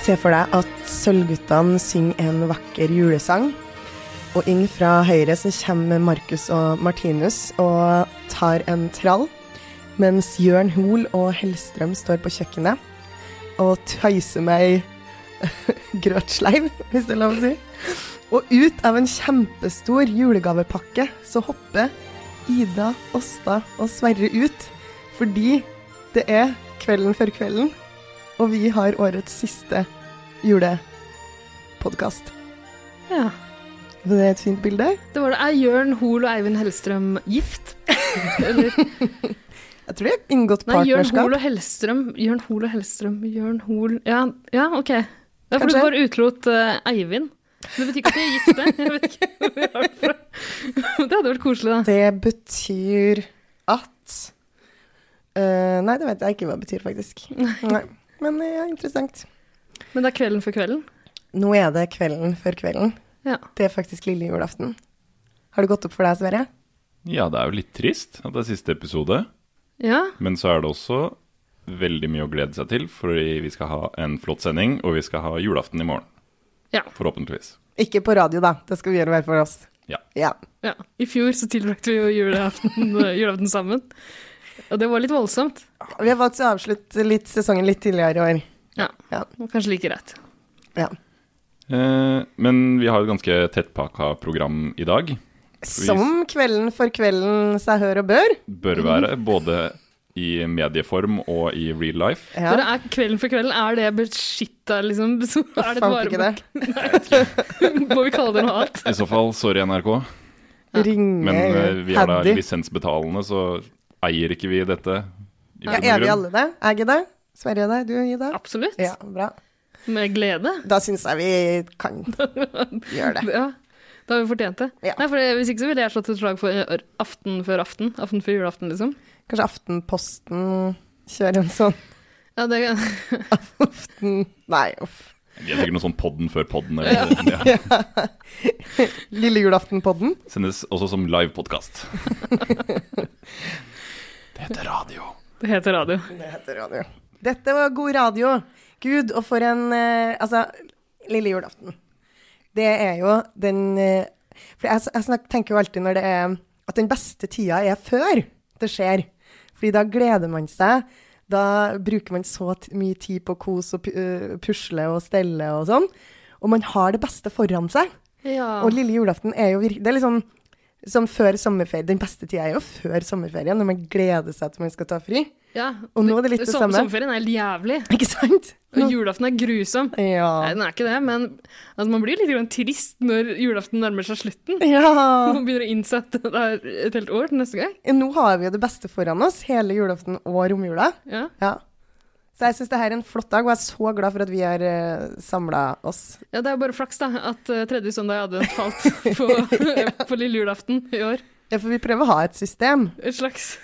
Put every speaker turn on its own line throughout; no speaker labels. Se for deg at Sølvguttene synger en vakker julesang. Og inn fra høyre så kommer Markus og Martinus og tar en trall. Mens Jørn Hoel og Hellstrøm står på kjøkkenet og tøyser med ei grøtsleiv, hvis det er lov å si. Og ut av en kjempestor julegavepakke så hopper Ida, Åsta og Sverre ut. Fordi det er kvelden før kvelden, og vi har årets siste julepodkast.
Ja.
Var det et fint bilde?
Det var det. Er Jørn Hoel og Eivind Hellstrøm gift? Eller
Jeg tror de har inngått
Nei, Jørn
partnerskap.
Hoel og Hellstrøm. Jørn Hoel og Hellstrøm. Jørn Hoel Ja, ja OK. Det er fordi
Kanskje.
du bare utelot eh, Eivind. Men Det betyr ikke at de er gifte. Jeg vet ikke hvor vi har det fra. Det hadde vært koselig, da.
Det betyr at eh, Nei, det vet jeg ikke hva det betyr, faktisk. Nei. Men det er interessant.
Men det er kvelden for kvelden.
Nå er det kvelden før kvelden.
Ja.
Det er faktisk lille julaften. Har det gått opp for deg, Sverre?
Ja, det er jo litt trist at det er siste episode,
ja.
men så er det også veldig mye å glede seg til, fordi vi skal ha en flott sending, og vi skal ha julaften i morgen.
Ja.
Forhåpentligvis.
Ikke på radio, da. Det skal vi gjøre hver for oss.
Ja.
ja.
ja. I fjor så tilbrakte vi jo julaften, eh, julaften sammen. Og det var litt voldsomt.
Vi har valgt å avslutte litt sesongen litt tidligere i år.
Ja.
Ja.
Det var kanskje like greit.
Ja.
Eh, men vi har et ganske tettpakka program i dag.
Som kvelden for kvelden seg hør og bør.
Bør være
Mm.
både i medieform og i real life.
Ja.
Dere er kvelden for kvelden. Er det beskytta, liksom? Så Er det et
Fant ikke det.
varebok? Må vi kalle det noe annet?
I så fall, sorry NRK,
Ja.
Ringe
men eh, vi er da
Paddy.
lisensbetalende, så eier ikke vi dette. i
Ja,
bunn og
er vi
grunn.
alle det? Er jeg det? Sverre er det? Du, Ida?
Absolutt.
Ja, bra.
Med glede.
Da syns jeg vi kan gjøre det.
Ja, da har vi fortjent det.
Ja.
Nei, for det- Hvis ikke så ville jeg slått et slag for eh, aften før aften. Aften før julaften, liksom.
Kanskje Aftenposten kjører en sånn
Ja, det,
Aften... Nei, uff.
Vi er sikkert noe sånn podden før podden. Eller, noe sånt, ja.
Lille julaftenpodden.
Sendes også som live podcast. det heter radio.
det heter radio.
Det heter radio. Dette var god radio. Gud, og for en eh, Altså, lille julaften. Det er jo den eh, For jeg, jeg snak, tenker jo alltid når det er At den beste tida er før det skjer. Fordi da gleder man seg. Da bruker man så t mye tid på kos og pu- eh, pusle og stelle og sånn. Og man har det beste foran seg.
Ja.
Og lille julaften er jo virkelig Det er liksom som før sommerferie. Den beste tida er jo før sommerferien, når man gleder seg til man skal ta fri.
ja.
og nå er det litt det
Som-
samme.
Sommerferien er helt jævlig.
Ikke sant?
Og julaften er grusom. Nei,
Ja.
den er ikke det, men altså, man blir litt grann trist når julaften nærmer seg slutten.
ja.
Man begynner å innse at det er et helt år til neste gang.
Nå har vi jo det beste foran oss, hele julaften og romjula.
Ja.
Ja. Så jeg syns det her er en flott dag, og jeg er så glad for at vi har uh, samla oss.
ja, det er jo bare flaks, da, at eh, tredje søndag i advent falt på, på lille julaften i år.
Ja, for vi prøver å ha et system,
Et slags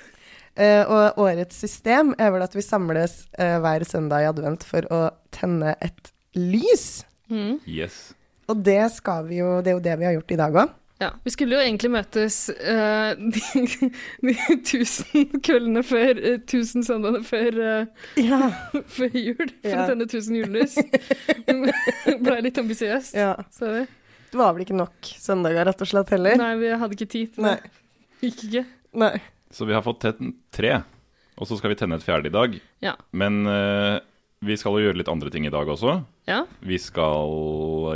eh, og årets system er vel at vi samles eh, hver søndag i advent for å tenne et lys.
mm.
Yes.
Og det skal vi jo Det er jo det vi har gjort i dag òg.
Ja, vi skulle jo egentlig møtes eh, de, de tusen kveldene før, eh, tusen søndagene før, eh,
Ja.
før jul, for
Ja.
å tenne tusen julelys. Men Ble litt ambisiøst.
ja.
sa vi.
Det var vel ikke nok søndager, rett og slett, heller?
Nei, vi hadde ikke tid til det.
Nei.
Gikk ikke.
Nei.
Så vi har fått tent tre, og så skal vi tenne et fjerde i dag.
Ja.
Men eh, vi skal jo gjøre litt andre ting i dag også.
Ja,
Vi skal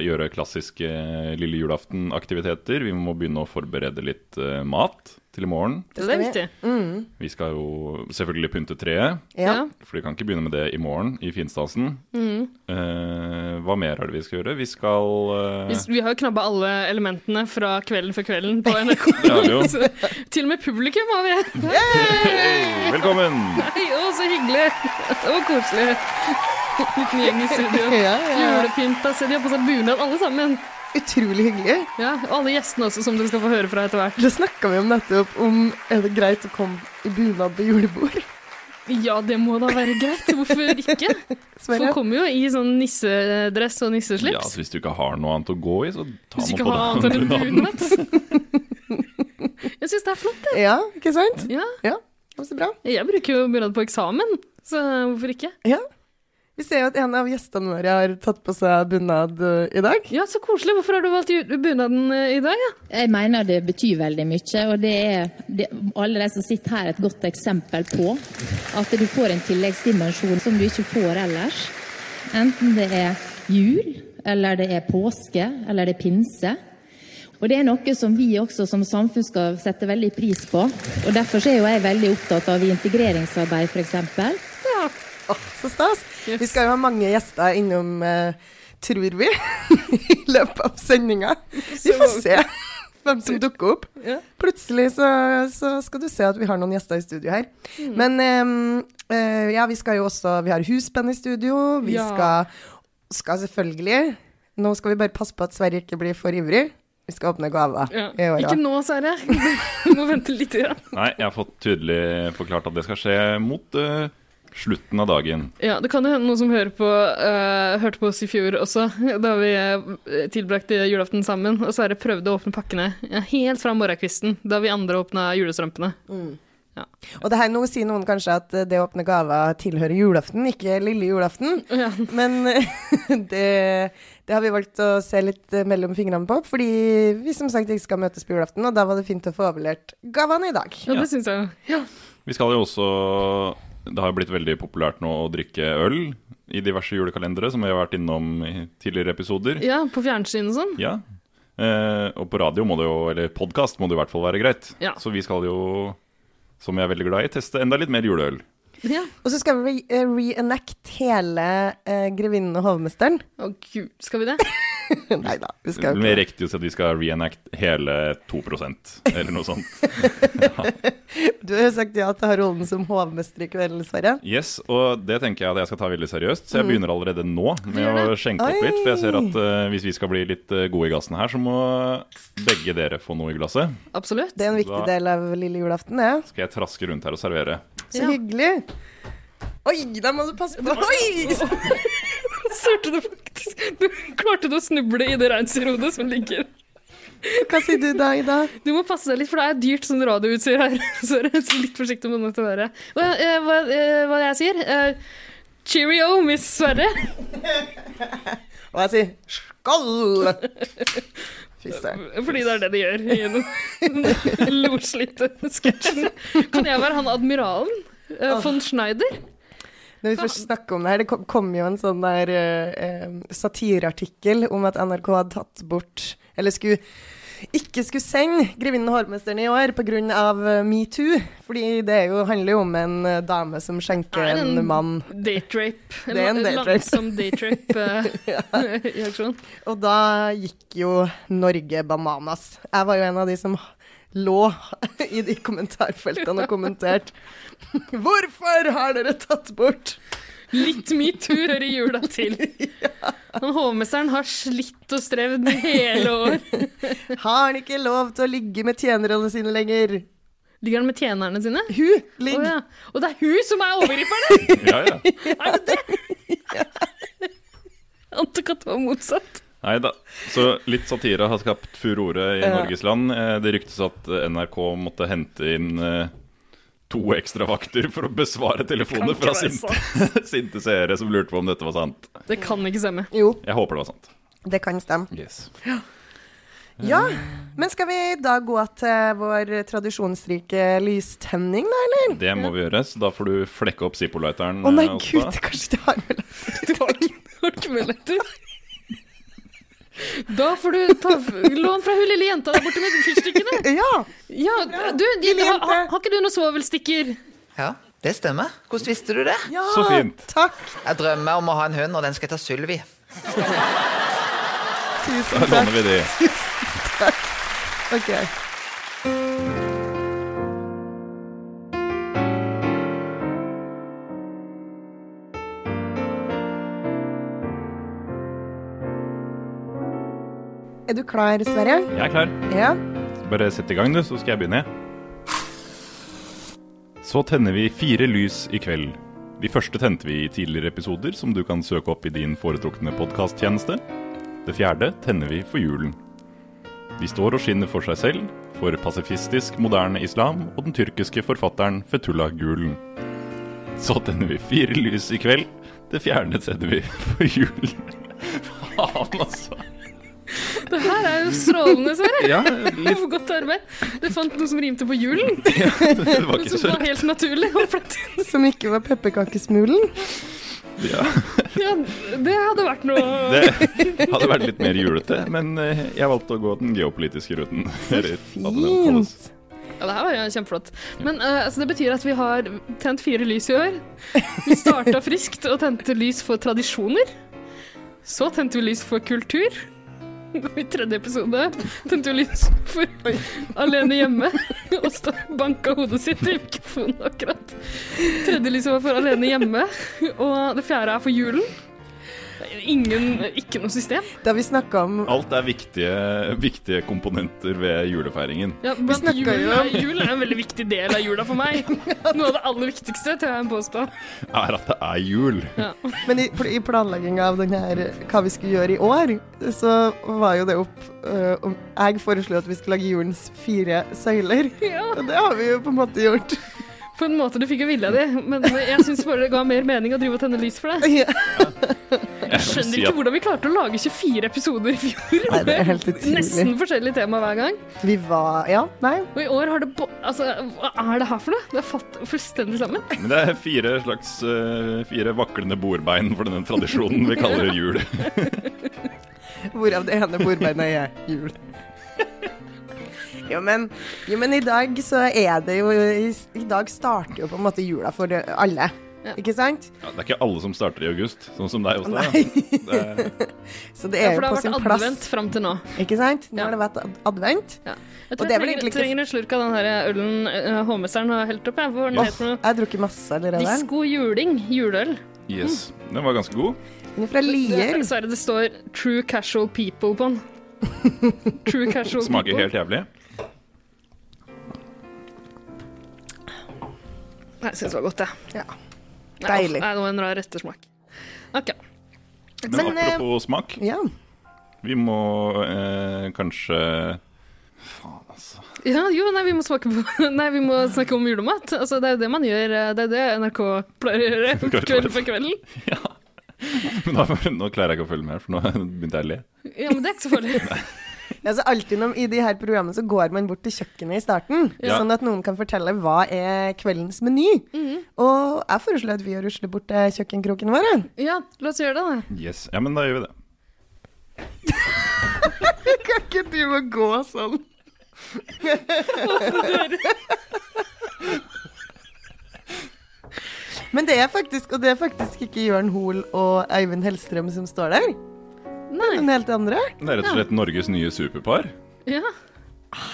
gjøre klassiske eh, lille julaften-aktiviteter. Vi må begynne å forberede litt eh, mat til i morgen.
det,
skal
er
vi.
viktig.
Mm.
Vi skal jo selvfølgelig pynte treet,
Ja.
for vi kan ikke begynne med det i morgen i finstasen.
Mm.
Eh, hva mer er det vi skal gjøre? Vi skal eh,
Vi, vi har jo knabba alle elementene fra Kvelden før kvelden på NRK.
Det har vi jo.
Så, til og med publikum har vi.
Hei, velkommen!
Hei, å, så hyggelig. Det var koselig. Liten gjeng i studio.
Ja, ja.
Julepynta, se altså, de har på seg bunad alle sammen.
Utrolig hyggelig.
Ja, og alle gjestene også, som dere skal få høre fra etter hvert.
Det snakka vi om nettopp, om er det greit å komme i bunad på julebord?
Ja, det må da være greit. Hvorfor ikke?
Sverre?
Folk kommer jo i sånn nissedress og
Ja, altså,
nisseslips.
hvis du ikke har noe annet å gå i, så ta
Hvis du
noe
ikke
på
har annet
deg.
enn en bunad. Jeg syns det er flott, det.
Ja, ikke sant?
Ja,
Ja, så bra.
jeg bruker jo bunad på eksamen, så hvorfor ikke?
Ja. Vi ser jo at en av gjestene våre har tatt på seg bunad eh, i dag.
Ja, så koselig. Hvorfor har du valgt ju- bunaden eh, i dag? Ja?
Jeg mener det betyr veldig mye, og det er det, alle de som sitter her, et godt eksempel på at du får en tilleggsdimensjon som du ikke får ellers. Enten det er jul, eller det er påske, eller det er pinse. Og det er noe som vi også som samfunn skal sette veldig pris på. Og derfor så er jo jeg veldig opptatt av integreringsarbeid, f.eks.
Ja. Åh, så stas. Vi skal jo ha mange gjester innom, eh, tror vi, i løpet av sendinga. Vi får se hvem som dukker opp.
Ja.
Plutselig så, så skal du se at vi har noen gjester i studio her.
Mm.
Men ehm, eh, ja, vi skal jo også Vi har husband i studio. Vi
Ja.
skal, skal selvfølgelig Nå skal vi bare passe på at Sverre ikke blir for ivrig. Vi skal åpne gaver
Ja.
i år
Ikke
òg.
nå, Sverre. Du må vente litt. Ja.
Nei, jeg har fått tydelig forklart at det skal skje mot eh, slutten av dagen.
ja, Det kan jo hende noen som hører på, eh, hørte på oss i fjor også, da vi eh, tilbrakte julaften sammen. Og Sverre prøvde å åpne pakkene ja, helt fra morgenkvisten, da vi andre åpna julestrømpene.
Og det her nå sier noen kanskje at eh, det å åpne gaver tilhører julaften, ikke lille julaften.
Ja.
Men eh, det, det har vi valgt å se litt eh, mellom fingrene på, fordi vi som sagt ikke skal møtes på julaften, og da var det fint å få overlevert gavene i dag.
Ja, det syns jeg jo. Ja.
Vi skal jo også Det har jo blitt veldig populært nå å drikke øl i diverse julekalendere, som vi har vært innom i tidligere episoder.
ja, på fjernsyn og sånn.
Ja. Eh, og på radio må det jo, eller podkast må det i hvert fall være greit.
Ja.
Så vi skal jo, som jeg er veldig glad i, teste enda litt mer juleøl.
Ja.
Og så skal vi re- eh, reenact hele eh, Grevinnen og hovmesteren.
Å gud, skal vi det?
Nei da, vi skal jo
Vi
ikke
rekker jo til at vi skal reenact hele 2 eller noe sånt.
Du har jo sagt ja til å ha rollen som hovmester i kveld, Sverre.
Yes, og det tenker jeg at jeg skal ta veldig seriøst, så jeg
Mm.
begynner allerede nå med
Gjør
å skjenke opp
Oi.
litt. For jeg ser at eh, hvis vi skal bli litt eh, gode i gassen her, så må begge dere få noe i glasset.
Absolutt.
Det er en viktig
Da-
del av lille julaften, det.
Skal jeg traske rundt her og servere.
Så
Ja.
hyggelig. Oi, da må du passe på. Oi!
Sørte du faktisk Du klarte du å snuble i det reinsdyrhodet som ligger
Hva sier du da, Ida?
Du må passe deg litt, for det er dyrt sånn radioutstyr her. Så er det litt forsiktig med dette været. Hva, eh, hva, eh, hva jeg sier? Eh, Cheerio, Miss Sverre.
Og jeg sier skål! Fy søren.
Fordi det er det de gjør i den loslitte sketsjen. Kan jeg være han admiralen? Eh, von Schneider?
Når vi først snakker om det her, det kom, kom jo en sånn der eh, eh, satireartikkel om at NRK hadde tatt bort, eller skulle ikke skulle sende 'Grevinnen og hovmesteren' i år pga. eh, metoo. Fordi det er jo, handler jo om en eh, dame som skjenker
Er det
en
en-
mann.
Date rape.
Det er en date rape.
Langsom date eh, rape-reaksjon.
Og da gikk jo Norge bananas. Jeg var jo en av de som lå i de kommentarfeltene og kommenterte 'Hvorfor har dere tatt bort?'
Litt metoo hører jula til. Han hovmesteren har slitt og strevd i hele år.
Har han ikke lov til å ligge med tjenerne sine lenger?
Ligger han med tjenerne sine?
Hun
Å
ligger
ja. Og det er hun som er overgriperne!
Ja, ja.
Er det det? Jeg Antok at det var motsatt.
Nei da. Så litt satire har skapt furore i
Ja.
Norges land. Eh, Det ryktes at eh, NRK måtte hente inn eh, to ekstra vakter for å besvare telefoner
Det kan
fra
ikke være
sinte, sinte seere som lurte på om dette var sant.
Det kan ikke stemme.
Jo,
Jeg håper det var sant.
det kan stemme.
Yes.
Ja, men skal vi da gå til vår tradisjonsrike lystenning, da, eller?
Det må vi gjøre, så da får du flekke opp Zippo-lighteren.
Å nei,
eh, Åsta.
gud, kanskje det har vel
Du har ikke- har ikke muligheter. Da får du ta lån fra hun lille jenta der borte med fyrstikkene.
Ja!
Ja, du, de,
Lille
ha,
jente.
ha, har ikke du noen svovelstikker?
Ja, det stemmer. Hvordan visste du det?
ja
Så fint.
Takk.
Jeg drømmer om å ha en hund, og den skal hete Sylvi.
Tusen
Da
takk.
låner vi de.
Ok. Er du klar, Sverre?
Jeg er klar.
Ja.
Bare sett i gang, du, så skal jeg begynne. Så tenner vi fire lys i kveld. De første tente vi i tidligere episoder, som du kan søke opp i din foretrukne podkasttjeneste. Det fjerde tenner vi for julen. De står og skinner for seg selv, for pasifistisk, moderne islam og den tyrkiske forfatteren Fetullah Gulen. Så tenner vi fire lys i kveld. Det fjerne tenner vi for jul. Faen, altså.
Det her er jo strålende, Sverre.
Ja,
Det
litt
var godt arbeid. Du fant noe som rimte på julen,
Det var ikke
som
så
var helt naturlig. og flott.
Som ikke var pepperkakesmulen.
ja.
Ja, det hadde vært noe
Det hadde vært litt mer julete, men eh, jeg valgte å gå den geopolitiske ruten. Eller, at den kalles.
Fint.
Ja, det her var jo kjempeflott. Men eh, altså, det betyr at vi har tent fire lys i år. Vi starta friskt og tente lys for tradisjoner. Så tente vi lys for kultur. I tredje episode tente vi lys for alene hjemme. Og sta- banka hodet sitt i mikrofonen akkurat. Tredje lyset var for alene hjemme. Og det fjerde er for julen. Ingen Ikke noe system.
Da vi snakka om
Alt er viktige, viktige komponenter ved julefeiringen.
Ja, blant
snakket
jul,
jo om-
er- jul er en veldig viktig del av jula for meg. Noe av det aller viktigste, tør jeg påstå.
Er at det er jul.
Men i, pl- i planlegginga av den her, hva vi skulle gjøre i år, så var jo det opp øh, om Jeg foreslo at vi skulle lage julens fire søyler,
Ja,
og det har vi jo på en måte gjort.
på en måte du fikk jo vilja di, men jeg syns bare det ga mer mening å drive og tenne lys for deg.
Ja.
Jeg vil
Skjønner
si
ikke
at
hvordan vi klarte å lage 24 episoder i fjor.
Nei, det er helt utrolig.
Nesten forskjellig tema hver gang.
Vi var Ja, nei.
Og i år har det bo Altså, hva er det her for noe? Det er fatt fullstendig sammen.
Men det er fire slags eh, fire vaklende bordbein for denne tradisjonen vi kaller jul.
Hvorav det ene bordbeinet er jul. Jo men, jo, men i dag så er det jo I, i dag starter jo på en måte jula for øh, alle,
Ja.
ikke sant?
Ja, det er ikke alle som starter i august, sånn som deg, Åsta.
Nei.
Det er-
Så det
Ja,
er jo
for det
på
har
sin
vært
plass.
advent fram til nå.
Ikke sant? Nå
Ja.
har det vært ad- advent.
Ja. Jeg
Og det er
tror jeg
vel
trenger,
egentlig ikke-
trenger en slurk av den her ølen uh, hovmesteren har helt opp, jeg. Hva var den
Ja.
het for noe?
Jeg har drukket masse allerede.
Disko juling. Juleøl.
Yes. Den var ganske god.
Den er fra Lier.
Det, Sverre, det står 'true casual people' på den. True casual
Smaker
people.
helt jævlig.
Nei, Jeg syns det var godt, jeg.
Ja.
Nei,
Deilig.
Nei, det var en rar ettersmak. OK.
Men
Men, eh,
apropos smak,
Ja.
vi må eh, kanskje Faen, altså.
Ja, jo, nei, vi må, smake på, nei, vi må snakke om julemat. Altså, det er jo det man gjør. eh, Det er det NRK pleier å gjøre kveld for kvelden.
Men nå, nå klarer jeg ikke å følge med, for nå begynte jeg å le.
Ja, men det er ikke så farlig.
Altså, alltid når, I de her programmene så går man bort til kjøkkenet i starten,
Ja.
sånn at noen kan fortelle hva er kveldens meny.
Mhm.
Og jeg foreslår at vi rusler bort til kjøkkenkroken vår. jeg.
Ja, la oss gjøre det, da.
Yes, ja, men da gjør vi det.
Kan ikke du må gå sånn? Men det er faktisk, og det er faktisk ikke Jørn Hoel og Eivind Hellstrøm som står der,
Nei.
men helt andre.
Det er rett og slett Norges nye superpar.
Ja,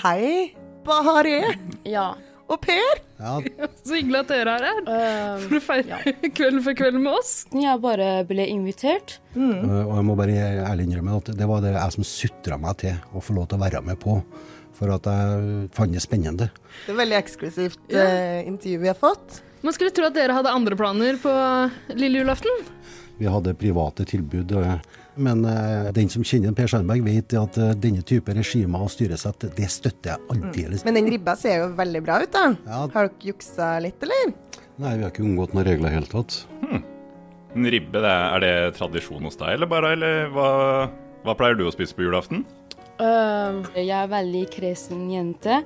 Hei, Bahareh
Ja.
og Per.
Ja,
Så hyggelig at dere er her
Eh,
øhm,
for å feire kvelden for kvelden med oss.
jeg bare ble invitert.
Mm.
og jeg må bare ærlig innrømme at det var det jeg som sutra meg til å få lov til å være med på. For at jeg fant det spennende.
Det er veldig eksklusivt eh, intervju vi har fått.
Man skulle tro at dere hadde andre planer på lille julaften.
Vi hadde private tilbud. eh, Men eh, den som kjenner Per Sandberg, vet at eh, denne type regimer og styresett, det støtter jeg
Mm.
aldeles.
Men den ribba ser jo veldig bra ut, da.
Ja.
Har dere juksa litt, eller?
Nei, vi har ikke unngått noen regler i det hele tatt.
En ribbe, det er, er det tradisjon hos deg, eller bare eller hva, hva pleier du å spise på julaften?
Øhm, Eh, jeg er veldig kresen jente.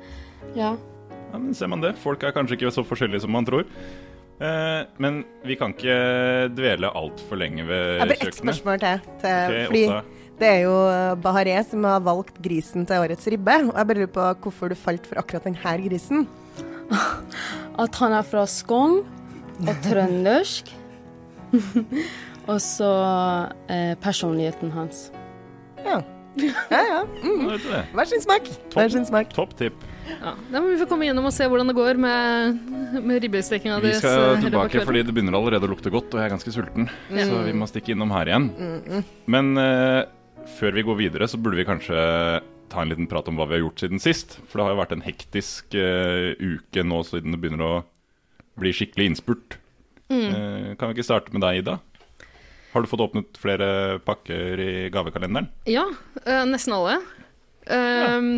Ja.
Ja, men ser man det. Folk er kanskje ikke så forskjellige som man tror. Eh, men vi kan ikke dvele altfor lenge ved
Jeg har bare ett
kjøkkenet.
spørsmål til. til
Ok,
fordi
Åsa.
det er jo eh, Bahareh som har valgt grisen til årets ribbe. Og jeg bare lurer på hvorfor du falt for akkurat denne grisen.
At han er fra Skogn og trøndersk. og så eh, personligheten hans.
Ja. Ja, ja. Mm.
Ja, vet du det.
Hver sin smak. Hver sin smak.
Topp tipp.
Ja, da må vi få komme gjennom og se hvordan det går med, med ribbestekinga
Vi
deres. eh,
skal
i løpet av
tilbake
kvelden.
fordi det begynner allerede å lukte godt, og jeg er ganske sulten. Så vi må stikke innom her igjen. Men eh, før vi går videre, så burde vi kanskje ta en liten prat om hva vi har gjort siden sist. For det har jo vært en hektisk eh, uke nå siden det begynner å bli skikkelig innspurt. Eh, kan vi ikke starte med deg, Ida? Har du fått åpnet flere pakker i gavekalenderen?
Ja, eh, nesten alle. Ehm,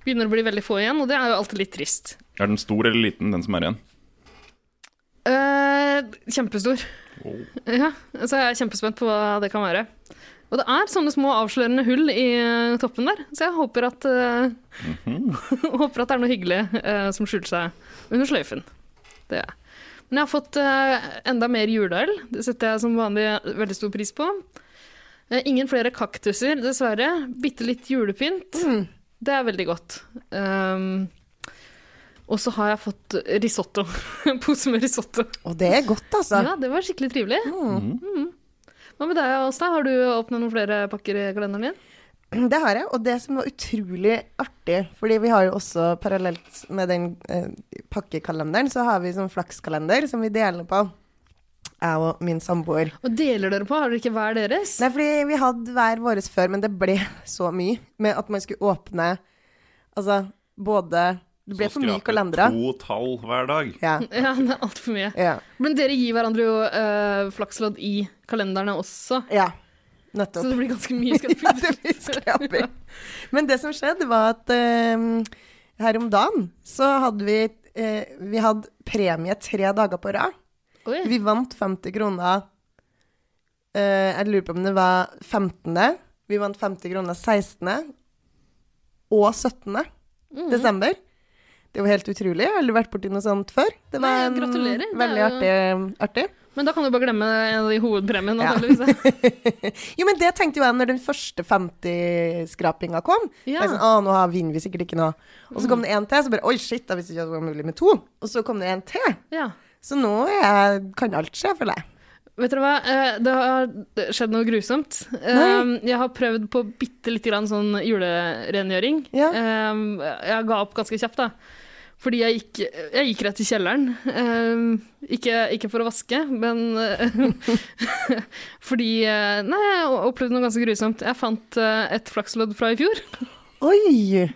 Begynner å bli veldig få igjen, og det er jo alltid litt trist.
Er den stor eller liten, den som er igjen?
Eh, Kjempestor. Ja, så jeg er kjempespent på hva det kan være. Og det er sånne små avslørende hull i eh, toppen der, så jeg håper at, eh, håper at det er noe hyggelig eh, som skjuler seg under sløyfen. Det gjør jeg. Men jeg har fått eh, enda mer juleøl. Det setter jeg som vanlig veldig stor pris på. Eh, ingen flere kaktuser, dessverre. Bitte litt julepynt. Det er veldig godt. Um, og så har jeg fått risotto. En pose med risotto.
Og det er godt, altså.
Ja, det var skikkelig trivelig.
Mm.
Mhm. Hva med deg, Åstein? Har du åpna noen flere pakker i kalenderen din?
Det har jeg, og det som var utrolig artig, fordi vi har jo også parallelt med den eh, pakkekalenderen, så har vi sånn flakskalender som vi deler på, jeg og min samboer.
Og deler dere på? Har dere ikke hver deres?
Nei, fordi vi hadde hver våres før, men det ble så mye med at man skulle åpne Altså, både Det ble for mye kalendere.
to tall hver dag.
Ja,
Ja, det er altfor mye.
ja,
Men dere gir hverandre jo eh, flakslodd i kalenderne også,
ja.
så
Nettopp.
det blir ganske mye
Ja, det blir skraper.
skrapping.
Men det som skjedde, var at eh, her om dagen så hadde vi eh, Vi hadde premie tre dager på rad.
Oi.
Vi vant 50 kroner eh, Jeg lurer på om det var 15. Vi vant 50 kroner 16. og 17.
Mm.
desember. Det var helt utrolig. Jeg har aldri vært borti noe sånt før. Det var
Nei,
en
gratulerer. Det er
veldig artig, artig.
Men da kan du bare glemme en av de hovedpremiene,
Ja.
naturligvis.
Jo, men det tenkte jo jeg når den første 50-skrapinga kom. Jeg
Ja. Mm.
er sånn, å, nå har vinner vi sikkert ikke noe. Og så kom det en til, så bare oi, shit, jeg visste ikke at det var mulig med to. Og så kom det en til.
Ja.
Så nå er jeg, kan alt skje, føler jeg.
Vet dere hva, Eh, det har skjedd noe grusomt. Eh,
Nei.
Jeg har prøvd på bitte lite grann sånn julerengjøring.
Ja.
Eh, Jeg ga opp ganske kjapt, da. Fordi jeg gikk, jeg gikk rett i kjelleren. Eh, Ikke, ikke for å vaske, men eh, fordi eh, Nei, jeg opplevde noe ganske grusomt. Jeg fant eh, et flakslodd fra i fjor.
Oi!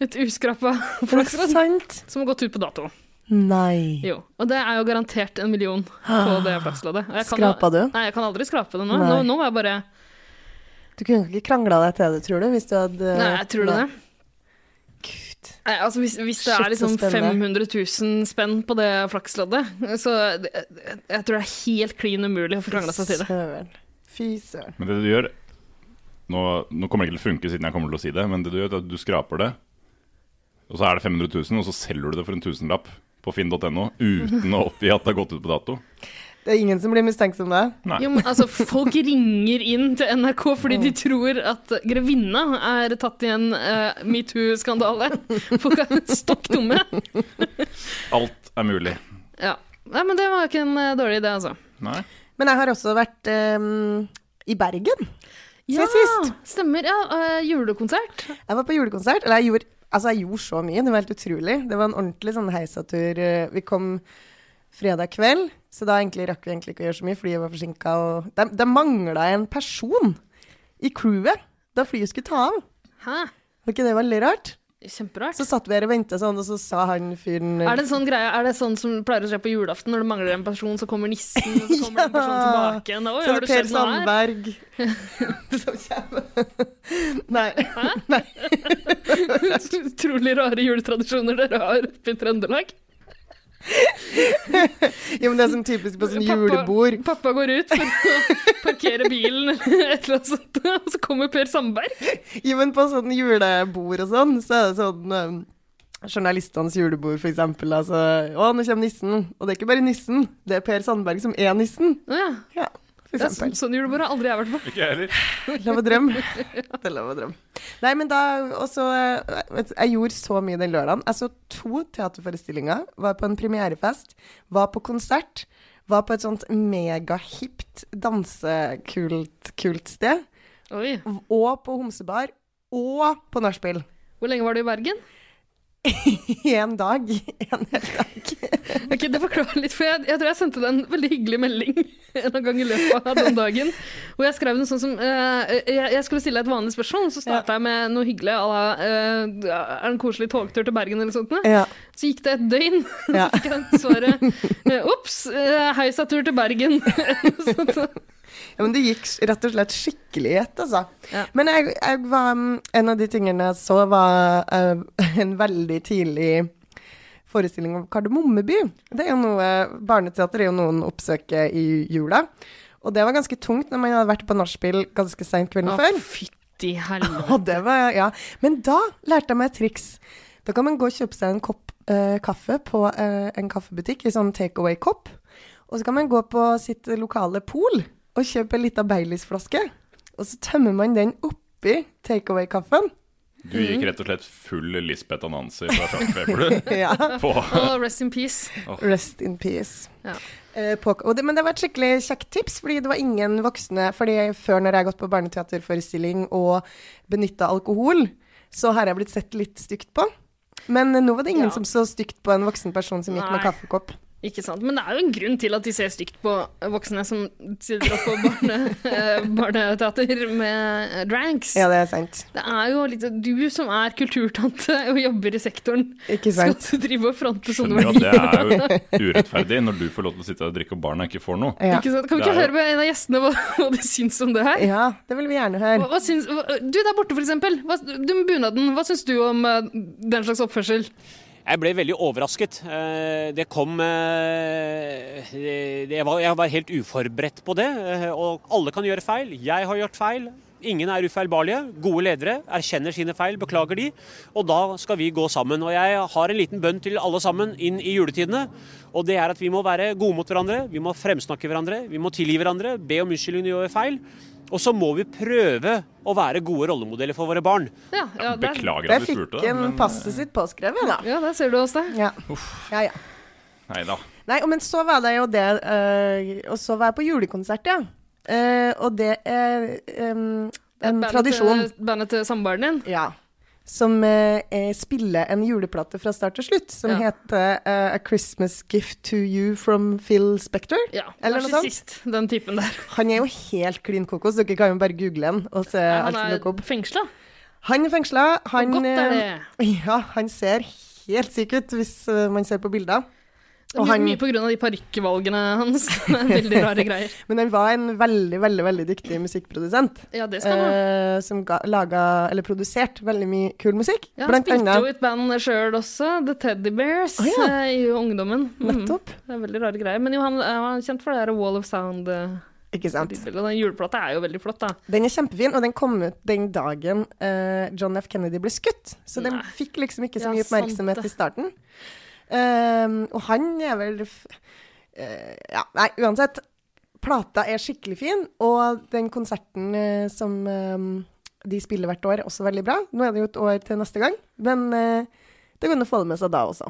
Et uskrappa
Er det
flakslodd
sant?
som har gått ut på dato.
Nei.
Jo, og det er jo garantert en million på det flaksloddet. Og jeg kan-
Skrapa du?
Nei, jeg kan aldri skrape det nå.
Nei.
Nå, nå var jeg bare
Du kunne ikke krangla deg til det, tror du? Hvis du hadde
Nei, jeg tror du det?
Gud.
Nei, altså hvis, hvis det
Shit,
er liksom
så spennende.
500 000 spenn på det flaksloddet, så det- jeg, jeg tror det er helt klin umulig å få krangla seg til det.
Søren. Fy søren.
Men det du gjør nå, nå kommer det ikke til å funke siden jeg kommer til å si det, men det du gjør, er at du skraper det, og så er det 500 000, og så selger du det for en tusenlapp på finn.no uten å oppgi at det har gått ut på dato.
Det er ingen som blir mistenksom da?
Nei.
Jo, men altså, folk ringer inn til NRK fordi de tror at grevinna er tatt i en eh, metoo-skandale. Folk er stokk dumme.
Alt er mulig.
Ja. Nei, men det var ikke en eh, dårlig idé, altså.
Nei.
Men jeg har også vært ehm, i Bergen. Se
Ja,
sist.
stemmer. Ja, eh, julekonsert.
Jeg var på julekonsert, eller jeg gjorde, altså jeg gjorde så mye, det var helt utrolig. Det var en ordentlig sånn heisatur. eh, Vi kom fredag kveld, så da egentlig rakk vi egentlig ikke å gjøre så mye, flyet var forsinka. Og det, det mangla en person i crewet da flyet skulle ta av.
Hæ?
Var ikke det veldig rart?
Kjemperart.
Så satt vi her og venta sånn, og så sa han fyren
Er det en sånn greie, er det sånn som pleier å skje på julaften når det mangler en person, så kommer nissen, og så kommer det en person
Ja.
tilbake igjen? Oi,
Så er
har du
det Per
skjedd noe her?
Sandberg som kommer. Nei. Nei.
Utrolig rare juletradisjoner dere har oppe i Trøndelag.
Jo, men det er sånn typisk på sånn
Pappa-
julebord.
Pappa går ut for å parkere bilen eller et eller annet sånt, og så kommer Per Sandberg.
Jo, men på sånn julebord og sånn, så er det sånn um, Journalistenes julebord, for eksempel. Altså, å, nå kommer nissen. Og det er ikke bare nissen, det er Per Sandberg som er nissen.
Å Ja,
Ja, for
det er sånn,
eksempel.
sånn julebord har aldri jeg vært på.
Ikke jeg heller.
Lov å drømme. Det er lov å drømme. Nei, men da også eh, vet du, Jeg gjorde så mye den lørdagen. Jeg så to teaterforestillinger. Var på en premierefest. Var på konsert. Var på et sånt megahipt dansekult kult sted.
Oi.
Og på homsebar. Og på nachspiel.
Hvor lenge var du i Bergen?
Én dag. En hel dag.
Ok, Det forklarer litt, for jeg, jeg tror jeg sendte deg en veldig hyggelig melding en gang i løpet av den dagen. Og jeg skrev noe sånn som eh, jeg, jeg skulle stille deg et vanlig spørsmål, så starta jeg med noe hyggelig à la eh, Er det en koselig togtur til Bergen eller sånt? noe?
Ja.
Så gikk det et døgn,
Ja.
så fikk jeg svaret eh, Ops, eh, heisatur til Bergen. sånn,
Ja, men det gikk s- rett og slett skikkelig i ett, altså.
Ja.
Men jeg, jeg var, mm, en av de tingene jeg så, var eh, en veldig tidlig forestilling om Kardemommeby. Det er jo noe, Barneteater er jo noen oppsøker i jula. Og det var ganske tungt når man hadde vært på nachspiel ganske seint kvelden
Å,
før.
fytti helvete.
Og det var, ja. Men da lærte jeg meg et triks. Da kan man gå og kjøpe seg en kopp eh, kaffe på eh, en kaffebutikk i sånn take away-kopp. Og så kan man gå på sitt lokale pol og kjøpe en lita Baileys-flaske. Og så tømmer man den oppi take away-kaffen.
Du gikk rett og slett full Lisbeth Anansi fra Shark Paper, du.
Ja.
På.
Å, rest in peace.
Rest in peace.
Ja.
Eh, på, og det, men det var et skikkelig kjekt tips, fordi det var ingen voksne Fordi før, når jeg har gått på barneteaterforestilling og benytta alkohol, så har jeg blitt sett litt stygt på. Men eh, nå var det ingen
Ja.
som så stygt på en voksen person som gikk med
Nei.
kaffekopp.
Ikke sant? Men det er jo en grunn til at de ser stygt på voksne som sitter oppe på barne, eh, barneteater med dranks.
Ja, det er sant.
Det er jo litt sånn, Du som er kulturtante og jobber i sektoren,
Ikke
skal
sant.
du drive og fronte sånne
Skjønner jo at
verdier?
det er jo urettferdig når du får lov til å sitte og drikke og barna ikke får noe.
Ja.
Ikke sant? Kan vi ikke
Det er jo-
høre med en av gjestene hva, hva de syns om det her?
ja, det vil vi gjerne
Hva,
høre.
hva syns, hva, du der borte, for eksempel. Hva, du med bunaden, hva syns du om eh, den slags oppførsel?
Jeg ble veldig overrasket. Eh, Det kom eh, det- Jeg var, jeg var helt uforberedt på det. eh, Og alle kan gjøre feil. Jeg har gjort feil. Ingen er ufeilbarlige. Gode ledere erkjenner sine feil, beklager de. Og da skal vi gå sammen. Og jeg har en liten bønn til alle sammen inn i juletidene. Og det er at vi må være gode mot hverandre. Vi må fremsnakke hverandre. Vi må tilgi hverandre. Be om unnskyldning når vi gjør feil. Og så må vi prøve å være gode rollemodeller for våre barn.
Ja, ja, der,
Beklager
Jeg
at vi
fikk
spurte,
en
men eh,
passet sitt påskrevet, da.
ja, der ser du oss, det.
Ja. ja, ja.
nei da.
Nei, og men så var det jo det eh, Og så var jeg på julekonsert, ja. Eh, og det er em, en
Bandet til-
tradisjon.
Bandet til samboeren din.
Ja. Som eh, eh, spiller en juleplate fra start til slutt, som
Ja.
heter eh, A Christmas Gift to You from Phil Spector.
Ja,
Eller noe sånt.
narsissist, den typen der.
Han er jo helt klin kokos, dere kan jo bare google han og se alt
han
som dukker
er
opp.
fengsla.
Han er fengsla. Han,
godt er
eh, Ja, han ser helt syk ut hvis eh, man ser på bilder. Og
Mye,
han-
mye på grunn av de parykkvalgene hans. Det er Veldig rare greier.
Men han var en veldig, veldig, veldig dyktig musikkprodusent.
Ja, det skal man.
eh, som ga, laga, eller produserte veldig mye kul musikk.
Ja, han
Blant
spilte jo
annet
i et band sjøl også, The Teddy Bears,
Å, ja.
eh, i ungdommen. Mhm.
Nettopp.
Det er veldig rare greier. Men jo, han eh, han er kjent for det der Wall of Sound. eh,
Ikke sant.
lydbildet. Og den juleplata er jo veldig flott, da.
Den er kjempefin, og den kom ut den dagen eh, John F. Kennedy ble skutt. Så den
Nei.
fikk liksom ikke så
Ja,
mye
sant
oppmerksomhet
det.
i starten. Ehm, og han er vel f eh, Ja, nei, uansett. Plata er skikkelig fin, og den konserten eh, som ehm, de spiller hvert år, er også veldig bra. Nå er det jo et år til neste gang, men eh, det går an å få det med seg da også.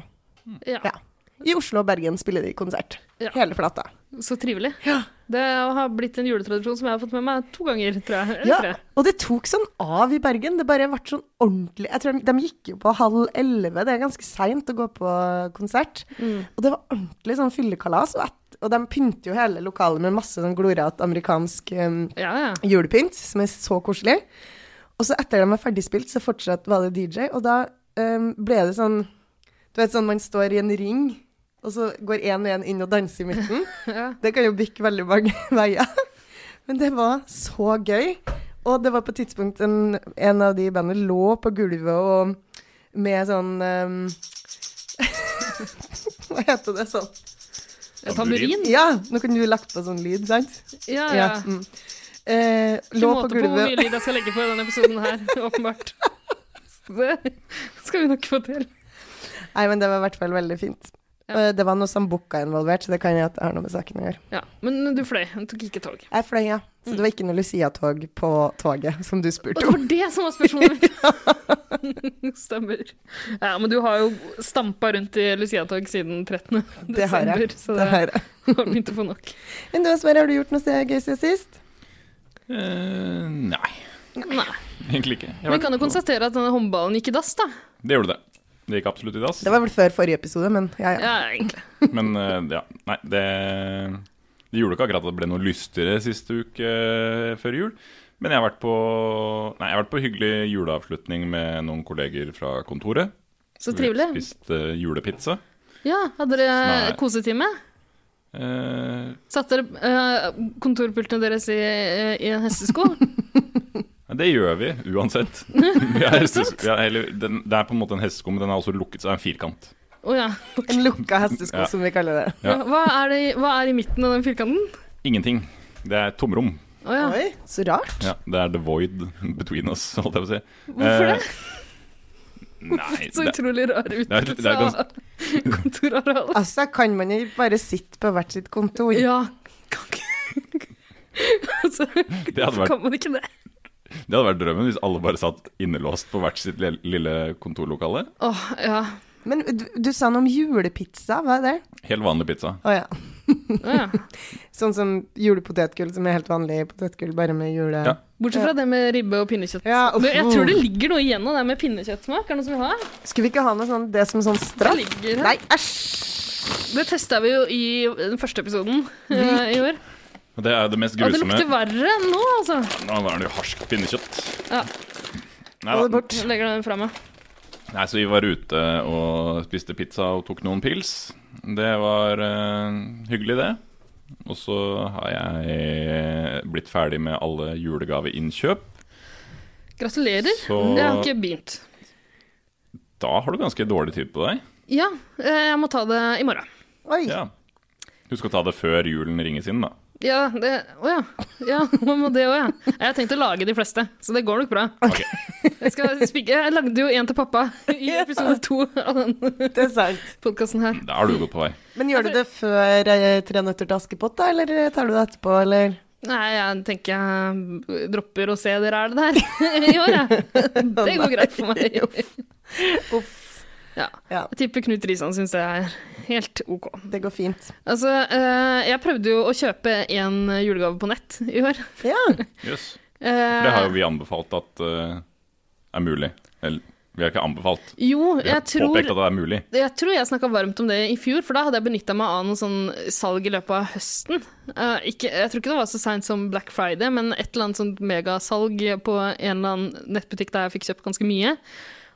Ja,
Ja. I Oslo og Bergen spiller de konsert.
Ja.
Hele plata.
Så trivelig. Det har blitt en juletradisjon som jeg har fått med meg to ganger, tror jeg. Eller
Ja,
tre.
og det tok sånn av i Bergen. Det bare ble sånn ordentlig Jeg tror De gikk jo på halv elleve, det er ganske seint å gå på konsert. Og det var ordentlig sånn fyllekalas. Og, et, og de pynter jo hele lokalet med masse sånn glorete amerikansk um,
Ja, ja.
julepynt, som er så koselig. Og så etter de var ferdigspilt, så fortsatt var det DJ, og da um, ble det sånn Du vet sånn man står i en ring, og så går én og én inn og danser i midten.
Ja.
Det kan jo bikke veldig mange veier. Men det var så gøy. Og det var på et tidspunkt en, en av de i bandet lå på gulvet og med sånn um, Hva heter det sånn?
Tamburin?
Ja, nå kunne du lagt på sånn lyd, sant?
Ja, ja.
mm. Eh,
Ikke
lå på
måte på hvor mye
gulvet
lyd jeg skal legge på i denne episoden her, åpenbart. Så Det skal vi nok få til.
Nei, men det var i hvert fall veldig fint.
Ja.
Eh, Det var noe sambuca involvert, så det kan jeg at det har noe med saken å gjøre.
Ja, Men du fløy, du tok ikke tog.
Jeg fløy, ja. Så det var ikke noe Lucia-tog på toget, som du
Og
spurte
det
om.
var det som var spørsmålet mitt! Stemmer. Ja, men du har jo stampa rundt i Lucia-tog siden 13.
Det har
desember,
jeg.
så
Det
det
har jeg.
har begynt å få nok.
Men du, Sverre, har du gjort noe gøy siden sist?
Eh, nei,
Nei.
egentlig ikke. Jeg
Vi
vet
kan jo
ikke.
konstatere at denne håndballen gikk i dass, da.
Det gjorde det. Det gikk absolutt i dass.
Det var vel før forrige episode, men ja, ja.
Ja, egentlig.
Men eh, ja, nei, det, det gjorde ikke akkurat at det ble noe lystigere siste uke eh, før jul. Men jeg har vært på, nei, jeg har vært på hyggelig juleavslutning med noen kolleger fra kontoret.
Så
Vi
trivelig.
spiste julepizza.
Ja, Hadde dere
Nei.
kosetime?
Eh,
Satte dere eh, kontorpultene deres i, i en hestesko?
Ja, Det gjør vi, uansett. Vi er hestes- ja, eller, den, det er på en måte en hestesko, men den er også lukket, så det er en firkant.
Å ja.
En lukka hestesko,
Ja.
som vi kaller det.
Ja.
Ja, Hva, er det, i- hva er i midten av den firkanten?
Ingenting. Det er tomrom.
Å ja.
Oi, så rart.
Ja, det er the void between us, holdt jeg på å si. Eh,
Hvorfor det?
Nei,
Så
det,
utrolig rar
er- det
utnyttelse
er gans-
av kontorarealet.
Altså, kan man ikke bare sitte på hvert sitt kontor?
Ja. Kan ikke Altså,
det, hadde vært,
kan man ikke det?
det hadde vært drømmen hvis alle bare satt innelåst på hvert sitt le- lille kontorlokale.
Åh, ja.
Men du, du sa noe om julepizza, hva er det?
Helt vanlig pizza.
Å ja.
Å ja.
Sånn som julepotetgull, som er helt vanlig potetgull, bare med jule...
Ja.
Bortsett fra det med ribbe og pinnekjøtt.
Ja, Oh. uff.
Men jeg tror det ligger noe igjen av det med pinnekjøttsmak. Er det noe som vi har?
Skulle vi ikke ha noe sånn, det som sånn
Det
straff?
ligger her.
Nei, æsj!
Det testa vi jo i den første episoden eh, i år.
Og det er det mest
Og det
grusomme.
lukter verre enn nå, altså.
Nå var det jo harskt pinnekjøtt.
Ja.
Nei,
Få det
da.
bort.
Jeg legger den fra meg.
Nei, så vi var ute og spiste pizza og tok noen pils. Det var eh, hyggelig, det. Og så har jeg blitt ferdig med alle julegaveinnkjøp.
Gratulerer.
Så-
Jeg har ikke begynt.
Da har du ganske dårlig tid på deg.
Ja, eh, jeg må ta det i morgen.
Oi,
Ja. Husk å ta det før julen ringes inn, da.
Ja, det Å ja. ja. Man må det òg, ja. Jeg har tenkt å lage de fleste, så det går nok bra.
Ok.
Jeg, skal spik- jeg lagde jo en til pappa i episode to av den
det er sant.
podkasten her.
Da er du godt på vei.
Men
Altså-
gjør du det før eh, Tre nøtter til Askepott, da, eller eh, tar du det etterpå, eller?
Nei, jeg tenker jeg dropper å se dere er det der i år, jeg. Det går greit for meg. Ja.
Ja.
Jeg tipper Knut Risan syns det er helt OK.
Det går fint.
Altså, eh, jeg prøvde jo å kjøpe en julegave på nett i år.
Ja,
Yes.
Eh,
For det har jo vi anbefalt at eh, er mulig. Eller vi har ikke anbefalt.
jo,
Vi har
jeg tror
påpekt at det er mulig.
jeg tror jeg snakka varmt om det i fjor, for da hadde jeg benytta meg av noe sånn salg i løpet av høsten. Eh, ikke, jeg tror ikke det var så seint som Black Friday, men et eller annet sånt megasalg på en eller annen nettbutikk der jeg fikk kjøpt ganske mye.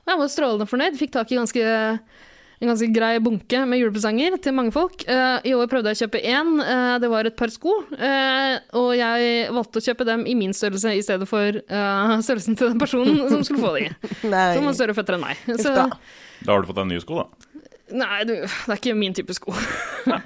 Og jeg var strålende fornøyd. Fikk tak i ganske, en ganske grei bunke med julepresanger til mange folk. Eh, I år prøvde jeg å kjøpe én. eh, det var et par sko. eh, og jeg valgte å kjøpe dem i min størrelse i stedet for eh, størrelsen til den personen som skulle få dem.
nei.
Som var større føtter enn meg.
Uff da.
Da har du fått deg nye sko, da.
Nei, du, det er ikke min type sko.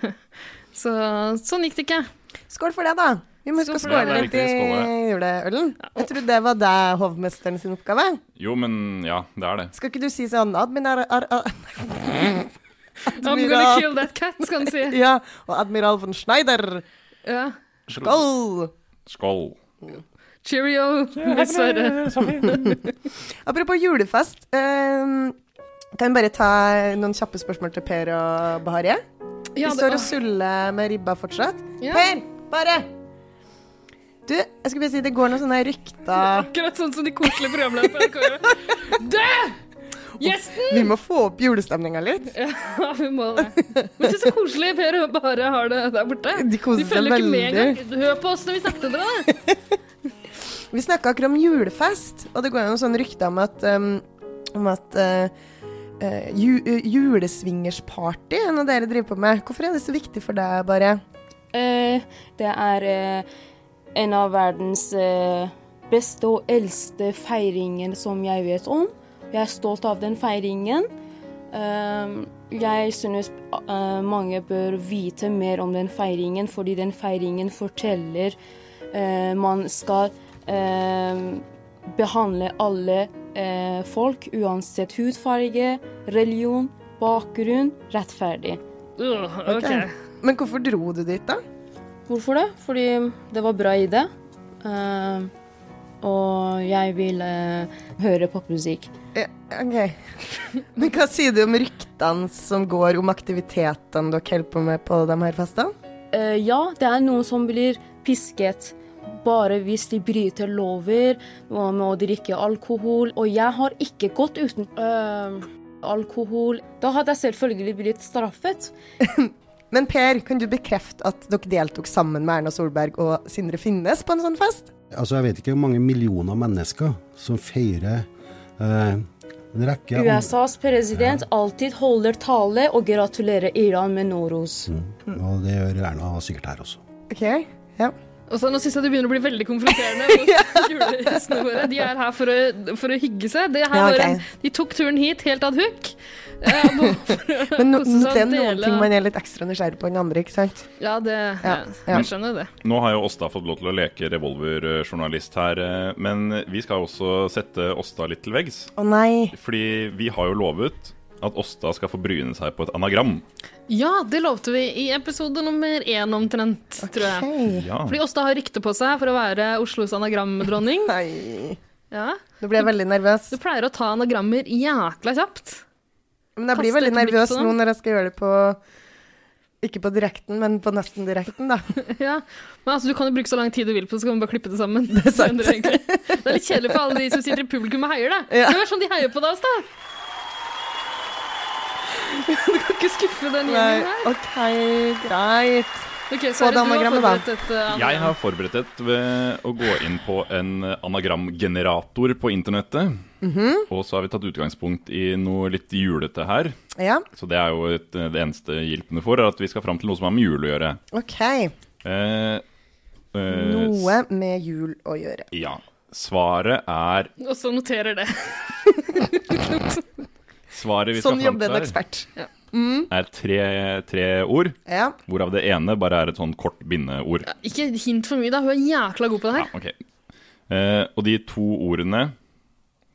så sånn gikk det ikke.
Skål for det, da. Vi må huske å
Skål for
skåle
det.
Ja,
litt
det
i
er viktig å
juleølen. Jeg trodde det var det hovmesteren sin oppgave.
Jo, men ja, det er det.
Skal ikke du si sånn admiral... Ar, ar,
I'm gonna kill that cat, skal han si.
ja, og admiral von Schneider.
Ja.
Skål!
Skål.
Cheerio, dessverre.
Apropos julefest. eh, kan jeg bare ta noen kjappe spørsmål til Per og Bahareh?
Ja,
Vi
det,
står og suller med ribba fortsatt.
Ja.
Per, bare! Du, jeg skulle bare si det går noen sånne rykter
akkurat sånn som de koselige programlederne på NRK gjør. Dø! Gjesten!
Vi må få opp julestemninga litt.
Ja, vi må det. Men se så koselig Per og bare har det der borte.
De koser seg
følger ikke med
veldig.
engang. Hør på oss når vi snakker til dere.
Vi snakka akkurat om julefest, og det går jo noen sånne rykter om at, um, om at eh, eh, ju, eh, julesvingersparty er noe dere driver på med. Hvorfor er det så viktig for deg, bare?
Eh, det er eh, en av verdens eh, beste og eldste feiringer som jeg vet om. Jeg er stolt av den feiringen. Ehm, jeg synes eh, mange bør vite mer om den feiringen, fordi den feiringen forteller eh, man skal eh, behandle alle eh, folk, uansett hudfarge, religion, bakgrunn, rettferdig.
Uh, ok.
Ok. Men hvorfor dro du dit, da?
Hvorfor det? Fordi det var bra idé. Eh, og jeg vil eh, høre popmusikk.
Ja, OK. Men hva sier du om ryktene som går om aktivitetene dere holder på med på de her festene?
Eh, ja, det er noen som blir pisket bare hvis de bryter lover, noe med å drikke alkohol. Og jeg har ikke gått uten eh, alkohol. Da hadde jeg selvfølgelig blitt straffet.
Men Per, kan du bekrefte at dere deltok sammen med Erna Solberg og Sindre Finnes på en sånn fest?
Altså, jeg vet ikke hvor mange millioner mennesker som feirer eh, en rekke andre-
USAs president alltid holder tale og gratulerer Iran med Noros.
Mm. Og det gjør Erna sikkert her også.
OK. Ja.
Og så Nå syns jeg det begynner å bli veldig konfronterende mot julehissene våre. De er her for å, for å hygge seg. Det her
Ja, ok.
var en, de tok turen hit helt ad hoc. Eh, og nå for å
Men no,
kose seg og
det er noen
dele-
ting man er litt ekstra nysgjerrig på enn andre, ikke sant?
Ja, det ja.
Ja, ja.
Jeg skjønner det.
Nå har jo Åsta fått lov til å leke revolverjournalist her, eh, men vi skal også sette Åsta litt til veggs.
Å nei.
Fordi vi har jo lovet at Åsta skal få bryne seg på et anagram.
Ja, det lovte vi i episode nummer én omtrent, tror jeg.
Hei.
Ja.
Fordi Åsta har rykte på seg for å være Oslos anagramdronning.
Nei.
Ja.
Nå ble jeg veldig nervøs.
Du pleier å ta anagrammer jækla kjapt.
Men jeg blir
kaste
veldig
et blikk
nervøs
på dem.
nå når jeg skal gjøre det på Ikke på direkten, men på nesten direkten, da.
Ja. Men altså, du kan jo bruke så lang tid du vil på det, så kan man bare klippe det sammen. Det er,
sant.
egentlig- det er litt kjedelig for alle de som sitter i publikum og heier, da.
Ja.
Det var sånn de heier på deg også, da. Du kan ikke skuffe den
Nei,
gjengen her.
OK, greit.
Ok,
Få
Sverre,
det
du har
anagrammet, da.
forberedt et uh, anagram.
Jeg har forberedt et ved å gå inn på en anagramgenerator på internettet.
Mhm.
Og så har vi tatt utgangspunkt i noe litt julete her.
Ja,
Så det er jo et, eh, det eneste hjelpen du får, er at vi skal fram til noe som har med jul å gjøre.
OK.
Eh, eh,
Noe med jul å gjøre.
Ja. Svaret er
Og så noterer det.
Svaret vi skal
Sånn
fram
jobber en
til her,
ekspert.
er tre, tre ord,
Ja.
hvorav det ene bare er et sånn kort bindeord.
Ikke hint for mye, da. Hun er jækla god på det
Ja,
her.
ok. Eh, og de to ordene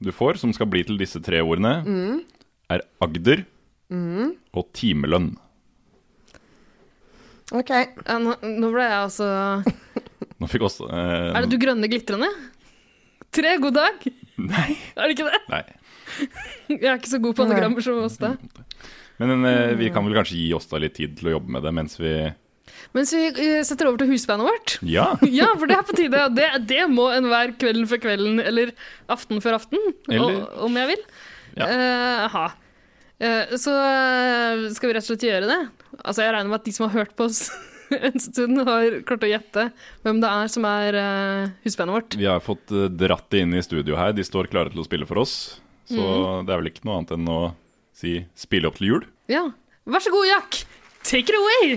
du får, som skal bli til disse tre ordene,
Mm.
er Agder og timelønn.
OK.
Ja, nå, nå ble jeg altså
Nå fikk også eh,
Er det du grønne glitrende? Tre, god dag.
Nei.
Er det ikke det?
nei.
Jeg er ikke så god på anagrammer som Åsta.
Men eh, vi kan vel kanskje gi Åsta litt tid til å jobbe med det mens vi
Mens vi eh, setter over til husbandet vårt
Ja!
Ja, for det er på tide. og Det, det må enhver kvelden før kvelden, eller aften før aften,
Eller-
o- om jeg vil,
Ja.
eh, ha. Eh, så eh, skal vi rett og slett gjøre det. Altså, jeg regner med at de som har hørt på oss en stund, har klart å gjette hvem det er som er uh, husbandet vårt.
Vi har fått eh, dratt de inn i studio her. De står klare til å spille for oss. Så det er vel ikke noe annet enn å si 'spille opp til jul'.
Ja. Vær så god, Jack! Take it away!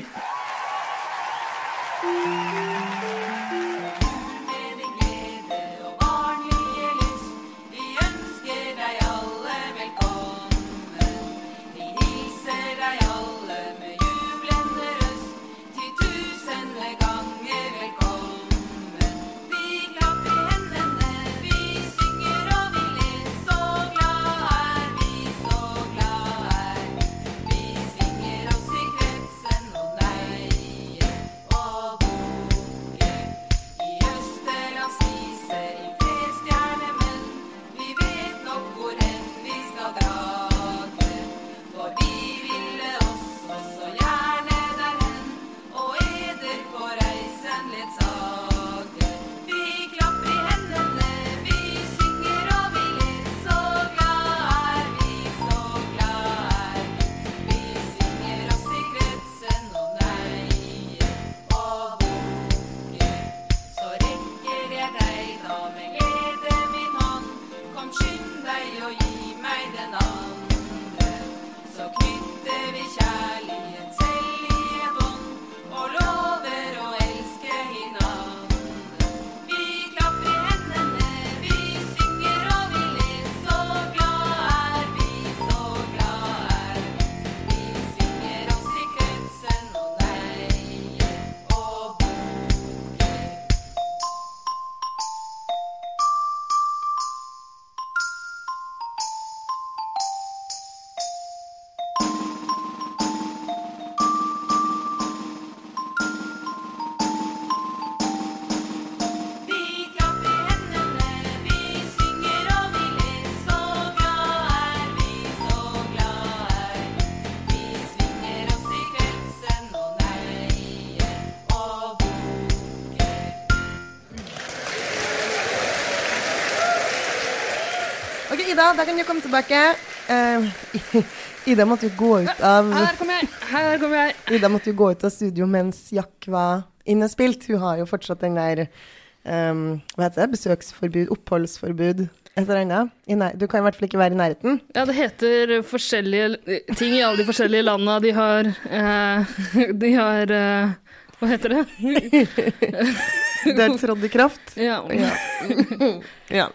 OK, Ida, da kan du komme tilbake. Eh, Ida måtte jo gå ut av
Her kommer jeg! Her kommer jeg.
Ida måtte jo gå ut av studio mens Jack var innespilt. Hun har jo fortsatt den der ehm, Hva heter det? Besøksforbud? Oppholdsforbud? Et eller annet. I nær- Du kan i hvert fall ikke være i nærheten.
Ja, det heter eh, forskjellige eh, ting i alle de forskjellige landa. De har eh, De har eh, Hva heter det?
Det trådte i kraft.
Ja.
Ja. ja.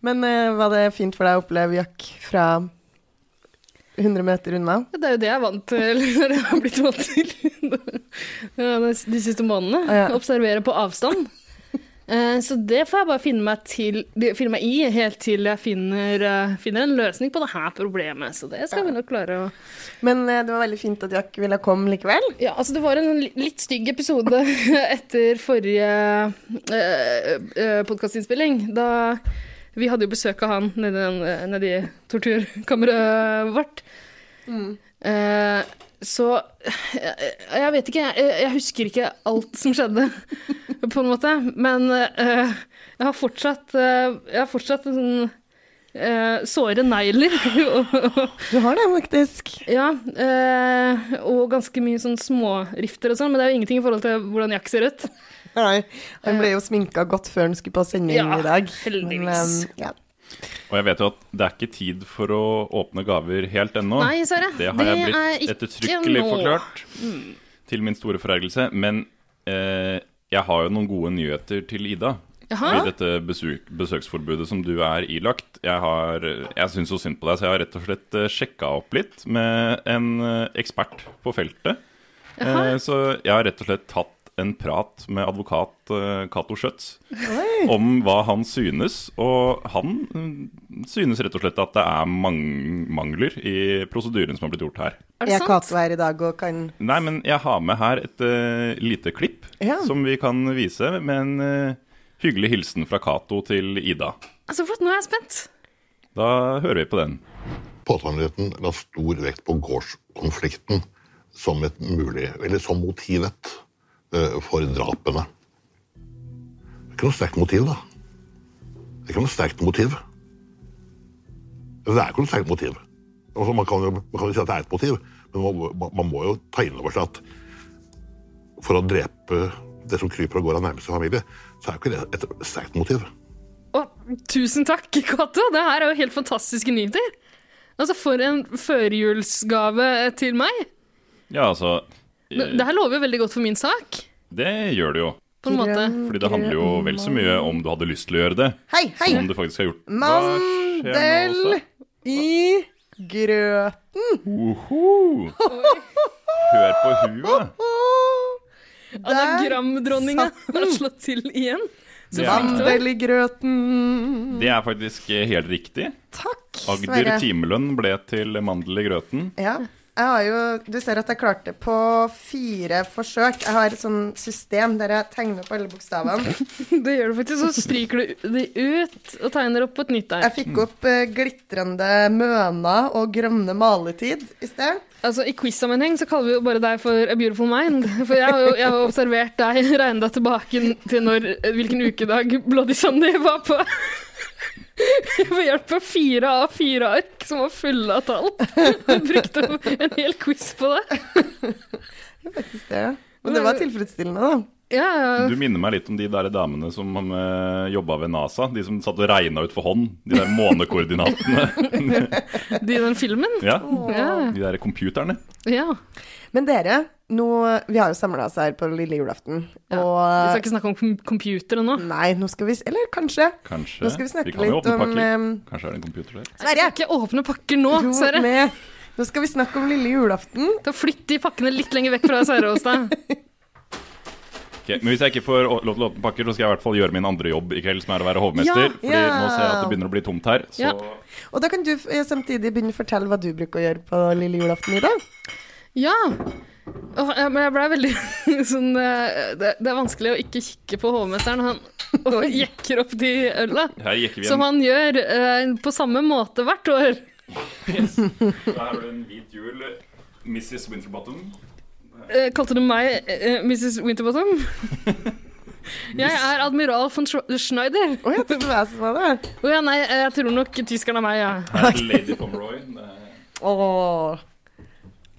Men eh, var det fint for deg å oppleve jakk fra 100 meter unna?
Det er jo det jeg er vant til, eller har blitt vant til Ja, de de siste månedene.
Ja.
Observere på avstand. Eh, Så det får jeg bare finne meg, til, finne meg i helt til jeg finner, eh, finner en løsning på det her problemet. Så det skal vi nok klare å
Men eh, det var veldig fint at jakk ville komme likevel.
Ja, altså det var en li- litt stygg episode etter forrige uh, podkastinnspilling. Da vi hadde jo besøk av han nedi, den, eh, nedi torturkammeret vårt. Eh, så jeg, jeg vet ikke, jeg, jeg husker ikke alt som skjedde, på en måte. Men eh, jeg har fortsatt, eh, jeg har fortsatt en sånn eh, såre negler og,
Du har det faktisk.
ja, eh, og ganske mye sånn smårifter og sånn, men det er jo ingenting i forhold til hvordan Jack ser ut.
Nei, han ble jo sminka godt før han skulle på sending
Eh. Ja,
i dag.
heldigvis.
eh, ja.
Og jeg vet jo at det er ikke tid for å åpne gaver helt ennå.
Nei, Sverre,
Det har
er
jeg blitt
ikke Mm.
ettertrykkelig
nå.
forklart, til min store forergelse. Men eh, jeg har jo noen gode nyheter til Ida.
Jaha.
I dette besøk, besøksforbudet som du er ilagt. Jeg, har- jeg syns så synd på deg, så jeg har rett og slett sjekka opp litt med en eh, ekspert på feltet. Eh, så jeg har rett og slett tatt en prat med advokat eh, Cato Schjøtz om hva han synes. Og han mm, synes rett og slett at det er mang mangler i prosedyren som har blitt gjort her.
Er det
Jeg er
sant?
Cato her i dag og kan
Nei, men jeg har med her et eh, lite klipp
Ja.
som vi kan vise med en eh, hyggelig hilsen fra Cato til Ida.
Altså, flott, nå er jeg spent.
Da hører vi på den.
Påtalemyndigheten la stor vekt på gårdskonflikten som, et mulig, eller som motivet eh, for drapene. Det er ikke noe sterkt motiv, da. Det er ikke noe sterkt motiv. Det er ikke noe sterkt motiv. Altså, man, kan jo, man kan jo si at det er et motiv, men man, må- man, man må jo ta inn over seg at for å drepe det som kryper og går av nærmeste familie, så er jo ikke det et sterkt motiv.
Å, tusen takk, Cato. Det her er jo helt fantastiske nyheter. Altså, for en førjulsgave til meg.
Ja, altså eh,
Det her lover jo veldig godt for min sak,
Det gjør det jo.
på en måte.
Fordi det handler jo vel så mye om du hadde lyst til å gjøre det,
Hei, hei!
som om du faktisk har gjort Hva skjer altså? nå,
Mandel
Åsa?
i grøten.
Oho! Hør på huet.
Anagramdronninga har slått til igjen.
Det er,
Mandel i grøten.
det er faktisk eh, helt riktig.
Takk,
Agder timelønn ble til mandel i grøten.
Ja. Jeg har jo, du ser at jeg klarte på fire forsøk. Jeg har et sånn system der jeg tegner opp alle bokstavene.
Det gjør du faktisk. Så stryker du de ut og tegner opp på et nytt der.
Jeg fikk opp eh, glitrende møna og grønne maletid i sted.
Altså, I quiz-sammenheng så kaller vi jo bare deg for A Beautiful Mind. For jeg har jo jeg har observert deg, regnet deg tilbake til når, hvilken ukedag Bloody Sunday var på. Ved hjelp av fire av fire ark som var fulle av tall. Jeg brukte en hel quiz på det.
I sted. Og det var tilfredsstillende, da.
Ja,
Du minner meg litt om de der damene som uh, jobba ved NASA. De som satt og regna ut for hånd. De der månekoordinatene.
de i den filmen.
ja,
Ja,
De der computerne.
ja.
Men dere, nå, vi har jo samla oss her på lille julaften,
ja. Vi skal
og
ikke snakke om kom- computere nå.
Nei, nå skal vi s- Eller kanskje.
Kanskje.
Nå skal vi snakke
kan jo
litt
åpne
om,
pakker.
ehm,
Kanskje er det en computer der.
Jeg skal
Sverre!
ikke åpne pakker nå,
Jo,
Sverre.
med. Nå skal vi snakke om lille julaften.
Da flytt de pakkene litt lenger vekk fra Sverre hos deg.
Ok, men hvis jeg ikke får å- lov til å åpne pakker, så skal jeg i hvert fall gjøre min andre jobb i kveld, som er å være hovmester.
Ja,
fordi
ja.
nå ser jeg at det begynner å bli tomt her. Så
Ja.
Og da kan du eh, samtidig begynne å fortelle hva du bruker å gjøre på lille julaften i dag.
Ja. Åh, jeg- men jeg blei veldig sånn eh, det, det er vanskelig å ikke kikke på hovmesteren. Han og jekker opp de øla.
her gikk vi
Som
en,
han gjør eh, på samme måte hvert år.
Da har du en hvit jul. Mrs. Winterbottom.
Eh, kalte du meg eh, Mrs. Winterbottom? Jeg er admiral von Schro- Schneider.
Å, jeg trodde det var jeg som var det.
Å ja, nei, eh, jeg tror nok tyskeren er meg, ja.
Her er Lady Pomeroy. Det er-
Åh.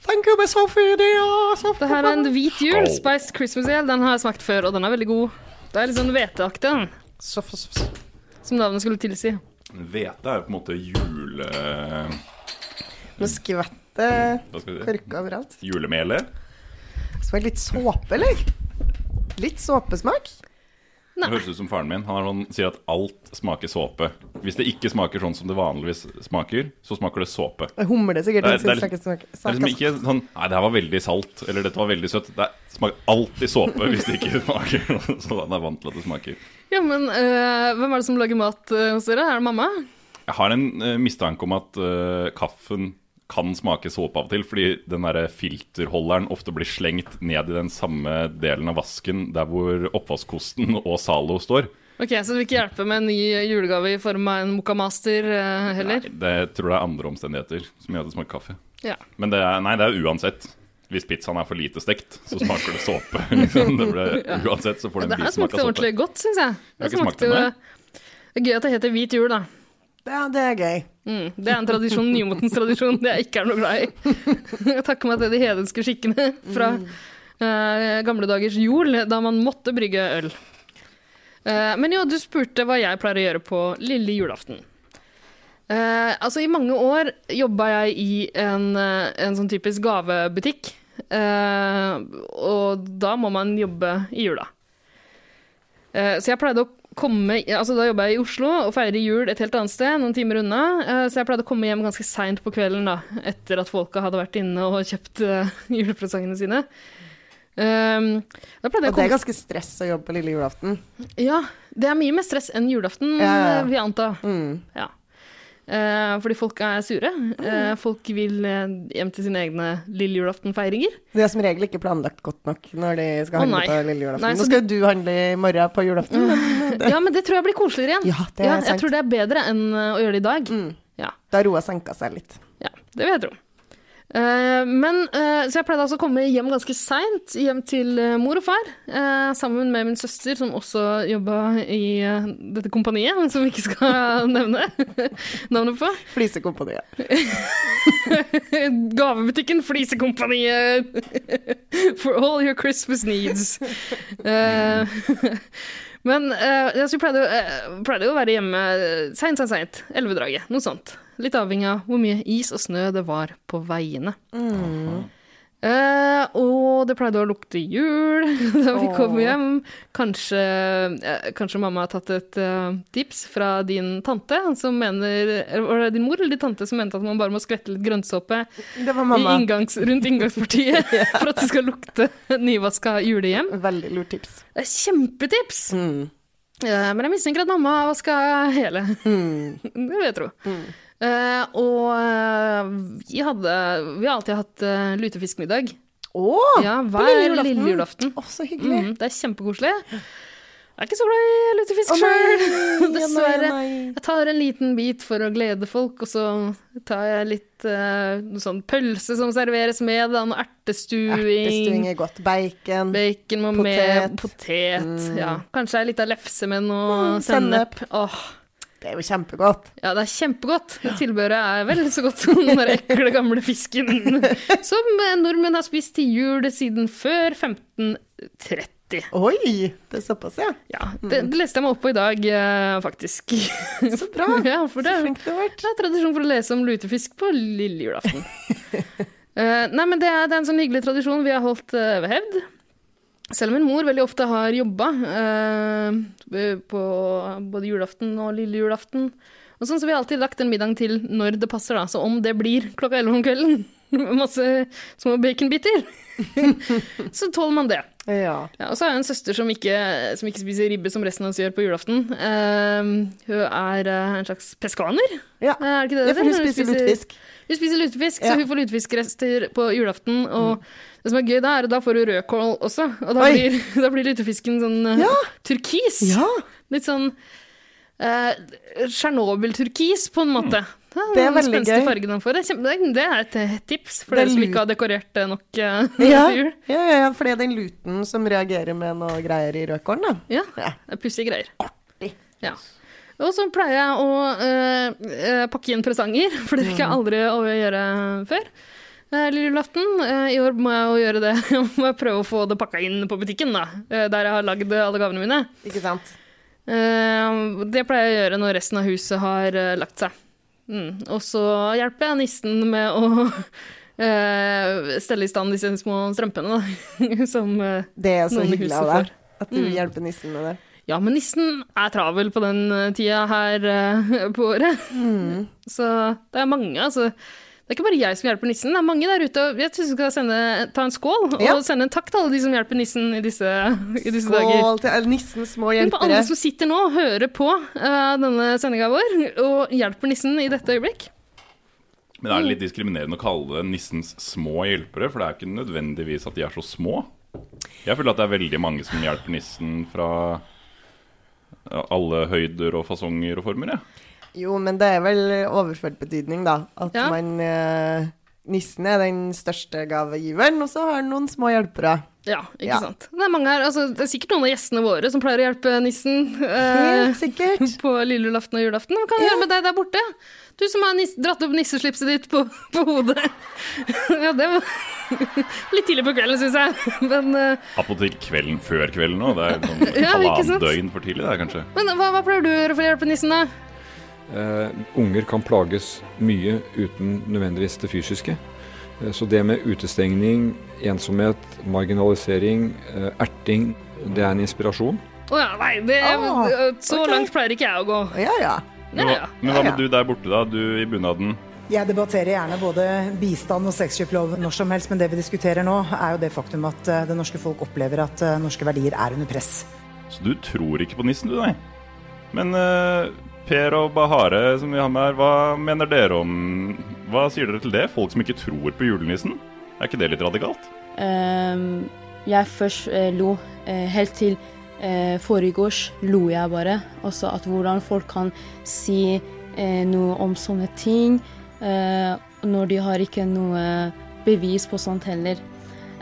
Thank you, Miss Sophie. Det er så
Det her er en hvit jul, spiced Christmas ale. Den har jeg smakt før, og den er veldig god. Det er litt sånn hveteaktig, den,
Så- så- så-
som navnet skulle tilsi.
Hvete er jo på en måte jule...
Nå skvetter
Hva skal vi si?
korka overalt.
Julemelet.
Smak litt såpe, eller? Litt såpesmak.
Det høres ut som faren min. Han er sånn, sier at alt smaker såpe. Hvis det ikke smaker sånn som det vanligvis smaker, så smaker det såpe.
Jeg humler sikkert.
Det er-
Det er,
det er litt- Det er liksom
sarkasme.
ikke sånn Nei, det her var veldig salt. Eller dette var veldig søtt. Det er- smaker alltid såpe hvis det ikke smaker Så han er vant til at det smaker.
Ja, men eh, hvem er det som lager mat eh, hos dere? Er det mamma?
Jeg har en eh, mistanke om at eh, kaffen kan smake såpe av og til, fordi den der filterholderen ofte blir slengt ned i den samme delen av vasken der hvor oppvaskkosten og Zalo står.
Ok, Så det vil ikke hjelpe med en ny julegave i form av en Mokamaster eh, heller?
Det tror jeg er andre omstendigheter som gjør at det smaker kaffe.
Ja.
Men det er, nei, det er uansett. Hvis pizzaen er for lite stekt, så smaker det såpe. Liksom. Det ble, uansett så får den
Det
en
her
bit smak
smakte
av såpe.
ordentlig godt, syns jeg.
Jeg har
Det
ikke smakt
smakte jo
den,
Det er gøy at det heter hvit jul, da.
Ja, det er gøy.
Mm, Det er en tradisjon, nymotens tradisjon, det jeg ikke er noe glad i. Jeg takker meg til de hedenske skikkene fra
Mm.
eh, gamle dagers jol, da man måtte brygge øl. Eh, men jo, du spurte hva jeg pleier å gjøre på lille julaften. Eh, altså, i mange år jobba jeg i en, eh, en sånn typisk gavebutikk. eh, og da må man jobbe i jula. Eh, Så jeg pleide å komme Altså Da jobba jeg i Oslo og feire jul et helt annet sted, noen timer unna. Eh, Så jeg pleide å komme hjem ganske seint på kvelden da etter at folka hadde vært inne og kjøpt eh, julepresangene sine. Ehm, da pleide
Og det
jeg å
er
komme
ganske stress å jobbe på lille julaften.
Ja, det er mye mer stress enn julaften,
Ja, ja, Mm. ja.
vil jeg anta. Ja. Eh, fordi folk er sure.
Mm.
Eh, folk vil eh, hjem til sine egne lille julaftenfeiringer.
De er som regel ikke planlagt godt nok når de skal
Å,
handle
nei.
på lille julaften.
Nei, så Mm.
Nå skal jo du handle i morgen på julaften. men
Ja, men det tror jeg blir koseligere igjen.
Ja, det er sant. Mm.
Jeg tror det er bedre enn eh, å gjøre det i dag. Ja.
Da har roa senka seg litt.
Ja, det vil jeg tro. Eh, men, eh, så jeg pleide altså å komme hjem ganske seint, hjem til eh, mor og far, eh, sammen med min søster, som også jobba i eh, dette kompaniet, men som vi ikke skal nevne navnet på.
Flisekompaniet.
Gavebutikken Flisekompaniet. For all your Christmas needs. Eh, men eh, altså, vi pleide, uh, pleide jo å være hjemme eh, seint, seint, seint. Elvedraget, noe sånt. Litt avhengig av hvor mye is og snø det var på veiene. Eh, og det pleide å lukte jul da vi kom hjem. Kanskje, eh, kanskje mamma har tatt et eh, tips fra din tante, som mener eller Var det din mor eller din tante som mente at man bare må skvette litt grønnsåpe
Det var
i
mamma.
inngangs, rundt inngangspartiet for at det skal lukte nyvaska julehjem?
Veldig lurt tips.
Det er kjempetips! Eh, men jeg mistenker at mamma har vaska hele.
Hmm.
Det vil jeg tro. Eh, og eh, vi, hadde, vi har alltid hatt eh, lutefiskmiddag.
Å!
Ja,
på
hver lille julaften.
Å, så hyggelig.
Mm, det er kjempekoselig. Jeg er ikke så glad i lutefisk
Å, nei,
sjøl,
nei,
dessverre.
nei.
Jeg tar en liten bit for å glede folk, og så tar jeg litt eh, noe sånn pølse som serveres med, da, noe
Ertestuing
ertestuing.
er godt. Bacon.
Bacon må med,
Potet.
potet. Ja. Kanskje ei lita lefse med noe
Mm, sennep.
sennep. Åh,
Det er jo kjempegodt.
ja, det er kjempegodt. Det tilbehøret er vel så godt som den der ekle gamle fisken som nordmenn har spist til jul siden før 1530.
Oi! Det er såpass, ja.
Ja, det, det leste jeg meg opp på i dag, eh, faktisk.
Mm. Så bra.
ja, for det,
Så
er jo-
flink du har vært.
det er tradisjon for å lese om lutefisk på lille julaften. Eh, nei, men det er, det er en sånn hyggelig tradisjon vi har holdt eh, ved hevd. Selv om min mor veldig ofte har jobba eh, på både julaften og lille julaften. Og sånn, så vi har alltid lagt den middagen til når det passer, da. Så om det blir klokka elleve om kvelden, med masse små baconbiter, så tåler man det.
Ja.
Ja, og så har jeg en søster som ikke, som ikke spiser ribbe som resten av oss gjør på julaften. Eh, hun er eh, en slags peskaner.
Ja.
Eh, Er det ikke det
ja,
det
for hun
heter?
spiser lutefisk.
Hun spiser lutefisk,
Ja. Mm.
så hun får lutefiskrester på julaften. Og det som er gøy da, er at da får hun rødkål også. Og da
Oi.
blir, da blir lutefisken sånn eh,
Ja.
turkis.
Ja,
Litt sånn eh, Tsjernobyl-turkis, på en måte.
Mm. Det er veldig
Den spenstige
gøy.
fargen han får. Det er kjempe- det er- Det er et eh, tips for
Det er
dere som
lurt.
ikke har dekorert det nok eh,
ja,
til jul.
ja, ja, ja, for det er den luten som reagerer med noe greier i rødkålen, da.
Ja,
Ja.
det er pussige greier.
Artig.
Ja. Og så pleier jeg å eh, eh, pakke inn presanger, for det
Mm.
rekker jeg aldri å gjøre før. Eh, Lille julaften. eh, I år må jeg jo gjøre det. Jeg må prøve å få det pakka inn på butikken, da. eh, der jeg har lagd alle gavene mine.
Ikke sant?
Eh, det pleier jeg å gjøre når resten av huset har eh, lagt seg. Mm. Og så hjelper jeg nissen med å eh, stelle i stand disse små strømpene, da. Som eh,
Det er så
Noen i
hyggelig
huset Mm.
av
får.
deg at du hjelper nissen med det.
Ja, men nissen er travel på den eh, tida her eh, på året.
Mm.
Så det er mange, altså. Det er ikke bare jeg som hjelper nissen, det er mange der ute. og Jeg syns vi skal sende, ta en skål og
Ja.
sende en takk til alle de som hjelper nissen i disse, i disse dager.
Skål til nissens små
Men på alle
hjelpere.
som sitter nå og hører på eh, denne sendinga vår, og hjelper nissen i dette øyeblikk.
Men er det litt diskriminerende å kalle det nissens små hjelpere? For det er jo ikke nødvendigvis at de er så små. Jeg føler at det er veldig mange som hjelper nissen fra ja, alle høyder og fasonger og former. Ja.
Jo, men det er vel overført betydning, da. At
Ja.
man eh, Nissen er den største gavegiveren, og så har han noen små hjelpere.
Ja, ikke
Ja.
sant. Det er mange her, altså, det er sikkert noen av gjestene våre som pleier å hjelpe nissen. eh,
Helt sikkert.
på lille julaften og julaften. Hva kan vi gjøre med deg der borte? Du som har nis dratt opp nisseslipset ditt på, på hodet. ja, det var litt tidlig på kvelden, syns jeg. Men, eh,
Apotek kvelden før kvelden òg. Det er sånn
Ja, ikke
halvannen
sant?
døgn for tidlig, det er kanskje.
men hva, hva pleier du å gjøre for å hjelpe nissen, da?
Eh, unger kan plages mye uten nødvendigvis det fysiske. Eh, så det med utestengning, ensomhet, marginalisering, eh, erting, det er en inspirasjon.
Å ja, nei, det,
Ah,
eh, så
ok.
langt pleier ikke jeg å gå.
Ja, ja.
Men
Ja,
hva,
ja.
men hva
Ja,
med du der borte, da? Du i bunaden.
Jeg debatterer gjerne både bistand og sexkjøpslov når som helst, men det vi diskuterer nå, er jo det faktum at eh, det norske folk opplever at eh, norske verdier er under press.
Så du tror ikke på nissen, du, nei? Men eh, Per og Bahare, som vi har med her, hva mener dere om Hva sier dere til det? Folk som ikke tror på julenissen? Er ikke det litt radikalt?
Ehm, jeg først eh, lo eh, helt til uh, foregårs lo jeg bare. Også at hvordan folk kan si eh, noe om sånne ting eh, når de har ikke noe bevis på sånt heller.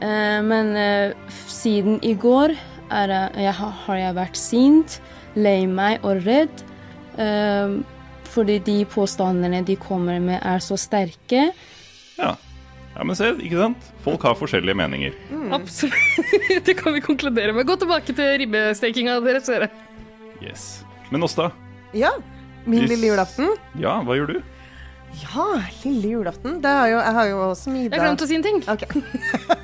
Eh, men eh, f- siden i går er, jeg- jeg, har- har jeg vært sint, lei meg og redd. eh, fordi de påstandene de kommer med, er så sterke.
Ja. ja, men se, ikke sant? Folk har forskjellige meninger.
Absolutt. Det kan vi konkludere med. Gå tilbake til ribbestekinga deres, dere.
Yes. Men Åsta,
Ja. Min
Hvis-
lille julaften.
ja, hva gjør du?
Ja, lille julaften. Det har jo, jeg har jo også
Jeg
middag.
glemte å si en ting.
Ok.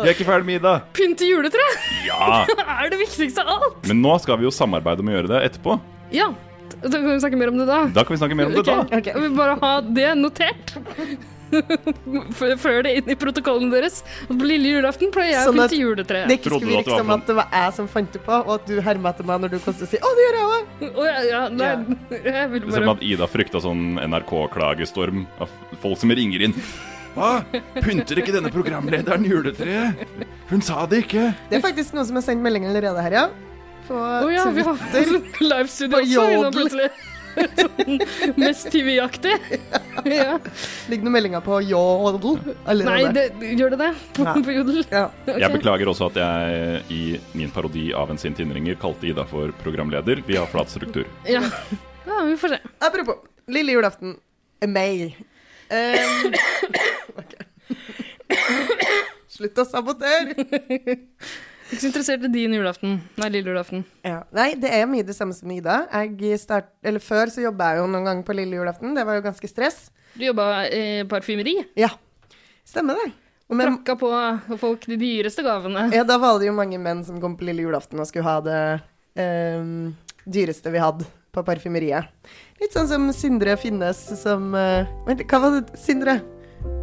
Vi er ikke ferdig med Ida.
Pynte juletre
Ja,
er det viktigste av alt.
men nå skal vi jo samarbeide om å gjøre det etterpå.
Ja, da kan vi snakke mer om det da.
Da kan vi snakke mer om det da.
Ok, Jeg vil bare ha det notert. Før før det inn i protokollen deres. At på lille julaften pleier jeg å
Sånn at
pynte juletreet.
Det ikke
Trodde
skulle
du at
virke
det var
som
for-
at det var jeg som fant det på, og at du hermet etter meg når du kom til å si 'Å, det gjør jeg òg'.
Å, ja, ja, nei, jeg vil
Det ser ut
bare
som at Ida frykta sånn NRK-klagestorm av folk som ringer inn. Hva? Pynter ikke denne programlederen juletreet? Hun sa det ikke.
Det er faktisk noen som har sendt melding allerede her, ja. På
Å ja, vi har
Twitter.
livestudio
På
også. vi nå
Jodel.
plutselig. Sånn mest TV-aktig. Ja.
Ligger noen meldinger på Jodel allerede?
Nei, det, gjør det det? På,
Nei.
på Jodel?
Ja.
Jeg
Ok.
beklager også at jeg i min parodi av En sint innringer kalte Ida for programleder. Vi har flat struktur.
Ja. ja, vi får se.
Apropos lille julaften. Eh, Meg. Um, Slutt å sabotere.
Ikke så interessert i din julaften. Nei, lille julaften.
Ja. Nei, det er mye det samme som Ida. Jeg start, eller før så jobba jeg jo noen gang på lille julaften. Det var jo ganske stress.
Du jobba i parfymeri.
Ja, stemmer det. Og men,
Prakka på folk de dyreste gavene.
ja, da var det jo mange menn som kom på lille julaften og skulle ha det ehm, dyreste vi hadde på parfymeriet. Litt sånn som Sindre Finnes som eh, Vent, hva var det Sindre?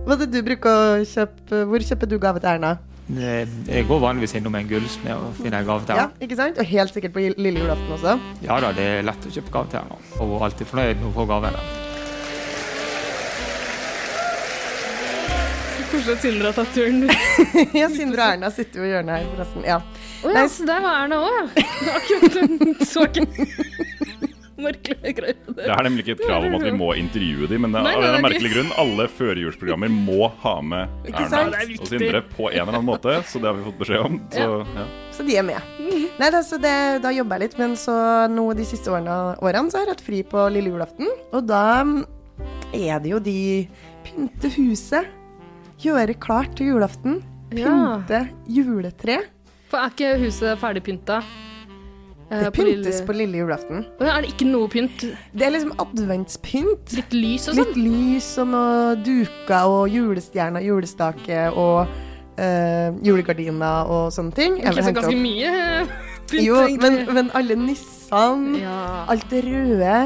Hva er det du bruker å kjøpe Hvor kjøper du gave til Erna?
Eh, Jeg går vanligvis innom en gullsmed og finner en gave til
Ja, ikke sant? Og helt sikkert på gi- lille julaften også.
Ja da, det er lett å kjøpe gave til henne. Og hun er alltid fornøyd når hun får gavene.
Koselig at Sindre har tatt turen.
Ja, Sindre og Erna sitter jo i hjørnet her, forresten. Ja.
Å ja,
Nei,
så der var Erna òg, ja. Akkurat den saken. Merkelig greie.
Det er nemlig ikke et krav om at vi må intervjue dem, men det er,
Nei, nei,
av en eller
det
annen
er
merkelig grunn alle førjulsprogrammer må ha med
sant?
Erna
Det er viktig.
og Sindre på en eller annen måte, så det har vi fått beskjed om. Så, ja.
Så de er med.
Mm.
Nei, da, så det, da jobber jeg litt, men så nå de siste årene, årene så har jeg hatt fri på lille julaften. Og da mm, er det jo de pynte huset, gjøre klart til julaften,
Ja.
pynte juletre.
For er ikke huset ferdigpynta? Eh,
Det
på
pyntes
lille-
på lille julaften.
Å ja, Er det ikke noe pynt?
Det er liksom adventspynt.
Litt lys og sånn?
Litt lys og noe duker og julestjerner, julestake og eh, julegardiner og sånne ting. Jeg
Ikke
vil
så
hente opp-
ganske mye eh,
Jo, men, men alle nissene, alt det røde,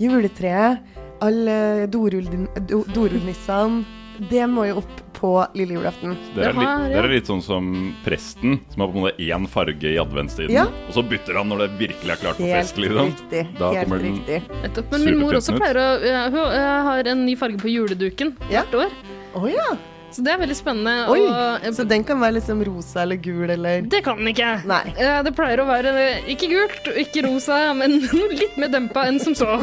juletreet, alle dorullin- do- dorullnissene Det må jo opp på lille julaften.
Det er, litt, det er litt sånsånn som presten, som har på en måte én farge i adventstiden.
Ja.
Og så bytter han når det virkelig er klart for
Helt
fest. Liksom.
riktig,
Da
helt
kommer den
riktig.
Nettopp. Men min mor også
superpretten ut.
pleier å ja, Hun eh, har en ny farge på juleduken hvert år. Så det er veldig spennende.
Oi,
og, eh,
Så den kan være liksom rosa eller gul eller
Det kan den ikke. Eh, Det pleier å være eh, ikke gult og ikke rosa, men noe litt mer dempa enn som så.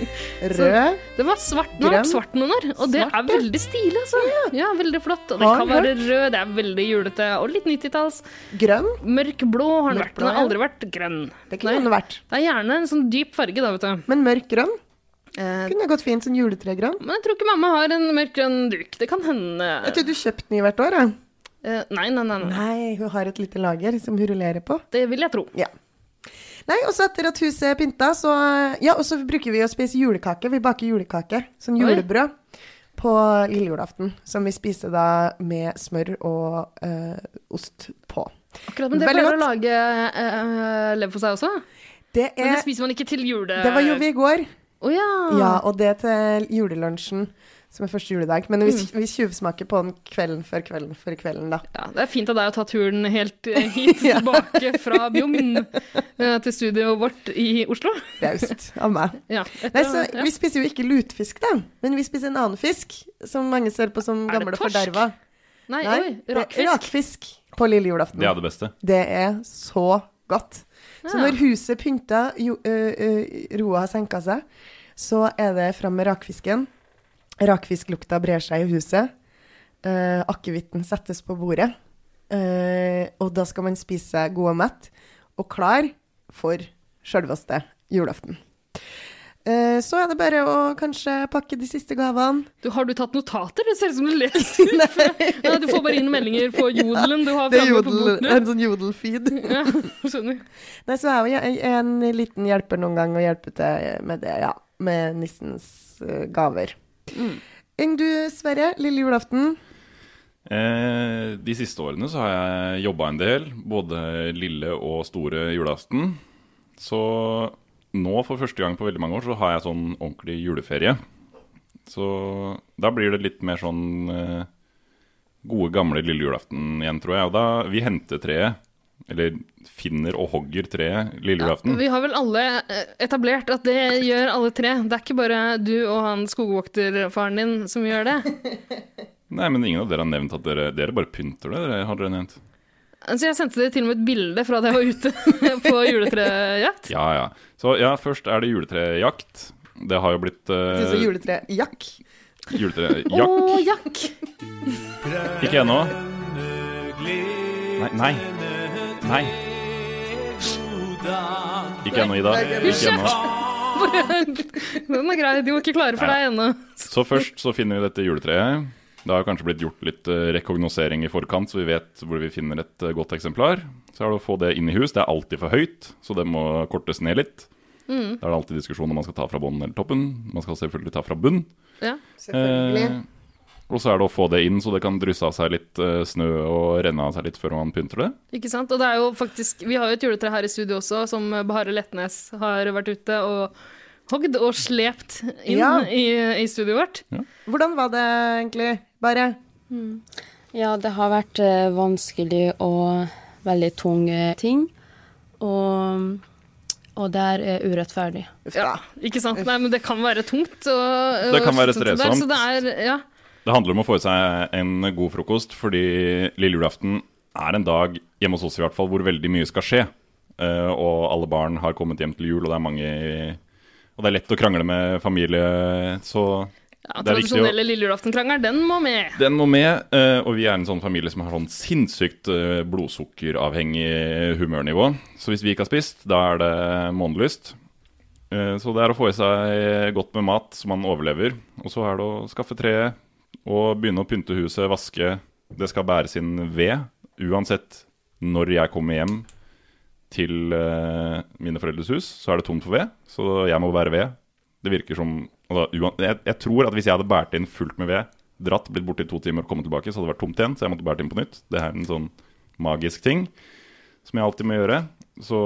Rød.
Det var svart nå,
Grønn.
svart noen år, og det
Svart,
er veldig stilig, altså. Ja, veldig flott. Og det
Har
kan være rød, det er veldig julete og litt 90-talls.
Grønn?
Mørk blå har den vært. Den har
Mørkblå,
aldri vært grønn.
Det kunne den vært.
Det er gjerne en sånn dyp farge, da, vet du.
Men mørk grønn?
Eh,
Kunne gått fint som juletregrønn.
men jeg tror ikke mamma har en mørk grønn duk. Det kan hende.
Vet du, du kjøpte den i hvert år, da?
Eh, nei, nei, nei, nei.
Nei, hun har et lite lager som hun rullerer på.
Det vil jeg tro.
Ja. Nei, og så etter at huset er pynta, så Ja, og så bruker vi å spise julekake. Vi baker julekake. Sånn
Oi.
julebrød. På lille julaften. Som vi spiser da med smør og eh, ost på.
Akkurat, men det
Veldig
pleier å
godt.
lage uh, leverpostei også.
Det
Men det Ah.
er
spiser man ikke til jule...
Det var jo vi i går.
Å ja.
Ja, og det til julelunsjen, som er første juledag. Men vi,
Mm.
vi tjuvsmaker på den kvelden før kvelden før kvelden, da.
Ja, det er fint av deg å ta turen helt eh, hit tilbake fra Bjugn eh, til studioet vårt i Oslo.
Raust av meg.
Ja, etter,
Nei, så
ja.
Vi spiser jo ikke lutfisk, da, men vi spiser en annen fisk som mange ser på som
Er det
gamle og
torsk?
forderva.
Nei,
Nei,
oi,
det er
rakfisk.
rakfisk på lille julaften.
Det er det beste.
Det er så godt. Så
Ja.
når huset pynta, jo, ø, ø, roa har senka seg, så er det fram med rakfisken. Rakfisklukta brer seg i huset. Uh, Akevitten settes på bordet. Eh, og da skal man spise seg god og mett og klar for sjølveste julaften. Eh, så er det bare å kanskje pakke de siste gavene.
Du, har du tatt notater? Det ser ut som du leser. Ja, du får bare inn meldinger på jodelen du har
Det er
framme på
jodel,
boken.
en sånn jodelfeed.
Ja, skjønner.
Nei, så er jo jeg en liten hjelper noen gang og hjelper til med det, ja. Med nissens eh, gaver. Mm. Enn du, Sverre, lille julaften?
Eh, de siste årene så har jeg jobba en del, både lille og store julaften. Så nå, for første gang på veldig mange år, så har jeg sånn ordentlig juleferie. Så da blir det litt mer sånn eh, gode, gamle lille julaften igjen, tror jeg. Og da vi henter treet, eller finner og hogger treet lille julaften.
Vi har vel alle eh, etablert at det gjør alle tre. Det er ikke bare du og han skogvokterfaren din som gjør det.
Nei, men ingen av dere har nevnt at dere, dere bare pynter det, dere, har dere nevnt?
Så Altså, jeg sendte dere til og med et bilde fra da jeg var ute på juletrejakt.
Ja, ja. Så ja, først er det juletrejakt. Det har jo blitt eh,
Synes du juletrejakk?
Å,
Juletrejakt.
jakk!
Ikke ennå. Nei, nei. Nei. Ikke ennå, Ida. Ikke ennå.
Bare, den er grei, de var ikke klare for
Nei.
deg ennå.
Så først så finner vi dette juletreet. Det har kanskje blitt gjort litt eh, rekognosering i forkant, så vi vet hvor vi finner et eh, godt eksemplar. Så er det å få det inn i hus. Det er alltid for høyt, så det må kortes ned litt.
Mm.
Da er det alltid diskusjon om man skal ta fra bånn eller toppen. Man skal selvfølgelig ta fra bunn.
Ja.
Eh, og så er det å få det inn, så det kan drysse av seg litt eh, snø og renne av seg litt før man pynter det.
Ikke sant? Og det er jo faktisk Vi har jo et juletre her i studio også, som Bahare Letnes har vært ute og hogd og slept inn
Ja.
i, i studioet vårt.
Hvordan var det egentlig, bare?
Ja, det har vært eh, vanskelig og veldig tunge ting. Og, og det er eh, urettferdig.
Ja, ikke sant? Nei, men det kan være tungt. Og,
Det kan
og
være
sånt der,
strevsomt.
Så det er, ja.
Det handler om å få i seg en god frokost, fordi lille julaften er en dag, hjemme hos oss i hvert fall, hvor veldig mye skal skje. Eh, og alle barn har kommet hjem til jul, og det er mange Og det er lett å krangle med familie, så
Ja,
det er viktig å
tradisjonelle lille julaftenkrangelen, den må med.
den må med, eh, og vi er en sånn familie som har sånn sinnssykt eh, blodsukkeravhengig eh, humørnivå. Så hvis vi ikke har spist, da er det månelyst. Eh, Så det er å få i seg godt med mat så man overlever. Og så er det å skaffe treet og begynne å pynte huset, vaske. Det skal bæres inn ved, uansett når jeg kommer hjem til eh, mine foreldres hus, så er det tomt for ved, så jeg må bære ved. Det virker som altså, uan- jeg, jeg tror at hvis jeg hadde båret inn fullt med ved, dratt, blitt borte i to timer og kommet tilbake, så hadde det vært tomt igjen, så jeg måtte bære det inn på nytt. Det er en sånn magisk ting som jeg alltid må gjøre. Så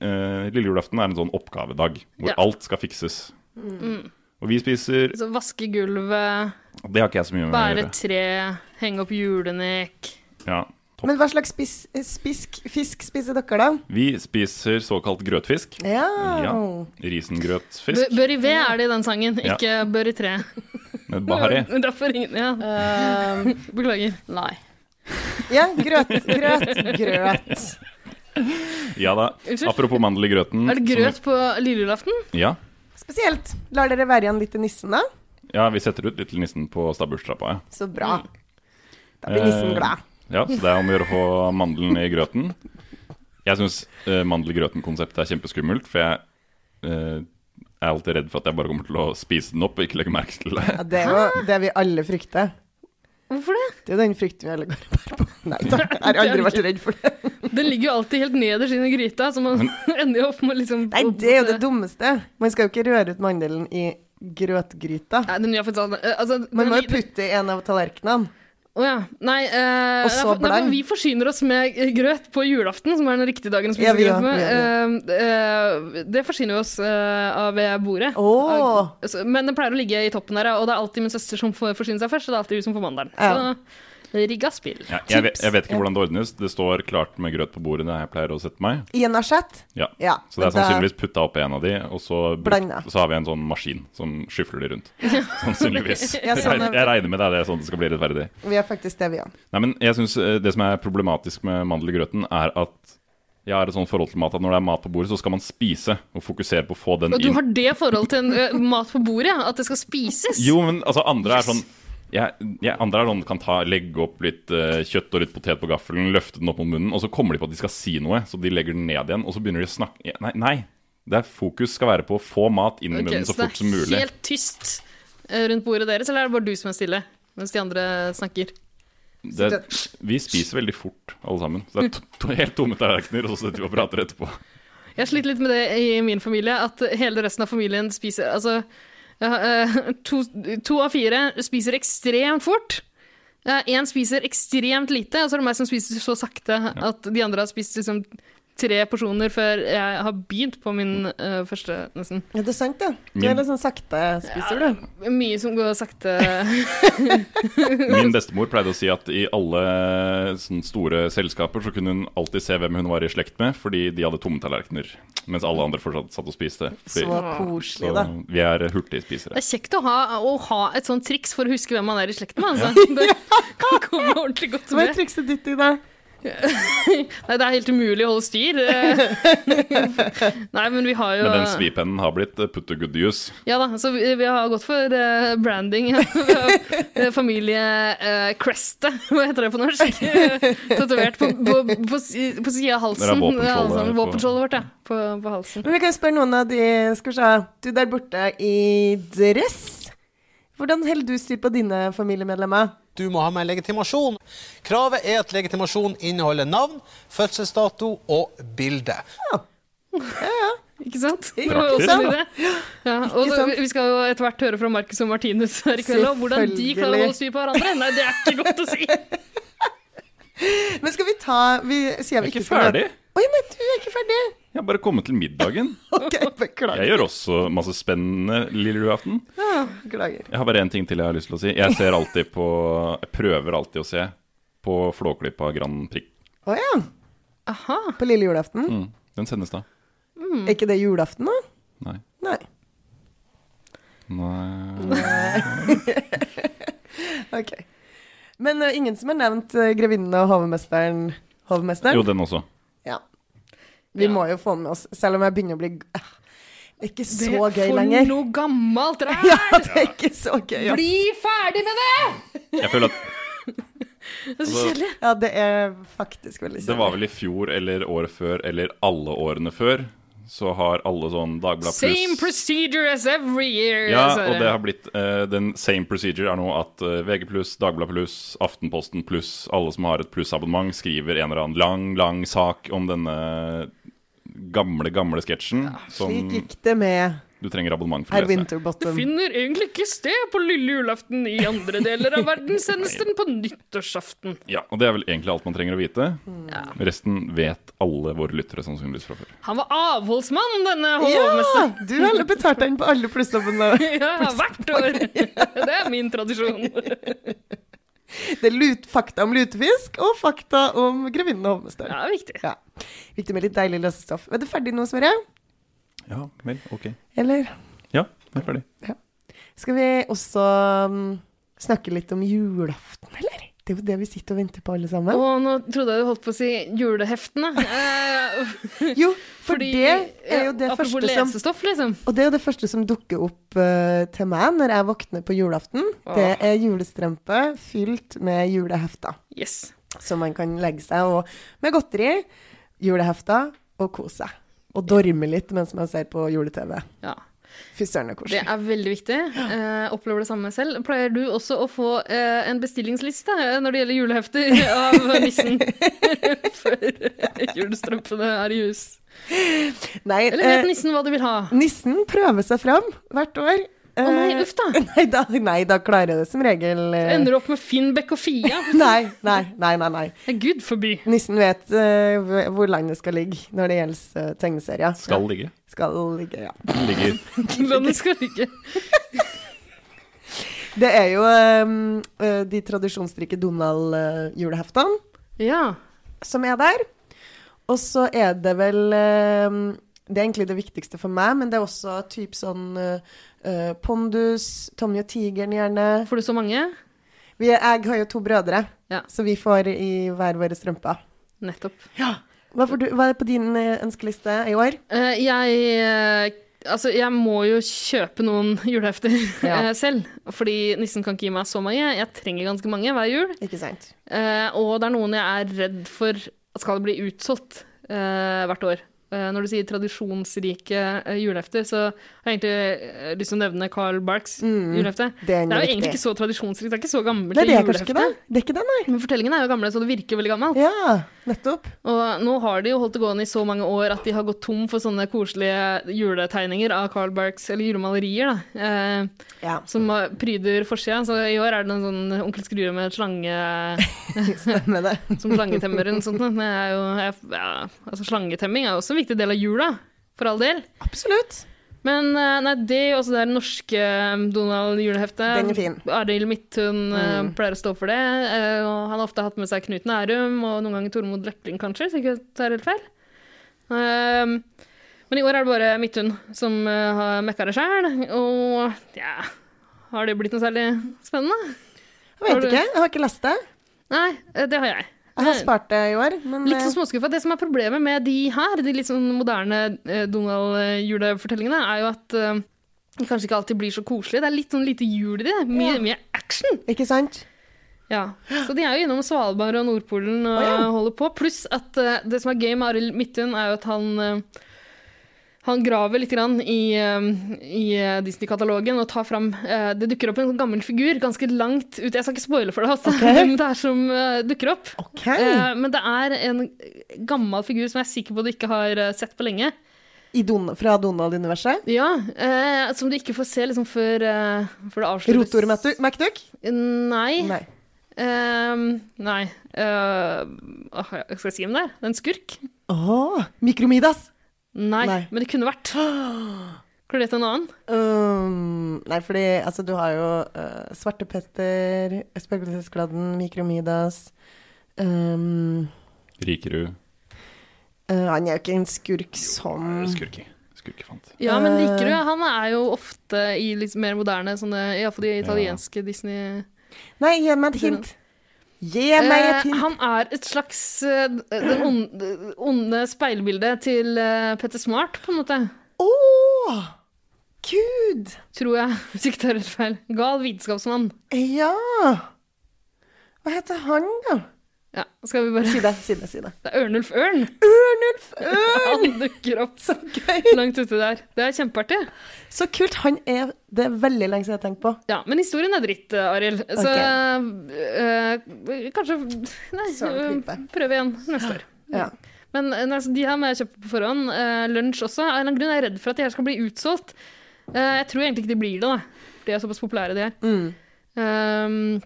eh, lille julaften er en sånn oppgavedag hvor
Ja.
alt skal fikses.
Mm.
Og vi spiser
Så vaske gulvet,
Det har ikke jeg så mye med å
bære
gjøre.
tre, henge opp julenek.
Ja.
Men hva slags spis, eh, spisk, fisk spiser dere, da?
Vi spiser såkalt grøtfisk.
Ja.
Ja. Risengrøtfisk.
Bør i ved er det i den sangen,
Ja.
ikke bør i tre.
Bahari.
Derfor ingen Ja. Ehm. Beklager.
Mm.
Nei.
Ja, grøt, grøt, grøt.
Ja da.
Unnskyld?
Apropos mandel i grøten.
Er det
som
grøt på lille julaften?
vi- Ja.
Spesielt. Lar dere være igjen litt til nissen, da?
ja, vi setter ut litt til nissen på stabburstrappa. Ja.
Så bra. Da blir nissen
Mm. Eh,
glad.
Ja, så det er om å gjøre å få mandelen i grøten. Jeg syns eh, mandel-grøten-konseptet er kjempeskummelt, for jeg eh, er alltid redd for at jeg bare kommer til å spise den opp og ikke legge merke til det.
Ja, det er jo det vi alle frykter.
Hvorfor det?
Det er jo den frykten vi alle går og bærer på. Nei da, jeg har aldri vært redd for det.
Den ligger jo alltid helt nederst i den gryta, så man ender jo opp med liksom
Nei, det er jo det dummeste. Man skal jo ikke røre ut mandelen i grøtgryta.
Nei, den gjør faktisk sånn eh, altså,
Man
den
må jo
ligger-
putte i en av tallerkenene.
Å ja. Nei, eh,
Og så
nei, for- nei, for
blei.
vi forsyner oss med eh, grøt på julaften, som er den riktige dagen å spise
Ja, vi gjør,
grøt med.
vi
Eh, eh, det forsyner vi oss eh, av ved bordet.
Åh.
Av- så- Men den pleier å ligge i toppen der, ja, og det er alltid min søster som får forsyne seg først, og det er alltid hun som får mandelen.
Ja.
Så rigga spill.
Ja, jeg, vet- jeg vet ikke hvordan det ordnes. Det står klart med grøt på bordet der jeg pleier å sette meg.
I en asjett?
Ja.
Ja,
så det er
men da-
sannsynligvis putta oppi en av de, og så,
Blanda.
brukt, så har vi en sånn maskin som skyfler de rundt. Sannsynligvis.
Ja, sånn er-
jeg, jeg regner med det er det, sånn det skal bli rettferdig.
Vi er faktisk det, vi òg.
Nei, men jeg synes eh, Det som er problematisk med mandelgrøten, er at jeg har et sånt forhold til mat at når det er mat på bordet, så skal man spise og fokusere på å få
Og
den
du
inn.
har det forholdet til en, eh, mat på bordet, ja, at det skal spises?
Jo, men altså, andre er sånn jeg, jeg, andre er sånn, kan ta, legge opp litt eh, kjøtt og litt potet på gaffelen, løfte den opp mot munnen, og så kommer de på at de skal si noe, så de legger den ned igjen, og så begynner de å snakke ja, Nei, nei. Det er fokus skal være på å få mat inn i
Ok,
munnen så fort
Så
som
det
mulig.
er helt tyst eh, rundt bordet deres, eller er det bare du som er stille mens de andre snakker?
Det, vi spiser veldig fort, alle sammen. Så det er to, to helt tomme tallerkener, og så sitter vi og prater etterpå.
Jeg sliter litt med det i min familie, at hele resten av familien spiser Altså, jeg har, eh, to, to av fire spiser ekstremt fort. Én spiser ekstremt lite, og så er det meg som spiser så sakte at de andre har spist liksom tre porsjoner før jeg har begynt på min eh, første, nesten.
Ja, det er sant, det. Du
Min-
er litt sånn sakte spiser, du.
Mye som går sakte.
Min bestemor pleide å si at i alle sånne store selskaper så kunne hun alltid se hvem hun var i slekt med, fordi de hadde tomme tallerkener, mens alle andre fortsatt satt og spiste. Fordi,
Så koselig,
så
da.
vi er
Det
hurtigspisere.
er kjekt å ha, å ha et sånt triks for å huske hvem man er i slekt med. Altså. Det kan komme ordentlig godt
Hva er
med.
trikset ditt i dag?
Nei, det er helt umulig å holde styr. Eh, Nei, men vi har jo
Men den svipennen har blitt eh, put to good use.
Ja da, så vi, vi har gått for eh, branding. Vi har, eh, Familie eh, Crestet, hva heter det på norsk? Tatovert på, på, på, si- på sida av
Det er
halsen.
våpenskjoldet
Ja, altså,
her på-
Våpenskjoldet vårt, ja. På, på halsen.
Men vi kan jo spørre noen av de Skal vi se. Du der borte i dress. Hvordan holder du styr på dine familiemedlemmer?
Du må ha med legitimasjon. Kravet er at legitimasjon inneholder navn, fødselsdato og bilde.
Ikke sant?
Praktisk,
Også
da.
det. Ja, og
Ikke
så,
sant?
vi skal jo etter hvert høre fra Marcus og Martinus her i kveld om hvordan de klarer å holde styr på hverandre. Nei, det er ikke godt å si.
Men skal vi ta Vi sier vi
Jeg er
ikke
ikke ferdig.
Å ja, nei, du er ikke ferdig.
Jeg har bare kommet til middagen.
OK, beklager.
Jeg gjør også masse spennende lille julaften.
Ja, beklager.
Jeg har bare én ting til jeg har lyst til å si. Jeg ser alltid på Jeg prøver alltid å se på Flåklypa Grand Prix.
Å ja. På lille julaften.
Mm. Den sendes da.
Mm.
Er ikke det julaften, da?
Nei.
Nei.
Nei
OK. Men ø, ingen som har nevnt ø, grevinnen og hovmesteren? Hovmesteren?
Jo, den også.
Ja. Vi må jo få med oss, selv om jeg begynner å bli g- Ah, Det er ikke så gøy
For
lenger.
noe gammelt ræl!
Ja, det er ikke så gøy. ass.
Bli ferdig med det!
Jeg føler at
Det er så kjedelig.
Ja, det er faktisk veldig
Det var vel i fjor eller året før eller alle årene før. Så har alle sånn Dagblad
Same
Pluss
procedure as every year.
Ja,
sa
og
jeg.
det har blitt eh, Den same procedure er nå at eh, VG pluss, Dagblad pluss, Aftenposten pluss, alle som har et plussabonnement, skriver en eller annen lang, lang sak om denne gamle, gamle sketsjen som
Slik gikk det med
du trenger abonnement for
herr
å lese.
Du
Winterbottom.
finner egentlig ikke sted på lille julaften i andre deler av verden. Sendes den på nyttårsaften.
Ja, og det er vel egentlig alt man trenger å vite.
Mm.
Resten vet alle våre lyttere sannsynligvis fra før.
Han var avholdsmann, denne
Ja!
hovmesteren.
Du har betalt den på alle plussdommene.
Ja, hvert år. Det er min tradisjon.
Det er lut, fakta om lutefisk og fakta om grevinnen og hovmesteren.
Ja, viktig.
Viktig med litt deilig lesestoff. Er du ferdig nå, Sverre?
Ja, vel, ok.
Eller
Ja, jeg er ferdig.
skal vi også mm, snakke litt om julaften, eller? Det er jo det vi sitter og venter på, alle sammen.
Og nå trodde jeg du holdt på å si juleheftene. Eh,
jo, for det er jo det første
apropos
som-
lesestoff, liksom.
Og det er jo det første som dukker opp eh, til meg når jeg våkner på julaften. Det
Åh.
er julestrømpe fylt med julehefter.
Yes.
Som man kan legge seg og med godteri, julehefter og kose seg. Og dorme litt mens man ser på jule-TV.
Ja.
Fy søren, det er
Det
koselig.
er veldig viktig. Eh, opplever det samme selv. Pleier du også å få eh, en bestillingsliste eh, når det gjelder julehefter av nissen før julestrømpene er i hus?
Nei,
Eller vet
eh,
nissen hva du vil ha?
Nissen prøver seg fram hvert år.
Å nei,
Eh,
uff da.
Nei, da! Nei, da klarer jeg det som regel. eh,
Ender opp med Finnbekk og Fia.
nei, nei, nei, nei, nei.
Gud forby.
Nissen vet eh, hv- hvor landet skal ligge når det gjelder eh, tegneserier.
Skal ligge.
Skal ligge, ja.
Ligger.
Landet skal ligge.
Det er jo ehm, eh, de tradisjonsrike Donald-juleheftene som er der. Og så er det vel ehm, Det er egentlig det viktigste for meg, men det er også typ sånn eh, eh, Pondus, Tommy og tigeren gjerne.
Får du så mange?
Vi, jeg har jo to brødre,
Ja.
så vi får i hver våre strømper.
Nettopp.
Hva, får du, hva er på din eh, ønskeliste i år?
Eh, jeg eh, Altså, jeg må jo kjøpe noen julehefter
Ja.
eh, selv. Fordi nissen kan ikke gi meg så mange. Jeg trenger ganske mange hver jul.
Ikke sant.
Eh, og det er noen jeg er redd for at skal bli utsolgt eh, hvert år. Eh, når du sier tradisjonsrike eh, julehefter, så har jeg egentlig eh, lyst til å nevne Carl Barks julehefte.
Mm, det er en
jo
riktig.
egentlig ikke så tradisjonsrikt, det er ikke så gammelt.
Nei, det er
julehefte.
kanskje ikke det. Det er ikke det, nei.
Men fortellingene er jo gamle, så det virker veldig gammelt.
Ja, nettopp.
Og nå har de jo holdt det gående i så mange år at de har gått tom for sånne koselige juletegninger av Carl Barks, eller julemalerier, da, eh, som har- pryder forsida. Så i år er det en sånn onkel Skrue med slange
Stemmer det.
som slangetemmer eller noe sånt. da. Det er jo, jeg- ja, altså slangetemming er jo også en viktig del av jula, for all del.
Absolutt.
Men eh, nei, det er også det norske eh, Donald-juleheftet.
Den er fin.
Arild Midthun eh,
Mm.
pleier å stå for det. eh, og han har ofte hatt med seg Knut Nærum og noen ganger Tormod Løpling, kanskje, hvis ikke jeg tar helt feil. Ehm, men i år er det bare Midthun som eh, har mekka det sjæl, og ja Har det blitt noe særlig spennende?
Jeg
Har
vet
du-
ikke, jeg har ikke lest det.
Nei, eh, det har jeg.
Jeg har
Nei.
spart det i år, men
Litt
eh,
sånn småskuffa. Det som er problemet med de her, de litt sånn moderne eh, Donald-julefortellingene, er jo at eh, de kanskje ikke alltid blir så koselige. Det er litt sånn lite jul i det. Mye, mye action.
Ikke sant?
Ja. Så de er jo innom Svalbard og Nordpolen og holder på. Pluss at eh, det som er gøy med Arild Midthun, er jo at han eh, han graver litt grann i, eh, i eh, Disney-katalogen og tar fram eh, Det dukker opp en sånn gammel figur ganske langt ut. Jeg skal ikke spoile for deg altså,
Ok.
hvem det er som eh, dukker opp. Eh, Men det er en gammel figur som jeg er sikker på du ikke har eh, sett på lenge.
I Don fra Donald-universet?
Ja, eh, Som du ikke får se liksom før, eh, før det avsluttes.
Rotor MacDuck?
Nei.
Nei.
Ehm, nei. Eh, åh, jeg skal jeg si hvem det er? Det er en skurk?
Åh, Mikromidas?
Nei,
Nei.
men det kunne vært. Klarer du å gjette en annen?
Um, nei, fordi altså, du har jo uh, Svartepetter, Spøkelsesgladden, Mikromidas um,
Rikerud.
uh, Han er jo ikke en skurk som
Skurki. Skurkefant.
Ja, men Rikerud han er jo ofte i litt mer moderne, sånne, iallfall de italienske Disney...
Nei, gi meg et hint. Gi meg et
Eh,
hint.
han er et slags eh, det onde, onde speilbildet til eh, Petter Smart, på en måte.
Å! Gud!
Tror jeg, hvis ikke det er helt feil. Gal vitenskapsmann.
Ja. Hva heter han, da?
Ja, skal vi bare
Si det, si det. si Det
Det er Ørnulf Ørn.
Ørnulf Ørn!
Han dukker opp
så gøy.
langt ute der. Det er kjempeartig.
Så kult. Han er Det er veldig lenge siden jeg har tenkt på.
Ja, men historien er dritt, eh, Arild. Så eh, kanskje Nei,
Søren
eh, prøv igjen neste år.
Ja.
Men eh, nei, så de her må jeg kjøpe på forhånd. Eh, lunsj også. Av en eller annen grunn er jeg redd for at de her skal bli utsolgt. Eh, jeg tror egentlig ikke de blir det, da. For De er såpass populære, de her.
Mm.
Ehm,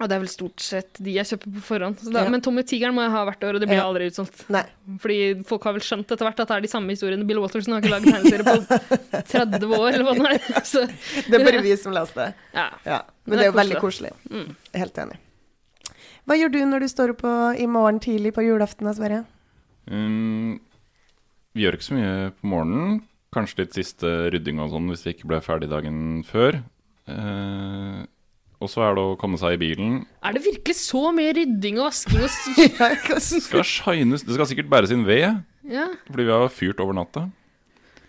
Og det er vel stort sett de jeg kjøper på forhånd. Så da,
Ja.
Men Tommy Tigeren må jeg ha hvert år, og det blir
Ja.
aldri utsolgt.
Nei.
Fordi folk har vel skjønt etter hvert at det er de samme historiene. Bill Watterson har ikke lagd tegneserier på 30 år, eller hva det er. Så,
Det er bare vi som leser det.
Ja.
Men det er jo veldig koselig.
Mm.
Jeg er Helt enig. Hva gjør du når du står opp på- i morgen tidlig på julaften, da, Sverre?
Um, vi gjør ikke så mye på morgenen. Kanskje litt siste rydding og sånn hvis vi ikke ble ferdig dagen før. Eh, og så er det å komme seg i bilen.
Er det virkelig så mye rydding og vasking og s-
Skal shines. Det skal sikkert bæres inn ved,
Ja.
fordi vi har fyrt over natta.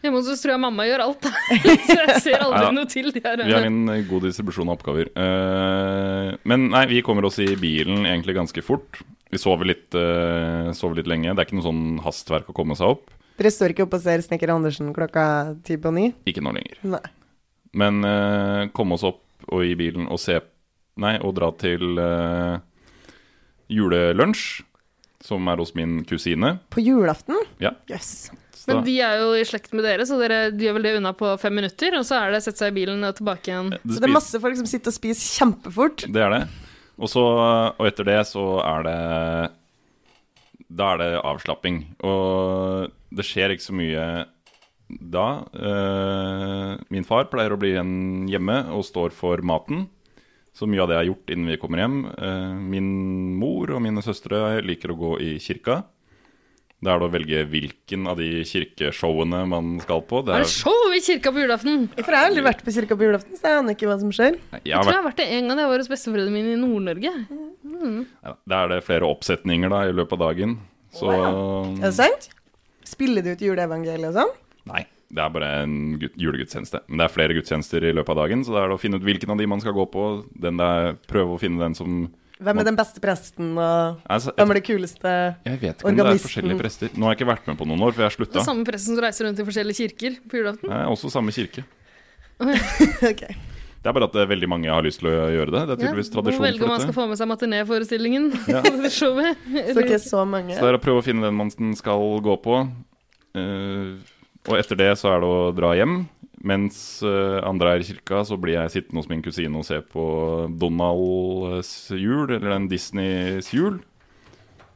Hjemme hos oss tror jeg mamma gjør alt, da. Så jeg ser aldri
Neida.
noe til. De her.
Vi har en eh, god distribusjon av oppgaver. Eh, men nei, vi kommer oss i bilen egentlig ganske fort. Vi sover litt, eh, sover litt lenge. Det er ikke noe sånn hastverk å komme seg opp.
Dere står ikke opp og ser Snekker Andersen klokka ti på ni?
Ikke nå lenger.
Nei.
Men eh, komme oss opp og i bilen og se Nei, og dra til eh, julelunsj, som er hos min kusine.
På julaften?
Ja.
Jøss.
Så da-
Men de er jo i slekt med dere, så dere gjør vel det unna på fem minutter, og så er det sette seg i bilen og tilbake igjen.
det
Så det er masse folk som sitter og spiser kjempefort.
Det er det. Og, så, og etter det så er det Da er det avslapping. Og det skjer ikke så mye da. Eh, min far pleier å bli igjen hjemme og står for maten. Så mye av det jeg har gjort innen vi kommer hjem. Eh, min mor og mine søstre liker å gå i kirka. Det er det å velge hvilken av de kirkeshowene man skal på. Det
Er det show i kirka på julaften?
For jeg har aldri vært på kirka på julaften, så jeg aner ikke hva som skjer.
jeg har
tror jeg har vært det en gang da jeg var hos besteforeldrene mine i Nord-Norge. Mm.
Ja, Da er det flere oppsetninger da i løpet av dagen. Så
Er
Mm.
det sant? Spiller du ut juleevangeliet og sånn?
Nei, det er bare en gut- julegudstjeneste. Men det er flere gudstjenester i løpet av dagen, så da er det å finne ut hvilken av de man skal gå på. Den det er, prøve å finne den som
Hvem er den beste presten, og
Altså,
hvem er det kuleste
Jeg vet ikke om det er
organisten?
forskjellige prester. Nå har jeg ikke vært med på noen år, for jeg har
Det
slutta.
samme presten som reiser rundt i forskjellige kirker på julaften.
Det er også samme kirke.
Ok.
Det er bare at eh, veldig mange har lyst til å gjøre det. Det er tydeligvis tradisjon
Må velge om
for
man skal
dette.
få med seg matinéforestillingen.
Ja.
det showet.
Så ikke så mange.
Så det er å prøve å finne den man skal gå på. Eh, og etter det så er det å dra hjem. Mens eh, andre er i kirka, så blir jeg sittende hos min kusine og se på Donalds jul, eller den Disneys jul.